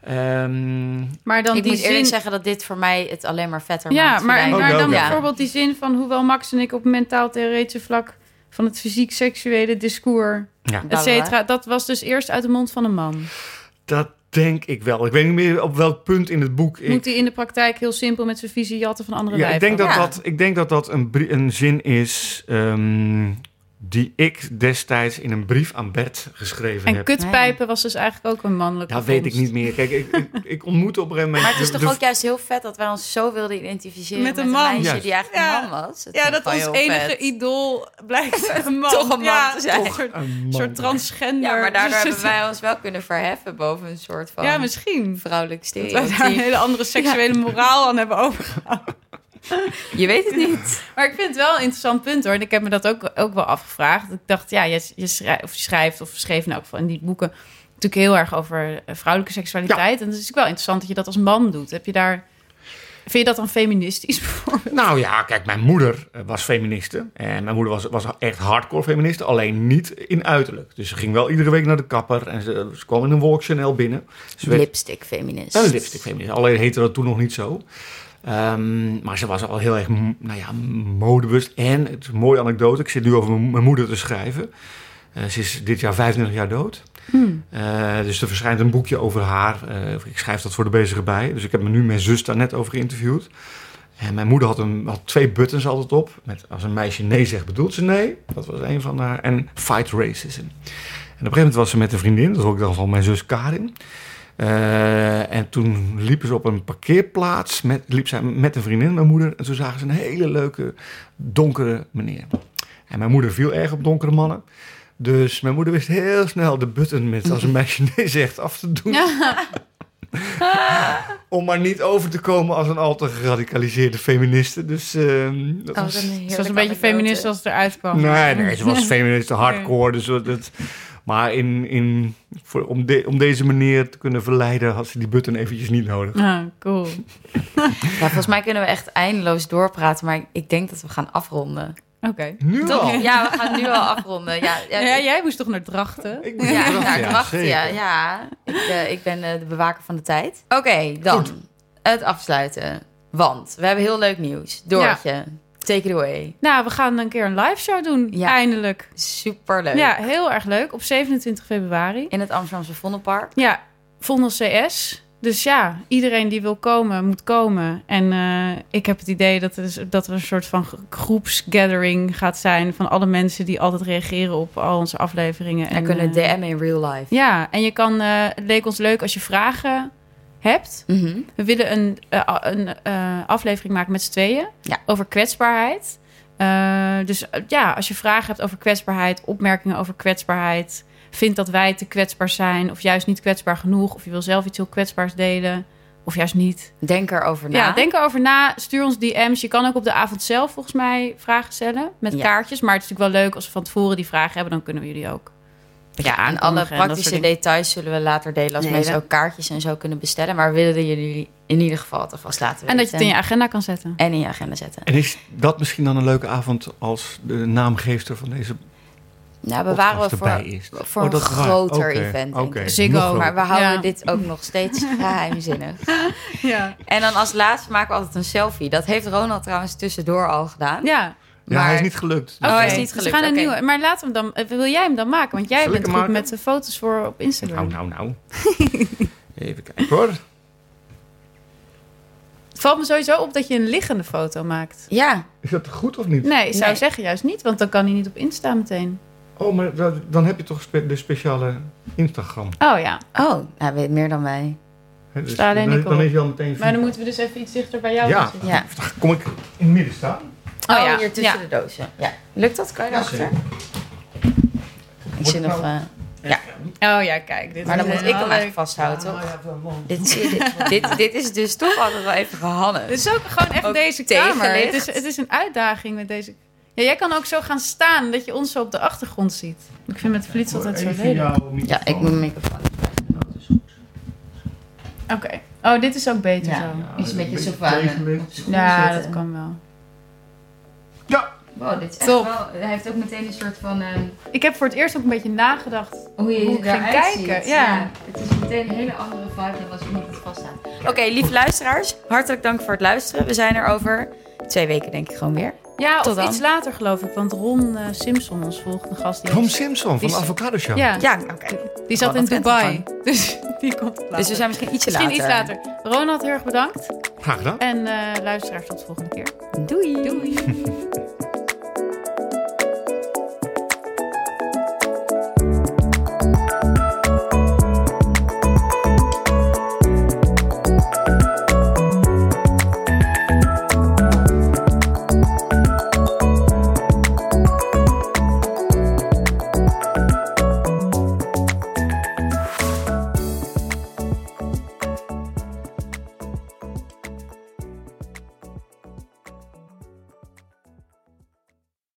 [SPEAKER 4] ehm,
[SPEAKER 3] Maar dan
[SPEAKER 2] ik
[SPEAKER 3] die
[SPEAKER 2] moet eerlijk
[SPEAKER 3] zin...
[SPEAKER 2] zeggen dat dit voor mij het alleen maar vetter
[SPEAKER 3] ja,
[SPEAKER 2] maakt.
[SPEAKER 3] maar, en
[SPEAKER 2] Filijn.
[SPEAKER 3] maar
[SPEAKER 4] Ook
[SPEAKER 3] dan
[SPEAKER 4] wel, ja.
[SPEAKER 3] bijvoorbeeld die zin van... hoewel Max en ik op mentaal-theoretische vlak... van het fysiek-seksuele discours,
[SPEAKER 4] ja.
[SPEAKER 3] et cetera... dat was dus eerst uit de mond van een man.
[SPEAKER 4] Dat denk ik wel. Ik weet niet meer op welk punt in het boek. Ik,
[SPEAKER 3] Moet hij in de praktijk heel simpel met zijn visie jatten van andere
[SPEAKER 4] ja, ik,
[SPEAKER 3] wijven?
[SPEAKER 4] denk dat
[SPEAKER 2] Ja.
[SPEAKER 4] dat, ik denk dat dat een, brie- een zin is ehm, die ik destijds in een brief aan Bert geschreven
[SPEAKER 3] En
[SPEAKER 4] heb.
[SPEAKER 3] kutpijpen was dus eigenlijk ook een mannelijke
[SPEAKER 4] Dat weet ik
[SPEAKER 3] vondst.
[SPEAKER 4] niet meer. Kijk, ik, ik, ik ontmoette op een gegeven moment.
[SPEAKER 2] Maar het is
[SPEAKER 4] de-
[SPEAKER 2] toch
[SPEAKER 4] de-
[SPEAKER 2] ook juist heel vet dat wij ons zo wilden identificeren
[SPEAKER 5] Met
[SPEAKER 2] met
[SPEAKER 5] een
[SPEAKER 2] een,
[SPEAKER 5] man.
[SPEAKER 2] meisje
[SPEAKER 4] Juist.
[SPEAKER 2] die eigenlijk
[SPEAKER 5] Ja.
[SPEAKER 2] een man was. Dat
[SPEAKER 5] Ja,
[SPEAKER 2] vind ik
[SPEAKER 5] dat
[SPEAKER 2] wel
[SPEAKER 5] ons
[SPEAKER 2] heel
[SPEAKER 5] enige
[SPEAKER 2] vet.
[SPEAKER 5] idool blijkt een man.
[SPEAKER 2] Toch een man
[SPEAKER 5] Ja,
[SPEAKER 2] te zijn.
[SPEAKER 5] toch een
[SPEAKER 4] Een man.
[SPEAKER 5] soort transgender.
[SPEAKER 2] Ja, maar daardoor
[SPEAKER 5] Dus
[SPEAKER 2] hebben
[SPEAKER 5] het-
[SPEAKER 2] wij ons wel kunnen verheffen boven een soort van
[SPEAKER 5] Ja, misschien.
[SPEAKER 2] vrouwelijk
[SPEAKER 5] Dat wij daar een
[SPEAKER 2] stereotype.
[SPEAKER 5] hele andere seksuele moraal aan hebben over.
[SPEAKER 2] Je weet het niet.
[SPEAKER 3] Maar ik vind het wel een interessant punt hoor. En ik heb me dat ook, ook wel afgevraagd. Ik dacht, ja, je, je, schrijft, of je schrijft of schreef in elk geval in die boeken natuurlijk heel erg over eh, vrouwelijke seksualiteit. En het is natuurlijk wel interessant dat je dat als man doet. Heb je daar. Vind je dat dan feministisch bijvoorbeeld?
[SPEAKER 4] Nou ja, kijk, mijn moeder eh, was feministe. En mijn moeder was, was echt hardcore feministe, alleen niet in uiterlijk. Dus ze ging wel iedere week naar de kapper en ze, ze kwam in een wolk Chanel binnen. Ze werd-
[SPEAKER 2] Lipstick feminist.
[SPEAKER 4] Oh, Een lipstick feminist. Alleen heette dat toen nog niet zo. Ehm, Ehm, maar ze was al heel erg m- nou ja, modebewust. En het is een mooie anekdote. Ik zit nu over mijn- mijn moeder te schrijven. Eh, ze is dit jaar 25 jaar dood. Eh, dus er verschijnt een boekje over haar. Eh, ik schrijf dat voor de bezige bij. Dus ik heb me nu mijn zus daar net over geïnterviewd. En mijn moeder had, een, had twee buttons altijd op. Met als een meisje nee zegt, bedoelt ze nee. Dat was een van haar. En fight racism. En op een gegeven moment was ze met een vriendin. Dat was ook dan van mijn zus Karin. Eh, en toen liepen ze op een parkeerplaats. Met, liep zij met een vriendin, mijn moeder. En toen zagen ze een hele leuke, donkere meneer. En mijn moeder viel erg op donkere mannen. Dus mijn moeder wist heel snel de button met als een meisje nee zegt af te doen. Om maar niet over te komen als een al te geradicaliseerde feministe. Dus ehm,
[SPEAKER 2] Oh,
[SPEAKER 4] dat was...
[SPEAKER 3] Ze was een beetje feminist als het eruit kwam.
[SPEAKER 4] Nee, nee, ze was feminist hardcore. Dus dat, dat- maar in, in, voor, om, de- om deze manier te kunnen verleiden had ze die button eventjes niet nodig.
[SPEAKER 3] Ah, cool. Oké.
[SPEAKER 2] Ja, volgens mij kunnen we echt eindeloos doorpraten, maar ik denk dat we gaan afronden.
[SPEAKER 4] Nu
[SPEAKER 3] Toch?
[SPEAKER 4] al?
[SPEAKER 3] Ja.
[SPEAKER 2] Ja, we gaan nu al afronden. Ja, ja,
[SPEAKER 3] Ja, jij moest toch naar drachten?
[SPEAKER 4] Ik
[SPEAKER 2] Ja,
[SPEAKER 4] ben verrast,
[SPEAKER 2] ja, ik wacht,
[SPEAKER 4] zeker.
[SPEAKER 2] ja. ja. Ik, eh, ik ben eh, de bewaker van de tijd. Oké, dan
[SPEAKER 4] Goed.
[SPEAKER 2] het afsluiten. Want we hebben heel leuk nieuws. Doortje, take it away.
[SPEAKER 3] Nou, we gaan een keer een live show doen.
[SPEAKER 2] Ja.
[SPEAKER 3] Eindelijk.
[SPEAKER 2] Superleuk.
[SPEAKER 3] Ja, heel erg leuk. Op 27 februari.
[SPEAKER 2] In het Amsterdamse Vondelpark.
[SPEAKER 3] Ja, Vondel CS. Dus ja, iedereen die wil komen, moet komen. En eh, ik heb het idee dat er, is- dat er een soort van gro- groepsgathering gaat zijn... van alle mensen die altijd reageren op al onze afleveringen.
[SPEAKER 2] En
[SPEAKER 3] En,
[SPEAKER 2] kunnen
[SPEAKER 3] eh,
[SPEAKER 2] DM in real life.
[SPEAKER 3] Ja, en je kan... eh, het leek ons leuk als je vragen hebt.
[SPEAKER 2] Mhm.
[SPEAKER 3] We willen een, eh, a- een eh, aflevering maken met z'n tweeën
[SPEAKER 2] Ja.
[SPEAKER 3] over kwetsbaarheid. Eh, dus eh, ja, als je vragen hebt over kwetsbaarheid, opmerkingen over kwetsbaarheid, vindt dat wij te kwetsbaar zijn of juist niet kwetsbaar genoeg, of je wil zelf iets heel kwetsbaars delen of juist niet.
[SPEAKER 2] Denk erover na.
[SPEAKER 3] Ja, denk erover na. Stuur ons DM's. Je kan ook op de avond zelf volgens mij vragen stellen met
[SPEAKER 2] Ja.
[SPEAKER 3] kaartjes. Maar het is natuurlijk wel leuk als we van tevoren die vragen hebben, dan kunnen we jullie ook.
[SPEAKER 2] ja, en alle
[SPEAKER 3] aankondigen en dat
[SPEAKER 2] praktische
[SPEAKER 3] soort dingen.
[SPEAKER 2] details zullen we later delen als
[SPEAKER 3] Nee,
[SPEAKER 2] mensen
[SPEAKER 3] dat-
[SPEAKER 2] ook kaartjes en zo kunnen bestellen. Maar we willen jullie in ieder geval het alvast laten
[SPEAKER 3] En
[SPEAKER 2] weten.
[SPEAKER 3] dat je het in je agenda kan zetten.
[SPEAKER 2] en in je agenda zetten.
[SPEAKER 4] En is dat misschien dan een leuke avond als de naamgeefster van deze
[SPEAKER 2] Nou, bewaren
[SPEAKER 4] podcast
[SPEAKER 2] we voor,
[SPEAKER 4] erbij is?
[SPEAKER 2] voor
[SPEAKER 4] Oh,
[SPEAKER 2] een
[SPEAKER 4] dat is waar.
[SPEAKER 2] groter
[SPEAKER 4] Oké,
[SPEAKER 2] event. denk
[SPEAKER 4] oké,
[SPEAKER 2] ik.
[SPEAKER 3] Ziggo,
[SPEAKER 4] nog
[SPEAKER 2] Maar
[SPEAKER 4] groter.
[SPEAKER 2] we houden
[SPEAKER 3] Ja.
[SPEAKER 2] dit ook nog steeds geheimzinnig.
[SPEAKER 3] Ja.
[SPEAKER 2] En dan als laatste maken we altijd een selfie. Dat heeft Ronald trouwens tussendoor al gedaan.
[SPEAKER 3] Ja.
[SPEAKER 4] Ja, hij is
[SPEAKER 2] maar-
[SPEAKER 4] niet gelukt.
[SPEAKER 2] Oh,
[SPEAKER 3] Oké,
[SPEAKER 2] hij is niet
[SPEAKER 3] dus
[SPEAKER 2] gelukt,
[SPEAKER 3] we gaan een
[SPEAKER 2] oké.
[SPEAKER 3] nieuwe. Maar laat hem dan. eh, Wil jij hem dan maken? Want jij
[SPEAKER 4] Zal ik
[SPEAKER 3] bent
[SPEAKER 4] hem
[SPEAKER 3] goed
[SPEAKER 4] maken?
[SPEAKER 3] met de foto's voor op Instagram.
[SPEAKER 4] Nou, nou, nou. Even kijken hoor.
[SPEAKER 3] Het valt me sowieso op dat je een liggende foto maakt.
[SPEAKER 2] Ja,
[SPEAKER 4] Is dat goed of niet?
[SPEAKER 3] Nee, ik zou
[SPEAKER 2] Nee.
[SPEAKER 3] zeggen juist niet, want dan kan hij niet op Insta meteen.
[SPEAKER 4] Oh, maar dat- dan heb je toch spe- de speciale Instagram.
[SPEAKER 3] Oh ja.
[SPEAKER 2] oh, hij weet meer dan wij.
[SPEAKER 4] Hè, dus
[SPEAKER 3] Sta alleen
[SPEAKER 4] dan,
[SPEAKER 3] ik
[SPEAKER 4] dan
[SPEAKER 3] op.
[SPEAKER 4] is je al meteen...
[SPEAKER 3] Maar dan moeten we dus even iets dichter bij jou
[SPEAKER 4] Ja.
[SPEAKER 3] gaan zitten.
[SPEAKER 2] Ja.
[SPEAKER 4] Kom ik in het midden staan?
[SPEAKER 3] Oh, ja.
[SPEAKER 2] hier tussen de dozen. Ja. Lukt dat? Kan je daarachter? Ik zie
[SPEAKER 4] het
[SPEAKER 2] nog... eh,
[SPEAKER 3] Ja. Oh ja, kijk. Dit
[SPEAKER 2] maar dan
[SPEAKER 3] is
[SPEAKER 2] moet ik
[SPEAKER 3] helemaal
[SPEAKER 2] hem
[SPEAKER 3] leuk.
[SPEAKER 2] echt vasthouden, toch?
[SPEAKER 4] toch?
[SPEAKER 2] Dit, dit, dit, dit is dus toch altijd wel even gehannes.
[SPEAKER 3] Dit is ook gewoon echt
[SPEAKER 2] Ook
[SPEAKER 3] deze kamer.
[SPEAKER 2] tegenlicht.
[SPEAKER 3] Het is, het is een uitdaging met deze... Ja, jij kan ook zo gaan staan dat je ons zo op de achtergrond ziet. Ik vind met flits altijd zo lelijk.
[SPEAKER 2] ja, ik moet mijn microfoon.
[SPEAKER 3] Oké. Oh, dit is ook beter
[SPEAKER 2] Ja.
[SPEAKER 3] zo.
[SPEAKER 2] Iets een beetje sofa.
[SPEAKER 3] Ja, dat kan wel.
[SPEAKER 2] Wow, dit is echt
[SPEAKER 3] Top.
[SPEAKER 2] wel... Hij heeft ook meteen een soort van... eh,
[SPEAKER 3] Ik heb voor het eerst ook een beetje nagedacht
[SPEAKER 2] hoe je
[SPEAKER 3] Hoe ik ging
[SPEAKER 2] eruit
[SPEAKER 3] kijken,
[SPEAKER 2] ziet.
[SPEAKER 3] ja.
[SPEAKER 2] Het is meteen een hele andere vibe dan als je niet vaststaat. Oké, lieve luisteraars, hartelijk dank voor het luisteren. We zijn er over twee weken denk ik gewoon weer.
[SPEAKER 3] Ja,
[SPEAKER 2] Tot
[SPEAKER 3] of
[SPEAKER 2] dan.
[SPEAKER 3] iets later geloof ik. Want Ron eh, Simpson, ons volgende gast, die,
[SPEAKER 4] Tom
[SPEAKER 3] heeft-
[SPEAKER 4] Simpson van
[SPEAKER 3] Die-
[SPEAKER 4] Avocado Show.
[SPEAKER 3] ja,
[SPEAKER 2] Ja, oké.
[SPEAKER 3] die zat
[SPEAKER 2] Oh,
[SPEAKER 3] in
[SPEAKER 2] dat kent
[SPEAKER 3] Dubai.
[SPEAKER 2] ik
[SPEAKER 3] Dus die komt later.
[SPEAKER 2] Dus we zijn misschien ietsje
[SPEAKER 3] Misschien
[SPEAKER 2] later.
[SPEAKER 3] iets later. Ronald, heel erg bedankt.
[SPEAKER 4] Graag gedaan.
[SPEAKER 3] En eh luisteraars, tot de volgende keer.
[SPEAKER 2] Doei. Doei.